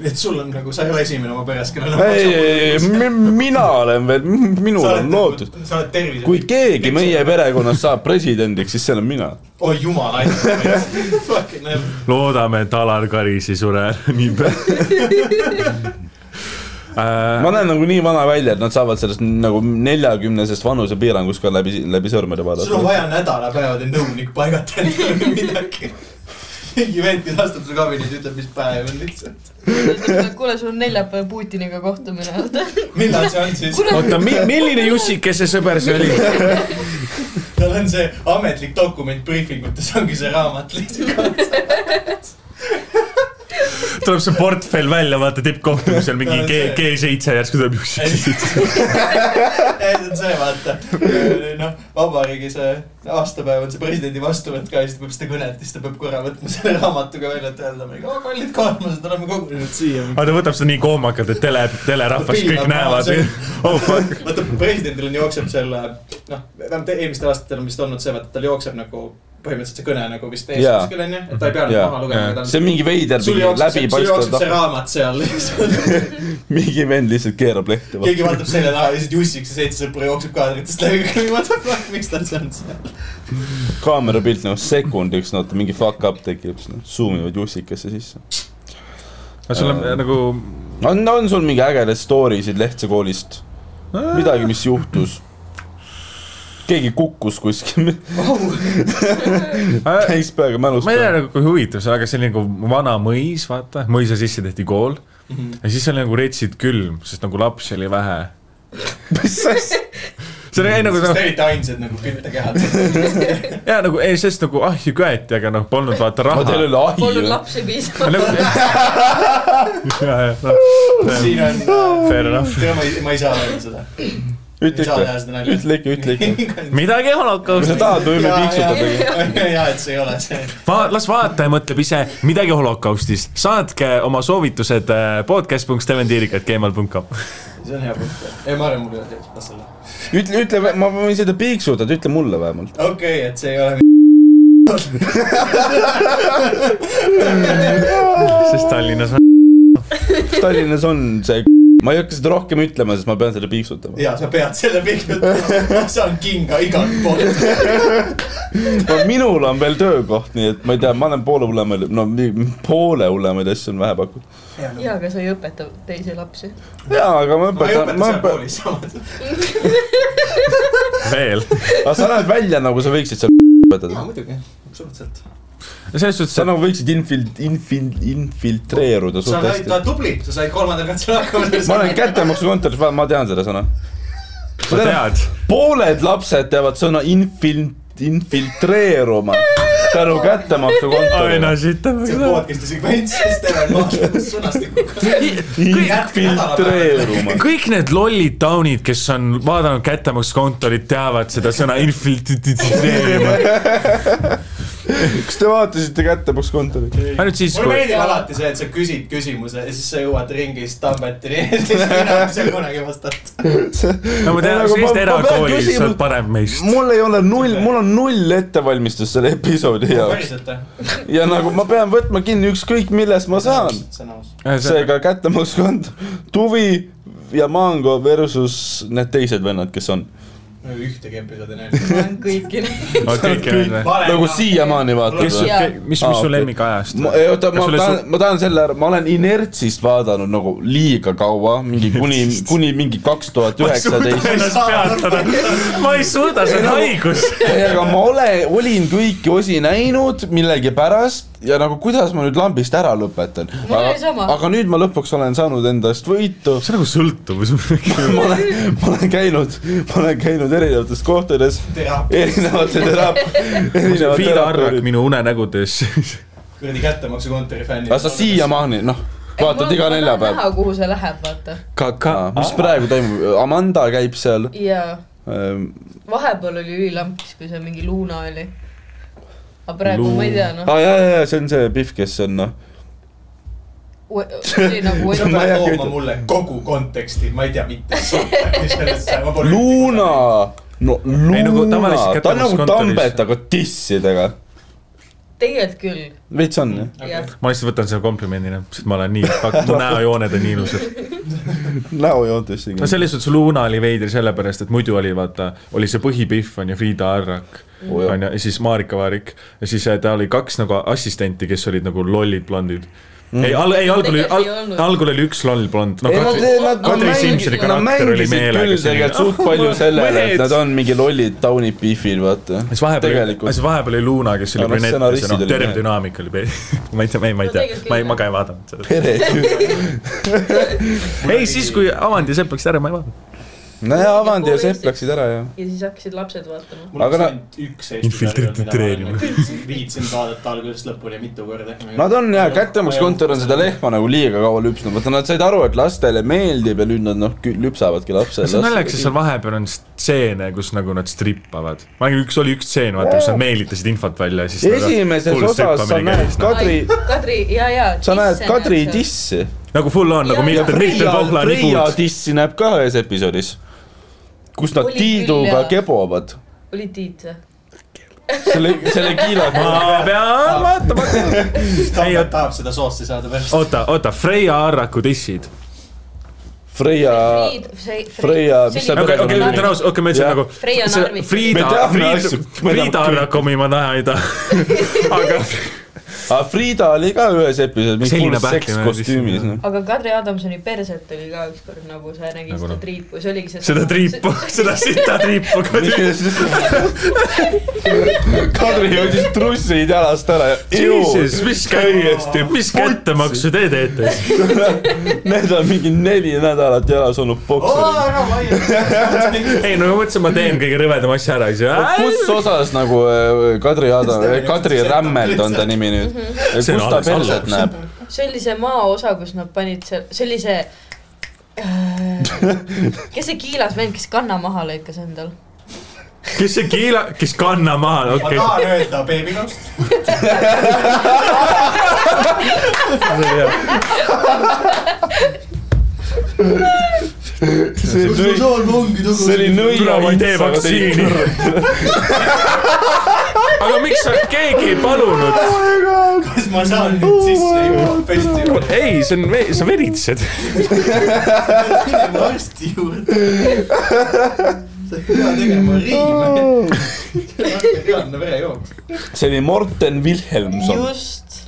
S1: et sul on nagu , sa ei ole esimene oma peres , kellel on
S3: ei , ei , ei , mina olen veel , minul
S1: Sa
S3: on
S1: oled-
S3: lootus .
S1: sa oled tervise-
S3: kui keegi meie perekonnas saab presidendiks , siis see olen mina .
S1: oi jumal aitäh . (laughs) Fucking hell .
S4: loodame , et Alar Karis ei sure (laughs) ära nii
S3: ma
S4: pea .
S3: näen nagu nii vana välja , et nad saavad sellest nagu neljakümnesest vanusepiirangust ka läbi , läbi sõrmede
S1: sul on
S3: vaadata .
S1: vaja nädalapäevade nõunik paigata endale või midagi . mingi vend , kes astub su kabinetti , ütleb , mis päev on lihtsalt .
S6: kuule , sul on neljapäev Putiniga kohtumine .
S1: millal see on siis ?
S4: oota , (laughs) milline Jussikese sõber see oli ?
S1: tal on see ametlik dokument briifingutes ongi see raamat lihtsalt .
S4: tuleb see portfell välja , vaata tippkohtumisel mingi G , G7 järsku tuleb Jussikese .
S1: ei , see on see , vaata . noh , vabariigi see aastapäev on see presidendi vastuvõtt ka ja siis ta peab seda kõnet , siis ta peab korra võtma selle raamatuga välja , et öelda , et kallid kaaslased , oleme kogunenud siia .
S4: aga ta võtab seda nii koomakalt , et tele , telerahvas kõik näevad . oh fuck .
S1: vaata , presidendil on , jookseb selle , noh , vähemalt eelmistel aastatel on vist olnud see , vaata , tal jookseb nagu põhimõtteliselt see kõne nagu vist ees
S3: Jaa.
S1: kuskil onju , et ta ei pea
S3: Jaa.
S1: nagu maha lugema , aga ta
S3: see on mingi veider
S1: on sul jookseb see , sul jookseb see
S3: läbipaistvad ,
S1: raamat seal lihtsalt .
S3: (laughs) mingi vend lihtsalt keerab lehte .
S1: keegi vaatab selja taha ja siis jussiks ja seitse sõpra jookseb kaadritest läbi , (laughs) what the fuck , miks tal see on seal .
S3: kaamera pilt nagu sekundiks , no vaata mingi fuck up tekib , suumivad jussikasse sisse .
S4: aga sul on
S3: Äh.
S4: nagu ,
S3: on , on sul mingi ägedaid story sid Lehtse koolist ? midagi , mis juhtus ? keegi kukkus kuskil ,
S4: äh, ma
S3: täis peaga mälus
S4: ei tea
S3: peal .
S4: nagu kui huvitav see , aga see oli nagu vana mõis , vaata , mõisa sisse tehti kool ja siis oli nagu retsid külm , sest nagu lapsi oli vähe .
S3: mis asja ?
S4: see oli nagu ,
S1: sest
S4: noh
S1: te , olite ainsad nagu küttekehad .
S4: jaa nagu , ei sest nagu ahju köeti , aga noh , polnud vaata
S3: aga
S4: raha .
S3: teil oli ahi
S6: polnud
S3: või ?
S6: lapsi piisavalt .
S1: siin on ,
S4: Fair enough .
S1: tea ma ei , ma ei saa öelda seda .
S3: ütle
S1: ei saa teha
S3: ikka ,
S1: seda
S3: ütle ikka , ütle
S1: (laughs)
S3: ikka .
S1: nalja .
S4: midagi
S3: kui sa
S4: holokausti .
S3: tahad , võime piiksutada .
S1: (laughs) jaa , et see ei ole see .
S4: Va- , las vaataja mõtleb ise midagi holokaustist . saatke oma soovitused äh, podcast.steventiirika.gmail.com .
S3: (laughs)
S1: see on hea punkt . ei , ma arvan , mul ei ole teist , las olla .
S3: ütle , ütle , ma võin seda piiksutada , ütle mulle vähemalt .
S1: okei okay, , et see ei ole .
S4: sest Tallinnas on .
S3: Tallinnas on see , (laughs) ma ei hakka seda rohkem ütlema , sest ma pean selle piiksutama .
S1: ja sa pead selle pingutama , see on kinga igalt
S3: (laughs)
S1: poolt .
S3: minul on veel töökoht , nii et ma ei tea , ma olen poole hullemaid , no nii- poole hullemaid asju on vähe pakutud .
S6: jaa , aga sa ei õpeta teisi lapsi .
S3: jaa , aga ma
S1: ma ei
S3: õpetan ,
S1: õpeta
S3: ma
S1: seal
S3: õpetan ,
S1: koolis samas .
S3: (laughs)
S4: veel .
S3: aga sa näed välja nagu sa võiksid seal (laughs) õpetada
S1: jaa , muidugi , absoluutselt .
S4: selles suhtes ,
S3: sa nagu võiksid infilt- , infil- , infiltreeruda
S1: sa
S3: suht
S1: oled , sa
S3: hästi
S1: oled . tubli , sa said kolmandal katsel hakkama .
S3: ma olen kättemaksukontoris , ma tean seda sõna .
S4: sa tead ,
S3: pooled lapsed teavad sõna infil- , infiltreeruma tänu
S4: aina
S3: kättemaksukontorile .
S1: see on
S4: sitamaga .
S1: podcast'i sekvents , sest
S3: (laughs)
S1: ära ei maha sõnastikuga .
S3: infiltreeruma .
S4: kõik need lollid taunid , kes on vaadanud kättemaksukontorit , teavad seda sõna infiltreerima .
S3: (laughs) kas te vaatasite kättemaksukontorit ?
S4: ainult siis ,
S1: mulle
S4: kui
S1: meeldib alati see , et sa küsid küsimuse ja siis sa jõuad ringis Tambetini ja siis mina ei saa kunagi vastata .
S4: no ma tean , kas
S3: Nagu ma- ma
S4: Eesti
S3: pean
S4: erakoolis
S3: küsima-
S4: sa oled parem meist .
S3: mul ei ole null , mul on null ettevalmistust selle episoodi jaoks
S1: päriselt või ?
S3: ja nagu ma pean võtma kinni ükskõik millest ma saan .
S1: see on aus .
S3: seega kättemaksukontor , Tuvi ja Mango versus need teised vennad , kes on .
S1: ma ei ole ühtegi episoodi näinud .
S6: ma olen kõiki neid .
S3: nagu . siiamaani vaatad
S4: kes
S3: või ?
S6: Jaa. ,
S4: mis , mis
S3: Aa,
S4: su
S3: okei.
S4: lemmikajast
S3: ma , oota , ma
S4: sulle
S3: tahan , ma tahan selle ära , ma olen inertsist vaadanud nagu liiga kaua , mingi kuni , kuni mingi kaks tuhat
S4: (laughs)
S3: üheksateist .
S4: ennast peatada , ma ei suuda , see on haigus .
S3: aga ma ole , olin kõiki osi näinud millegipärast ja nagu kuidas ma nüüd lambist ära lõpetan .
S6: Mul oli sama.
S3: aga nüüd ma lõpuks olen saanud endast võitu .
S4: see on nagu sõltuvus .
S3: ma olen , ma olen käinud , ma olen käinud erinevates kohtades ,
S1: teraapia ,
S3: erinevate teraap- , erinevate
S4: Fiida arvab
S3: teraapiaid .
S4: minu unenägudes . (laughs)
S1: kuradi kättemaksukontori fännid .
S3: aga sa . siiamaani , noh , vaatad iga neljapäev
S6: näha ,. kuhu see läheb , vaata .
S3: Aa, mis praegu toimub , Amanda käib seal
S6: jaa ,
S3: ähm, .
S6: vahepeal oli ülilampis , kui seal mingi Luna oli . aga praegu ma ei tea , noh
S3: aa , jaa , jaa , jaa , see on see Pihv , kes on noh ,
S6: ue- oli nagu
S1: sa
S3: Ma ei
S1: pead
S3: hakka
S1: looma
S3: ütlema.
S1: mulle kogu konteksti , ma ei tea mitte sõnagi sellest .
S3: Luuna , no
S4: Ei, nagu
S3: Luuna
S4: tavaliselt ,
S3: ta on nagu
S4: kättemaksukontoris.
S3: Tambet , aga dissidega .
S6: tegelikult küll ,
S3: veits on jah ,
S6: jah .
S4: ma lihtsalt võtan selle komplimendina , sest ma olen nii , mu näojooned on nii ilusad .
S3: näojoontes
S4: no
S3: isegi .
S4: selles suhtes Luna oli veider sellepärast , et muidu oli vaata , oli see põhipihv on ju Friida Arrak
S3: Oo
S4: oh,
S3: jah.
S4: on ju , ja siis Maarika Vaarik ja siis äh, ta oli kaks nagu assistenti , kes olid nagu lollid blondid mm. . ei , al- , ei algul oli
S6: Tegelikult ei
S4: al,
S6: olnud. ,
S4: algul oli üks loll blond , no
S3: ei , nad ,
S4: Katri ,
S3: nad , nad
S4: Kadri Simsoni
S3: mängisid , nad
S4: karakter oli
S3: mängisid
S4: meelega
S3: küll
S4: selline,
S3: tegelikult suht palju
S4: (laughs) "Ah,
S3: sellele , et
S4: mehed."
S3: nad on mingi lollid taunid Pihvil , vaata .
S4: siis vahepeal ,
S3: tegelikult
S4: siis vahepeal oli Luna , kes
S3: Aga
S4: oli
S3: noh,
S4: brünett ja
S3: stsenaristid
S4: see noh ,
S3: olid
S4: terve
S3: mehed.
S4: dünaamika oli pe- , (laughs) ma ei tea , ma ei , ma ei
S6: No
S4: tea ,
S6: tegelikult
S4: ma ei , ma
S6: küll,
S4: ka ei vaadanud seda .
S3: pereküü .
S4: ei , siis kui Avandi ja Sepp läksid ära , ma ei vaadanud .
S3: nojah , Avandi ja Sepp läksid ära ja .
S6: ja siis hakkasid lapsed vaatama .
S1: mul
S3: Aga
S1: on
S3: na-
S1: ainult üks Eesti sarjal , mida ma olen
S4: Infiltreerimine.
S1: nagu viitsinud vaadata algusest lõpuni mitu korda .
S3: Nad on jaa , kättemaksukontor on seda . lehma nagu liiga kaua lüpsnud , vaata nad said aru , et lastele meeldib ja nüüd nad noh , lüpsavadki lapsele .
S4: see on naljakas , sest seal vahepeal on stseene , kus nagu nad strippavad . ma ei , üks oli üks stseen , vaata , kus nad meelitasid infot välja ja siis .
S3: esimeses osas sa näed Kadri ,
S6: Kadri , jaa , jaa .
S3: sa näed Kadri . dissi .
S4: nagu full on , nagu
S6: Ja-
S4: Mihkel , Mihkel
S3: Freia ,
S4: Pohla
S3: Freia
S4: ribud .
S3: dissi näeb ka ühes episoodis , kus nad
S6: Oli küll,
S3: Tiiduga
S6: jaa.
S3: kebovad .
S6: oli Tiit või ?
S3: selle , selle
S4: (laughs)
S3: kiilaga .
S4: ma
S3: Ah.
S4: pean vaatama . Ei,
S1: Tambet
S4: oot-
S1: tahab seda soossi saada pärast .
S4: oota , oota , Freia Arraku dissid .
S3: Freia , Freia, mis ta
S4: okei , okei , ma ütlen ausalt , okei , ma ütlesin
S3: Jah.
S4: nagu .
S6: Freia on arvik.
S4: Friida
S3: Me teame , asju.
S4: Friida ,
S3: Me teame
S4: Friida
S3: küll.
S4: Arraku omi ma näha ei
S3: (laughs)
S4: taha . aga
S3: aga Ah, Friida oli ka ühes episoodis , mingi
S4: Selline
S3: full seks
S4: pähkline
S3: kostüümis
S4: dissi.
S3: noh . (laughs)
S6: aga Kadri Adamsoni perset oli ka ükskord nagu sa nägid
S4: Nagu
S6: seda
S4: noh.
S6: triipu , see oligi see .
S4: seda triipu , seda sita triipu .
S3: Kadri jõudis trussid jalast ära ja .
S4: Jesus , mis
S3: täiesti
S4: kätte , mis kättemaksu te teete ?
S3: Need on mingi neli nädalat jalas olnud
S6: Oh.
S3: pokserid .
S1: ära vaidle .
S4: ei no ma mõtlesin , ma teen kõige rõvedama asja ära , siis .
S3: kus osas nagu äh, Kadri Adam , Kadri Rämmelt on ta nimi nüüd . kus
S4: See on
S3: ta
S4: alles
S3: perset
S4: algus.
S3: näeb ?
S6: see oli see maaosa , kus nad panid seal , see oli see äh, kes see kiilas vend , kes kanna maha lõikas endal ?
S4: kes see kiila , kes kanna maha ,
S1: ma
S4: okei okay. .
S1: tahan öelda beebikast .
S3: see oli ,
S1: ongi
S3: see oli
S4: Tule, ma ei tee vaktsiini
S3: (laughs) nõia .
S4: aga miks sa , keegi ei palunud ?
S1: kas ma saan nüüd sisse jõuda festivalile ?
S4: niimoodi , ei , see on , sa veritsed .
S1: minema arsti juurde . sa ei pea tegema riime . reaalne verejooks .
S3: see oli Morten Wilhelmson ,
S6: just .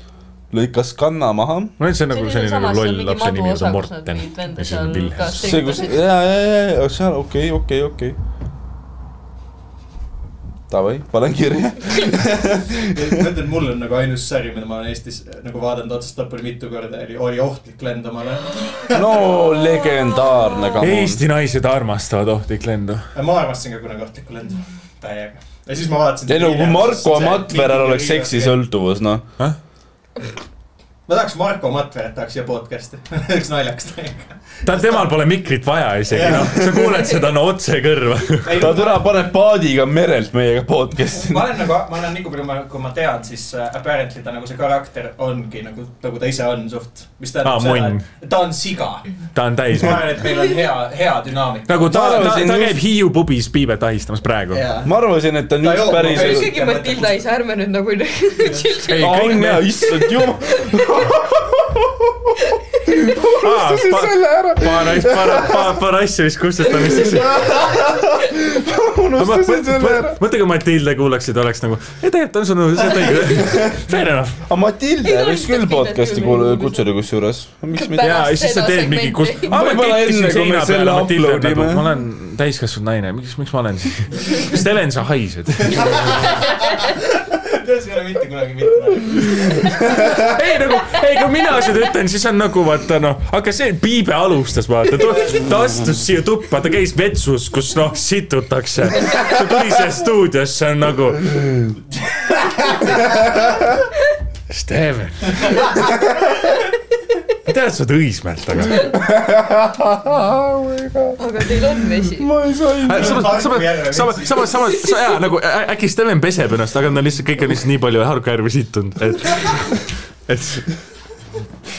S3: lõikas kanna maha .
S4: ma ütlesin nagu selline nagu loll lapse nimi , mis on Morten ja siis on Vilhelm .
S3: see , kus , ja , ja , ja , ja seal , okei , okei , okei . Davai , panen kirja .
S1: ma ütlen , mul on nagu ainus sari , mida ma olen Eestis nagu vaadanud otsast lõpuni mitu korda , oli , oli ohtlik lend omale .
S3: no legendaarne kamm .
S4: Eesti naised armastavad ohtlik lendu .
S1: ma armastasin ka kunagi ohtlikku lendu , täiega . ja siis ma vaatasin .
S3: ei no kui Marko Matveral oleks seksisõltuvus , noh .
S1: ma tahaks Marko Matveret tahaks siia podcast'i , (laughs) oleks naljakas täiega .
S4: ta , temal pole mikrit vaja isegi , noh , sa kuuled seda no otse kõrva . (laughs)
S3: ta täna paneb paadiga merelt meiega podcast'i .
S1: ma olen nagu , ma olen nii palju , kui ma tean , siis äh, apparently ta nagu see karakter ongi nagu , nagu ta ise on suht , mis
S4: Aa,
S1: tähendab
S4: munn.
S1: seda , et ta on siga .
S4: ta on täis
S1: ma . arvan , et meil on hea , hea dünaamika .
S4: nagu ta , ta ,
S3: arvasin
S4: ta
S3: just-
S4: käib Hiiu pubis piibet ahistamas praegu .
S3: ma arvasin , et ta on
S1: Ta
S3: just
S1: joob,
S3: päris
S1: aga ei-
S6: isegi Matilda ei saa , ärme nüüd nagu nüüd .
S4: ei ,
S3: Aa,
S4: kõik
S3: on ja
S4: need ,
S3: issand
S4: (laughs)
S3: jumal ,
S4: paar ,
S3: ära ,
S4: paar asja , paar , paar , paar asja vist kustutamiseks .
S3: unustasin selle ära .
S4: mõtle , kui Matilde kuulaks ja ta oleks nagu , ei tegelikult on sul , see on õige . (laughs) Fair enough .
S3: aga Matilde
S6: Ei
S3: võiks
S6: tohiks
S3: küll
S6: Matildat
S3: podcast'i
S6: ju
S3: kuul-
S6: niimoodi
S3: kutsuda kusjuures . miks mitte ?
S4: ja , ja siis sa
S6: seda
S4: teed mingi
S6: segmenti.
S4: kus-
S6: Võib-olla
S4: Ah, ma kettisin
S3: enne, kui
S4: seina
S3: me
S4: peale
S3: selle
S4: Matilda
S3: upload
S4: nagu,
S3: ime.
S4: ma olen täiskasvanud naine , miks , miks ma olen siis ? Steven , sa haised .
S6: (laughs)
S1: see ei ole mitte kunagi mitte naljakas .
S4: ei nagu , ei kui mina seda ütlen , siis on nagu vaata noh , aga see Piibe alustas vaata , ta astus siia tuppa , ta käis vetsus , kus noh situtakse . ta tuli siia stuudiosse on nagu . Steven . ma tean , et sa oled Õismäelt , aga .
S6: aga teil on vesi .
S4: samas , samas , samas , samas , samas , jaa , nagu ä- äkki Steven peseb ennast , aga ta on lihtsalt , kõik on lihtsalt nii palju harkajärvi sittunud , et , et .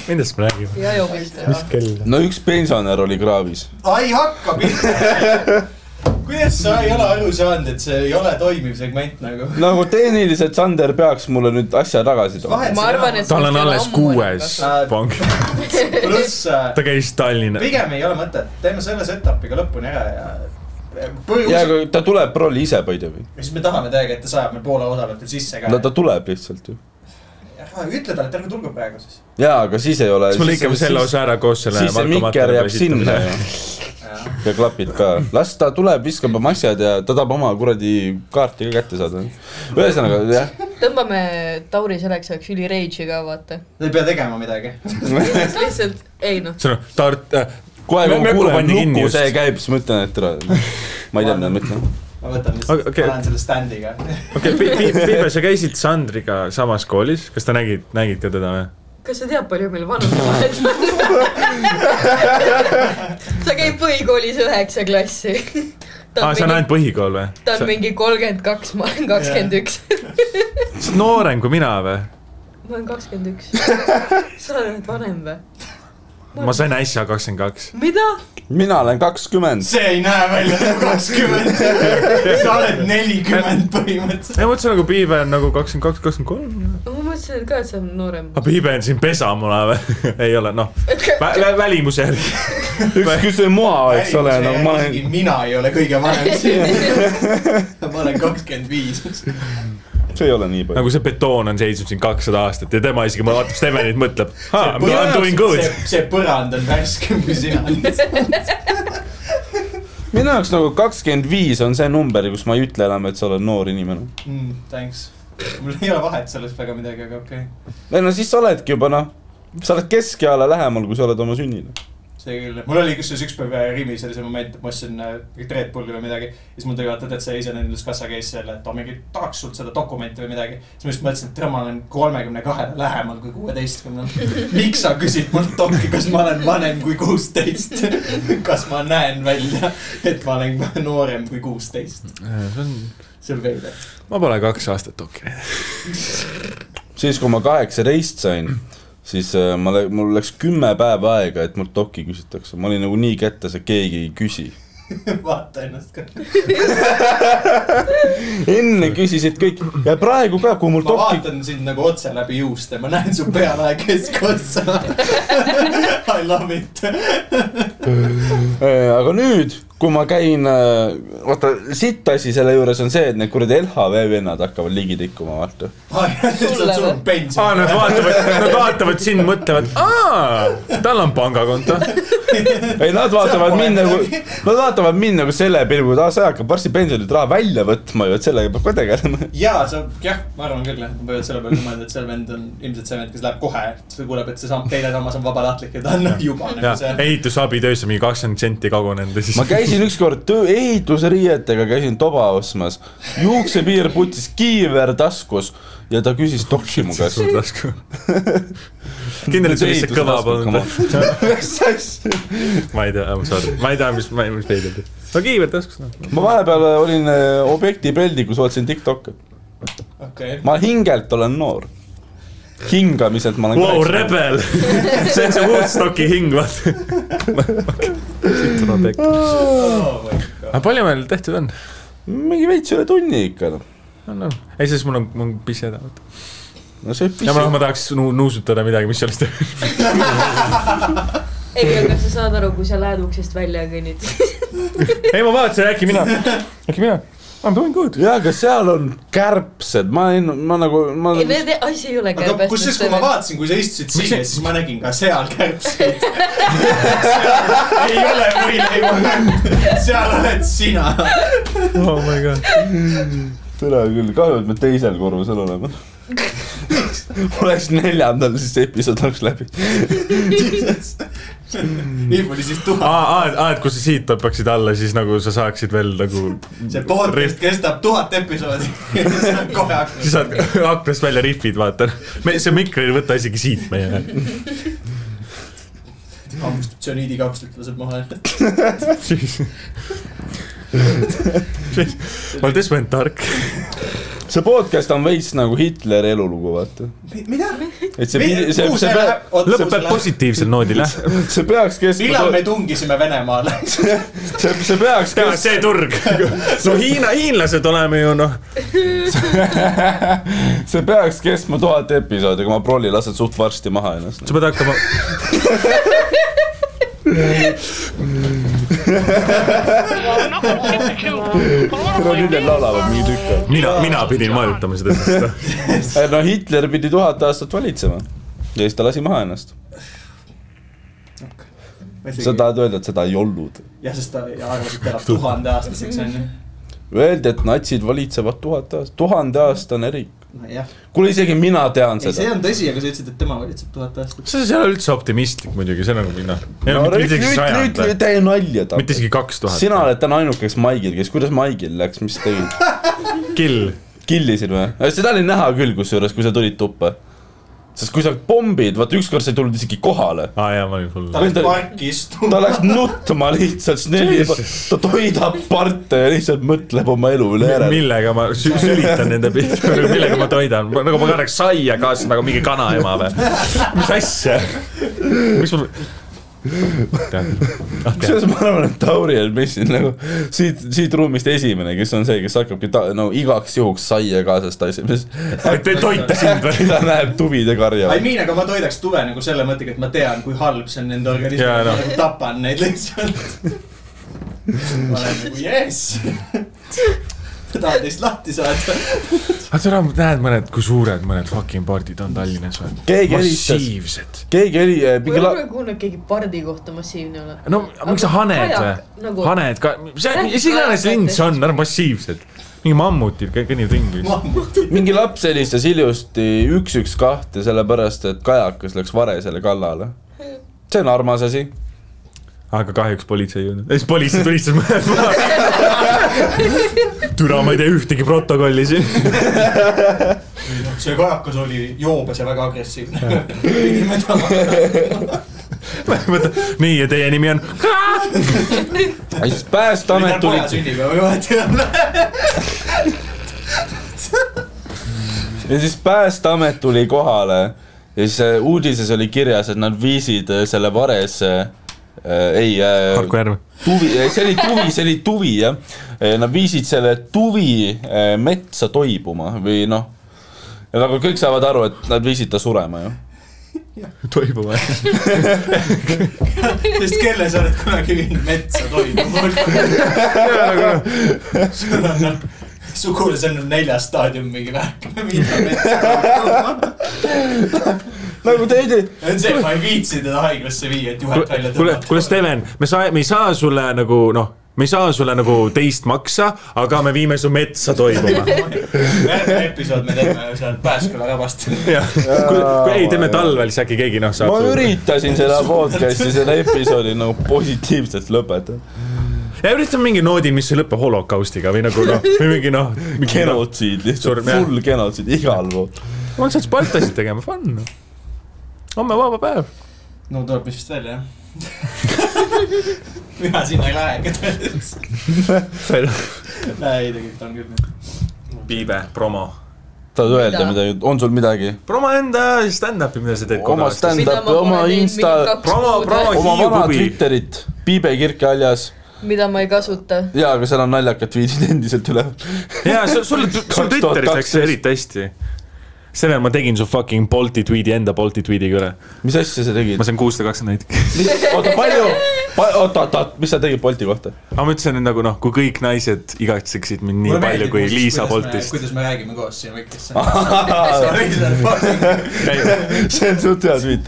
S4: millest me räägime ?
S6: ja joomist ära .
S3: no üks pensionär oli kraavis .
S1: ai hakka pihta . kuidas sa ei ole aru saanud , et see ei ole toimiv segment nagu ?
S3: nagu tehniliselt Sander peaks mulle nüüd asja tagasi tooma .
S1: vahet
S6: ma arvan , et .
S4: tal on alles kuues
S3: Ah.
S4: pang ,
S1: et . pluss äh,
S4: ta käis Tallinna .
S1: pigem ei ole mõtet , teeme selle setup'i ka lõpuni ära ja .
S3: ja
S1: põhjus ,
S3: aga ta tuleb rolli ise , by the way .
S1: mis me tahame täiega , et ta sajab meil Poola osavõtul sisse ka
S3: no . ta tuleb lihtsalt ju .
S1: ütle talle , et ärme tulge praegu siis .
S3: jaa , aga siis ei ole .
S4: kas me lõikame selle osa ära koos selle
S3: siis see mikker jääb sinna ju . ja klapid ka . las ta tuleb , viskab oma asjad ja ta tahab oma kuradi kaarti ka kätte saada . ühesõnaga jah ,
S6: tõmbame Tauri selleks ajaks üli rage'i ka
S4: (laughs)
S6: vaata .
S1: ei pea tegema midagi .
S6: lihtsalt , ei noh ,
S4: see on Tart- , äh,
S3: kohe kui
S4: Mökku
S3: ma kuulen
S4: pandi kinni
S3: luku ,
S4: just.
S3: see käib , siis ma ütlen , et ära . ma ei tea , mida ma ütlen .
S1: ma võtan
S4: Aga-
S1: lihtsalt ,
S4: okei.
S1: panen selle stand'iga . (laughs)
S4: okei , Piibe , sa käisid Sandriga samas koolis , kas ta nägid , nägite teda või ?
S6: kas sa tead , palju meil vanusevahet on ? sa käid põhikoolis üheksa klassi . ta
S4: aa , Ah, see on
S6: on
S4: ainult
S6: mingi ,
S4: põhikool või ?
S6: ta on mingi kolmkümmend kaks , ma olen kakskümmend üks .
S4: sa oled noorem kui mina või ?
S6: ma olen kakskümmend
S4: (laughs)
S6: üks . sa oled nüüd vanem või ?
S4: ma sain äsja kakskümmend kaks .
S6: mida ?
S3: mina olen kakskümmend .
S1: see ei näe välja nagu
S3: (laughs)
S1: kakskümmend . sa oled nelikümmend põhimõtteliselt .
S4: ei , ma mõtlesin nagu Piibe on nagu kakskümmend kaks , kakskümmend kolm .
S6: ma mõtlesin et ka , et sa oled noorem .
S4: aga Piibe on siin pesamuna või ? (laughs) ei ole , noh , välimuse järgi .
S3: üks küsib mua , eks ole , no ma olen .
S1: mina ei ole kõige vanem
S3: (laughs)
S1: siin . (laughs) ma olen kakskümmend viis .
S3: see ei ole nii palju .
S4: nagu see betoon on seisnud siin kakssada aastat ja tema isegi vaatab Stevenit , mõtleb , I m doing good .
S1: see see põrand on värskem kui sina . (laughs)
S3: minu jaoks nagu kakskümmend viis on see number , kus ma ei ütle enam , et sa oled noor inimene .
S1: Mm, Thanks . mul ei ole vahet selles väga midagi , aga okei okay. .
S3: ei no siis sa oledki juba noh , sa oled keskeale lähemal , kui sa oled oma sünnile .
S1: see küll , mul oli kusjuures ükspäev Rimis oli see moment , et ma ostsin äh, mingit Red Bulli või midagi . siis mul tuli vaata täitsa esinduskassa käis selle , et ma mingi tahaks sult seda dokumenti või midagi . siis ma just mõtlesin , et tere, ma olen kolmekümne kahele lähemal kui kuueteistkümnel . (laughs) miks sa küsid mult dokki , kas ma olen vanem kui kuusteist ? (laughs) kas ma näen välja , et ma olen noorem kui kuusteist ? see on veider .
S4: Äh,
S1: (laughs)
S4: ma pole kaks aastat tokinud .
S3: siis , kui ma kaheksateist sain , siis äh, ma , mul läks kümme päeva aega , et mult dokki küsitakse , ma olin nagu nii kätte , sa keegi ei küsi .
S1: vaata ennast ka .
S3: enne küsisid kõik ja praegu ka , kui mul
S1: ma
S3: dokki ,
S1: vaatan sind nagu otse läbi juuste , ma näen su pealae keskotsa . (laughs) I love it .
S3: Äh, aga nüüd , kui ma käin , vaata sitt asi selle juures on see , et need kuradi LHV vennad hakkavad ligi tikkuma , vaata .
S1: (laughs) sul on
S6: Sulle või?
S1: suur pension .
S4: aa , nad vaatavad , nad vaatavad sind , mõtlevad , aa , tal on
S3: (laughs)
S4: pangakonto .
S3: ei , nad vaatavad mind nagu , nad vaatavad mind nagu selle pilguga , et aa , see hakkab varsti pensionilt raha välja võtma ju , et sellega peab ka tegelema .
S1: jaa , sa , jah , ma arvan küll , jah , ma pean selle peale mõelda , et see vend on ilmselt see vend , kes läheb kohe , ta kuuleb , et see sam- , teine sammas on vabatahtlik ja ta on juba
S4: ja
S1: nagu see .
S4: ehitusabitöös on mingi kakskümmend senti kagunenud ja siis (laughs)
S3: ma käisin ükskord töö , ehitusriietega käisin toba ostmas , juuksepiir putis kiiver taskus ja ta küsis dokki mu käest . (laughs)
S4: tasku . kindel , et see lihtsalt kõva polnud .
S3: (laughs) mis asja ?
S4: (laughs) ma ei tea , sorry , ma ei tea , mis , ma ei , mis peegeldab . no kiiver taskus , noh .
S3: ma vahepeal olin äh, objekti peldikus , vaatasin Tiktok'e .
S1: okei ,
S3: ma hingelt olen noor . hingamiselt ma olen
S4: Vau , rebel . (laughs) see on see Woodstocki hing , vaata . siit tuleb äkki .
S1: oh my god .
S4: aga palju meil tehtud on ?
S3: mingi veits üle tunni ikka noh .
S4: on , on . ei , sest mul on , mul on pissi häda .
S3: no see
S4: ja ma ,
S3: pissi .
S4: ma tahaks nu- nuusutada midagi , mis sellest teha .
S6: ei , aga sa saad aru , kui sa lähed uksest välja ja kõnnid .
S4: ei , ma vaatasin , äkki (laughs) mina , äkki mina . I m doing good .
S3: jaa , aga seal on kärbsed , ma ei , ma nagu , ma
S6: ei , need , asi ei ole
S1: aga
S6: kärbes .
S1: kusjuures , kui ma vaatasin , kui sa istusid siia , siis ma nägin ka seal kärbseid . (laughs) ei ole võileiba , seal oled sina .
S4: oh my god .
S3: tere küll , kahju , et me teisel korrusel
S6: (laughs)
S3: oleme . oleks neljandal , siis see episood oleks läbi .
S1: nii palju siis tuhat ,
S4: aa , aa , aa , Ah, et kui sa siit tõmbaksid alla , siis nagu sa saaksid veel nagu .
S1: see podcast kestab tuhat (laughs) episoodi . kohe
S4: siis
S1: hakkab .
S4: saad aknast välja rihvid , vaata . me , see mikri ei võta isegi siit meie .
S1: hammustab tsüaniidikapslit , laseb maha .
S4: ma olen Desmond Tark .
S3: see podcast on veits nagu Hitleri elulugu , vaata .
S1: mida ?
S3: et see , see , see , see, pea-
S4: lõpeb positiivsel noodil , jah .
S3: see peaks
S1: millal
S3: kestma
S1: me , tungisime (laughs) Venemaale ?
S3: see , see peaks
S4: jaa ,
S3: kestma .
S4: see turg . no Hiina , hiinlased oleme ju noh .
S3: (laughs) see peaks kestma tuhat episoodi , aga ma prolli lasen suht varsti maha ennast .
S4: sa pead hakkama .
S3: no nüüd nad laulavad mingi tükk aega .
S4: mina , mina pidin vajutama seda sest-
S3: no Hitler pidi tuhat aastat valitsema ja siis ta lasi maha ennast . sa . tahad öelda , et seda ei olnud ?
S1: jah , sest ta arvas , et ta elab tuhandeaastaseks onju .
S3: Öeldi , et natsid valitsevad tuhat aastat , tuhandeaastane riik .
S1: nojah ,
S3: kuule , isegi mina tean
S1: ei see
S3: seda .
S1: on tõsi , aga sa ütlesid , et tema valitseb tuhat aastat .
S4: see , see ei ole üldse optimistlik muidugi , see on nagu minna .
S3: no nüüd , nüüd , nüüd tee nalja
S4: mitte
S3: talle .
S4: isegi kaks tuhat .
S3: sina oled täna ainukeks Maigil , kes , kuidas Maigil läks , mis tegid ?
S4: kill .
S3: killisid või ? seda oli näha küll , kusjuures , kui sa tulid tuppa . sest kui sa pommid , vaata ükskord sa ei tulnud isegi kohale .
S4: aa jaa , ma olin hull .
S1: ta läks parki istuma
S3: ta . läks nutma lihtsalt , siis neli , ta toidab parte ja lihtsalt mõtleb oma elu üle järele .
S4: millega ma sü sülitan nende pihta , millega ma toidan , nagu ma kannaks saia kaasa nagu mingi kanaema või ? mis asja ? miks ma ?
S3: kusjuures ma arvan , et Tauri on meist siin nagu siit , siit ruumist esimene , kes on see , kes hakkabki ta, no igaks juhuks saia kaasas tassima , (laughs) siis
S4: Te toite sind või ?
S3: äkki ta näeb tuvide karja .
S1: (laughs) I mean , aga ma toidaks tuve nagu selle mõttega , et ma tean , kui halb see on nende
S4: Jaa,
S1: organismile
S4: noh. ,
S1: ma tapan neid lihtsalt . ma olen nagu jess . (laughs) tahad neist lahti saada ?
S4: aga täna näed mõned , kui suured mõned fucking pardid on Tallinnas või ?
S3: keegi helistas ,
S4: massiivsed .
S3: keegi heli- ,
S6: ma
S3: mingi
S6: ei
S3: la-
S6: ole , kuulnud keegi pardi kohta massiivne ole . nagu
S4: no miks sa haned või ? haned ka , mis mis iganes lind see on , nad on massiivsed . mingi mammutid kõik kõnnivad ringi .
S1: mammutid .
S3: mingi laps helistas hiljuti üks , üks , kahte , sellepärast et kajakas läks varesele kallale . see on armas asi .
S4: aga kahjuks politsei ei jõudnud , siis politsei tulistas mõned maha . türa , ma ei tea ühtegi protokolli siin .
S1: see kajakas oli joobes ja väga agressiivne . pidime ta .
S4: Võta- nii ja teie nimi on ?
S3: ja siis Päästeamet tuli
S1: poja sünnipäev ei vahet ei ole .
S3: ja siis Päästeamet eh, tuli kohale ja siis äh, uudises oli kirjas , et nad viisid äh, selle eh, varese äh, ei
S4: Harku
S3: äh, ,
S4: järv .
S3: tuvi , see oli tuvi , see oli tuvi jah . Nad viisid selle tuvi äh, metsa toibuma või noh , nagu kõik saavad aru , et nad viisid ta surema ju .
S4: toibu või ?
S1: sest kelle sa oled kunagi viinud metsa
S4: (laughs)
S1: toimuma ?
S4: nagu-
S1: sul on noh , sugulasel on neljas staadium mingi värk , minna metsa toimuma .
S3: nagu te ei tee ,
S1: see on see , et ma ei viitsi teda haiglasse viia , et juhet välja
S4: kuule , kuule ,
S1: tõmmata .
S4: Steven , me saa- , me ei saa sulle nagu noh , me ei saa sulle nagu teist maksa , aga me viime su metsa toimuma .
S1: järgmine episood me teeme seal Pääsküla rabast .
S4: jah , kui ei teeme talvel , siis äkki keegi noh saab
S3: ma . üritasin seda podcast'i , selle episoodi nagu positiivselt lõpetada .
S4: ja üritame mingi noodi , mis ei lõpe holokaustiga või nagu noh , või mingi noh , mingi noh ,
S3: genotsiid lihtsalt ,
S4: Surm, jah.
S3: full genotsiid igal pool .
S4: ma hakkasin Spartasid tegema , fun . homme vaba päev .
S1: no tuleb vist välja , jah . (laughs) mina sinna ei lähe , aga ei tegelikult on küll .
S4: piibe , promo .
S3: tahad öelda
S6: Mida?
S3: midagi , on sul midagi ?
S4: promo enda stand-up'i , mida sa teed
S3: Oma stand- Stand-up'i oma Insta-
S4: Promo- promo-
S3: oma
S4: Hiiu
S3: vana
S4: klubi.
S3: Twitterit , Piibe kirkehaljas
S6: mida ma ei kasuta .
S3: ja , aga seal on naljakad viisid endiselt üle .
S4: jaa , sul , sul , sul Twitteris läks see eriti hästi . Steven , ma tegin su fucking Bolti tweet'i enda Bolti tweet'iga üle .
S3: mis asja sa tegid
S4: ma ? sain kuussada kakskümmend näidik .
S3: oota , palju , oota , oota , mis sa tegid Bolti kohta ?
S4: aga ma ütlesin et nagu noh , kui kõik naised igatseksid mind nii palju kui Liisa Boltist .
S1: kuidas me räägime koos siin
S4: (laughs)
S1: mikrisse . sorry , see on fucking .
S3: (laughs) see on suht hea tweet .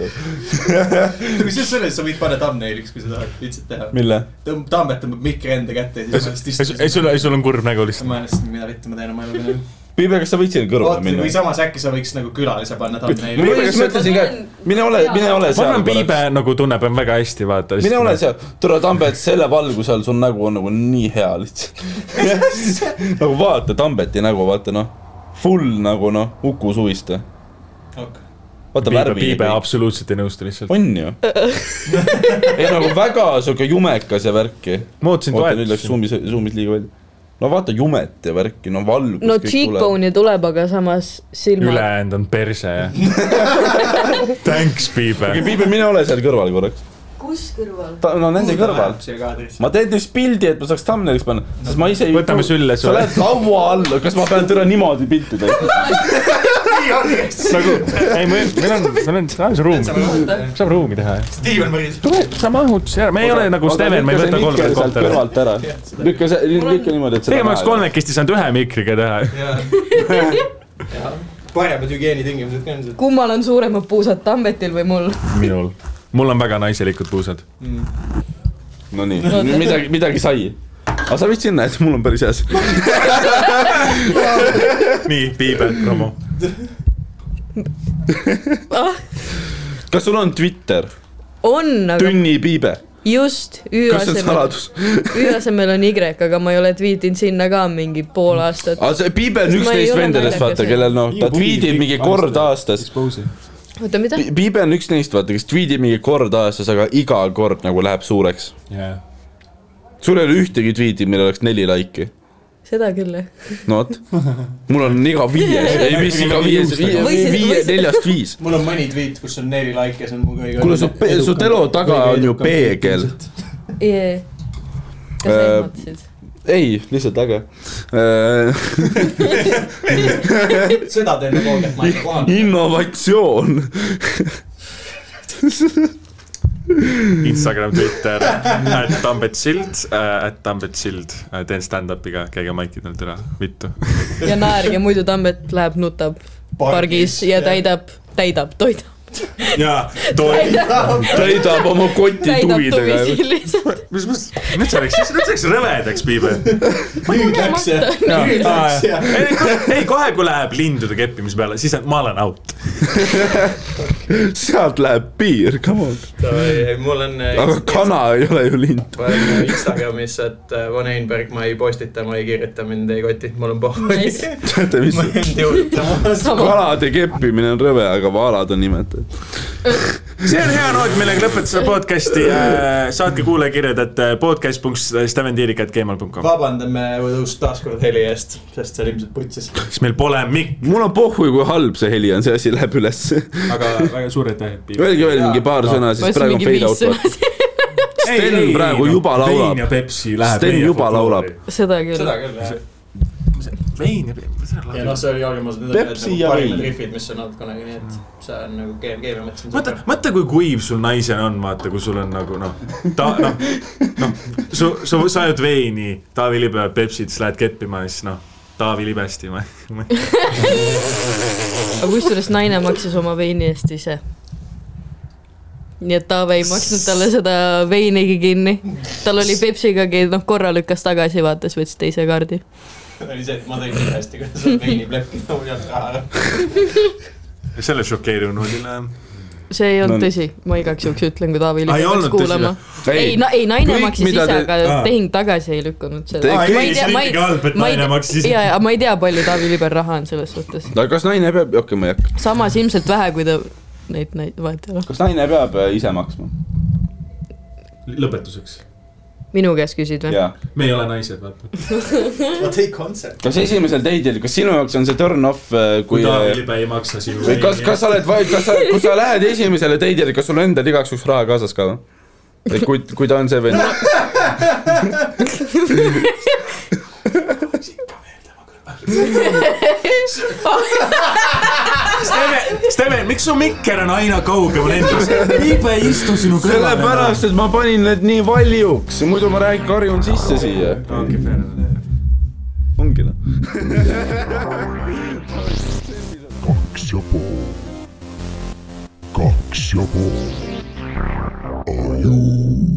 S1: kusjuures selles sa võid panna thumbnailiks , kui sa tahad , viitsid teha .
S3: mille ?
S1: tõmb- , Tambet tõmbab mikri enda kätte ja siis ma lihtsalt
S4: ei , sul , sul on kurb nägu lihtsalt .
S1: ma ennast , mida vittu ma teen oma eluga nüüd .
S3: Piibe , kas sa võid sinna kõrvale
S1: oota , või
S3: minna ?
S1: samas äkki sa võiks nagu külalise panna
S3: ma
S1: thumbnaili .
S3: just mõtlesin ka , et mine ole , mine ole
S4: ma
S3: seal
S4: arvan ,. Piibe nagu tunneb end väga hästi , vaata .
S3: mine ole seal , tule Tambet selle valguse all , sul nägu on nagu nii hea
S6: (laughs)
S3: lihtsalt . nagu vaata Tambeti nägu , vaata noh , full nagu noh , Uku Suviste . vaata
S4: Piibe ,
S3: värvi .
S4: Piibe absoluutselt ei nõustu lihtsalt .
S3: on ju ? ei nagu väga sihuke jumekas ja värki .
S4: ma ootasin
S3: oota , nüüd läks
S4: toetust .
S3: suumis , suumid liiga välja . no vaata jumet ja värki , no valgus
S6: no
S3: kõik tuleb .
S6: cheekbone'i tuleb , aga samas silmad .
S4: ülejäänud on perse , jah . Thanks , Piibe .
S3: okei , Piibe , mine ole seal kõrval korraks .
S5: kus kõrval ?
S3: ta , no nende kõrval .
S1: siia kaadrisse .
S3: ma teen teist pildi , et ma saaks thumbnailiks panna , sest ma ise ei
S4: Võtame sülle
S3: sa
S4: sulle.
S3: lähed laua alla , kas ma pean täna niimoodi pilti tegema ?
S4: nagu , ei , meil meil on , meil on , saab ruumi , saab ruumi teha , jah .
S1: Steven Mõris .
S4: tule , sa mahutis ära , me ei (laughs) ole nagu Steven , me ei võta kolme kohta ära .
S3: kõrvalt ära . lükka see , lükka niimoodi , et seda
S4: tegelikult oleks
S3: näha ei
S4: kolmekesti saanud ühe mikriga teha .
S1: paremad hügieenitingimused ka ilmselt .
S6: kummal on suuremad puusad , Tambetil või mul ?
S4: (laughs) minul . mul on väga naiselikud puusad .
S3: ole. no nii , midagi , midagi sai . aga sa vist sinna , et mul on päris hea see .
S4: nii , Piibe , promo .
S3: kas sul on Twitter ,
S6: Ah, on , aga
S3: Tünni Piibe ,
S6: just , Ü
S3: kas see on
S6: asemel ,
S3: saladus ?
S6: Ü asemel on Y , aga ma ei ole tweetinud sinna ka mingi pool aastat .
S3: aga see Piibe on
S6: Sest ma
S3: üks
S6: ei
S3: neist
S6: ole
S3: vendadest , vaata ,
S6: naljakas.
S3: kellel noh , ta
S11: Iga puu
S3: tweetib
S11: kõik
S3: mingi kord
S11: panustab.
S3: aastas .
S11: Expose'i .
S6: oota , mida ?
S3: Piibe on üks neist , vaata , kes tweetib mingi kord aastas , aga iga kord nagu läheb suureks . sul ei ole ühtegi tweeti , millel oleks neli laiki .
S6: seda küll , jah .
S3: no vot , mul on iga viies , ei mis iga viies , viie ,
S6: Või siis-
S3: viie
S6: või , siis-
S3: neljast viis .
S1: mul on mõni tweet , kus on neli like ja see on mu kõige .
S3: kuule , su , su telo taga on ju peegel .
S6: kas sa
S3: Äh,
S6: ehmatasid ?
S3: ei , lihtsalt äge . Äh,
S1: seda tehnoloogiat ma ei saa kohal .
S3: (laughs) (laughs) innovatsioon .
S4: Instagram , Twitter , (laughs) at Tambet Sild , at Tambet Sild . teen stand-up'iga , käige maikidelt ära , vittu .
S6: ja naerge , muidu Tambet läheb , nutab pargis ja . täidab , täidab , toidab ,
S4: jaa , tohi .
S3: täidab oma koti
S6: täidab
S3: tuvidega .
S6: tuvisid lihtsalt .
S4: mis , mis , nüüd see läks , nüüd see läks rõvedaks , Piibe .
S1: nüüd läks jah . nüüd läks jah .
S4: ei , ei kohe , kui läheb lindude keppimise peale , siis ma olen out .
S3: sealt läheb piir , come on .
S1: mul on .
S3: aga kana ei ole ju lind . (laughs)
S1: ma olen Instagramis , et äh, Von Einberg , ma ei postita , ma ei kirjuta , mind ei koti , mul on pohvoi .
S6: Nice.
S3: teate mis ?
S1: mind ei huvita .
S3: kalade keppimine on rõve , aga vaalad on imetajad .
S4: see on hea noot , millega lõpetada seda podcast'i . saatke kuulajakirjad , et äh, podcast.stevendiirikat.gmail.com .
S1: (laughs) vabandame uus taaskord heli eest , sest see oli ilmselt putsis .
S4: siis meil pole mikki .
S3: mul on pohhu , kui halb see heli on , see asi läheb ülesse .
S4: aga väga suur aitäh , Piibe .
S3: (laughs) Öelge veel mingi paar sõna ,
S6: Ma
S3: siis praegu on
S6: ütlesin
S3: fade
S6: mingi
S3: out .
S6: viis (laughs) sõna.
S3: Sten praegu juba laulab.
S4: vein ja Pepsi läheb .
S3: Sten juba laulab. .
S6: seda küll .
S1: seda küll jah .
S4: vein ja Pepsi
S1: ja . noh , see oli Jorgimas need nagu
S3: Pepsi ja
S1: parimad
S3: vein.
S1: rihvid , mis on natukene , nii et see on nagu keem , keemia mõttes on
S4: mõtle
S1: super .,
S4: mõtle , kui kuiv sul naisena on , vaata , kui sul on nagu noh , ta noh , noh , su , su , sa ajad veini , Taavi Libe ajab Pepsit , siis lähed keppima ja siis noh , Taavi Libesti (laughs) ma , ma
S6: aga kusjuures naine maksis oma veini eest ise . nii et Taavi ei maksnud talle seda veinigi kinni . tal oli Pepsigagi , noh korra lükkas tagasi , vaatas , võttis teise kaardi .
S1: oli see , et ma tegin nii hästi , kuidas on veinipleppi , ma ei olnud raha ära . (laughs)
S4: selle šokeerunud üle .
S6: see ei olnud
S3: No-
S6: tõsi , ma igaks juhuks ütlen , kui Taavi
S4: Aa, ei
S6: Libe peaks
S4: olnud tõsi,
S6: kuulama .
S3: Ei,
S6: ei , ei naine
S3: kõik,
S6: maksis
S3: mida
S6: ise ,
S3: te-
S6: aga
S4: aa.
S6: tehing tagasi ei lükanud
S3: Te-
S6: seda .
S3: kõik-
S6: ma ei tea , ma ei ,
S4: halb , et
S6: ma ei
S4: naine maksis
S6: tea ,
S4: ise .
S6: ja , ja ma ei tea , palju Taavi Libel raha on selles suhtes .
S3: aga kas naine peab , okei okay, , ma ei hakka .
S6: samas ilmselt vähe , kui ta neid , neid vahet ei ole .
S3: kas naine peab äh, ise maksma ?
S4: lõpetuseks ,
S6: minu käest küsid või ?
S3: jaa .
S4: me ei ole naised , vaata .
S1: What a concept .
S3: kas esimesel date'il , kas sinu jaoks on see turn off , kui äh,
S4: kui Taavi Libe ei maksa sinu
S3: eh, või kas , kas sa oled , kas sa , kui sa lähed esimesele date'ile , kas sul endal igaks juhuks raha kaasas ka või ? et kui , kui ta on see vend ,
S6: (laughs)
S4: Steven , Steven , miks su mikker on aina kaugemal endast ? Liibe ei istu sinu kõrval .
S3: sellepärast , et ma panin need nii valjuks , muidu ma räägin , karjun sisse siia . ongi noh .
S12: kaks ja pool . kaks ja pool . Aju .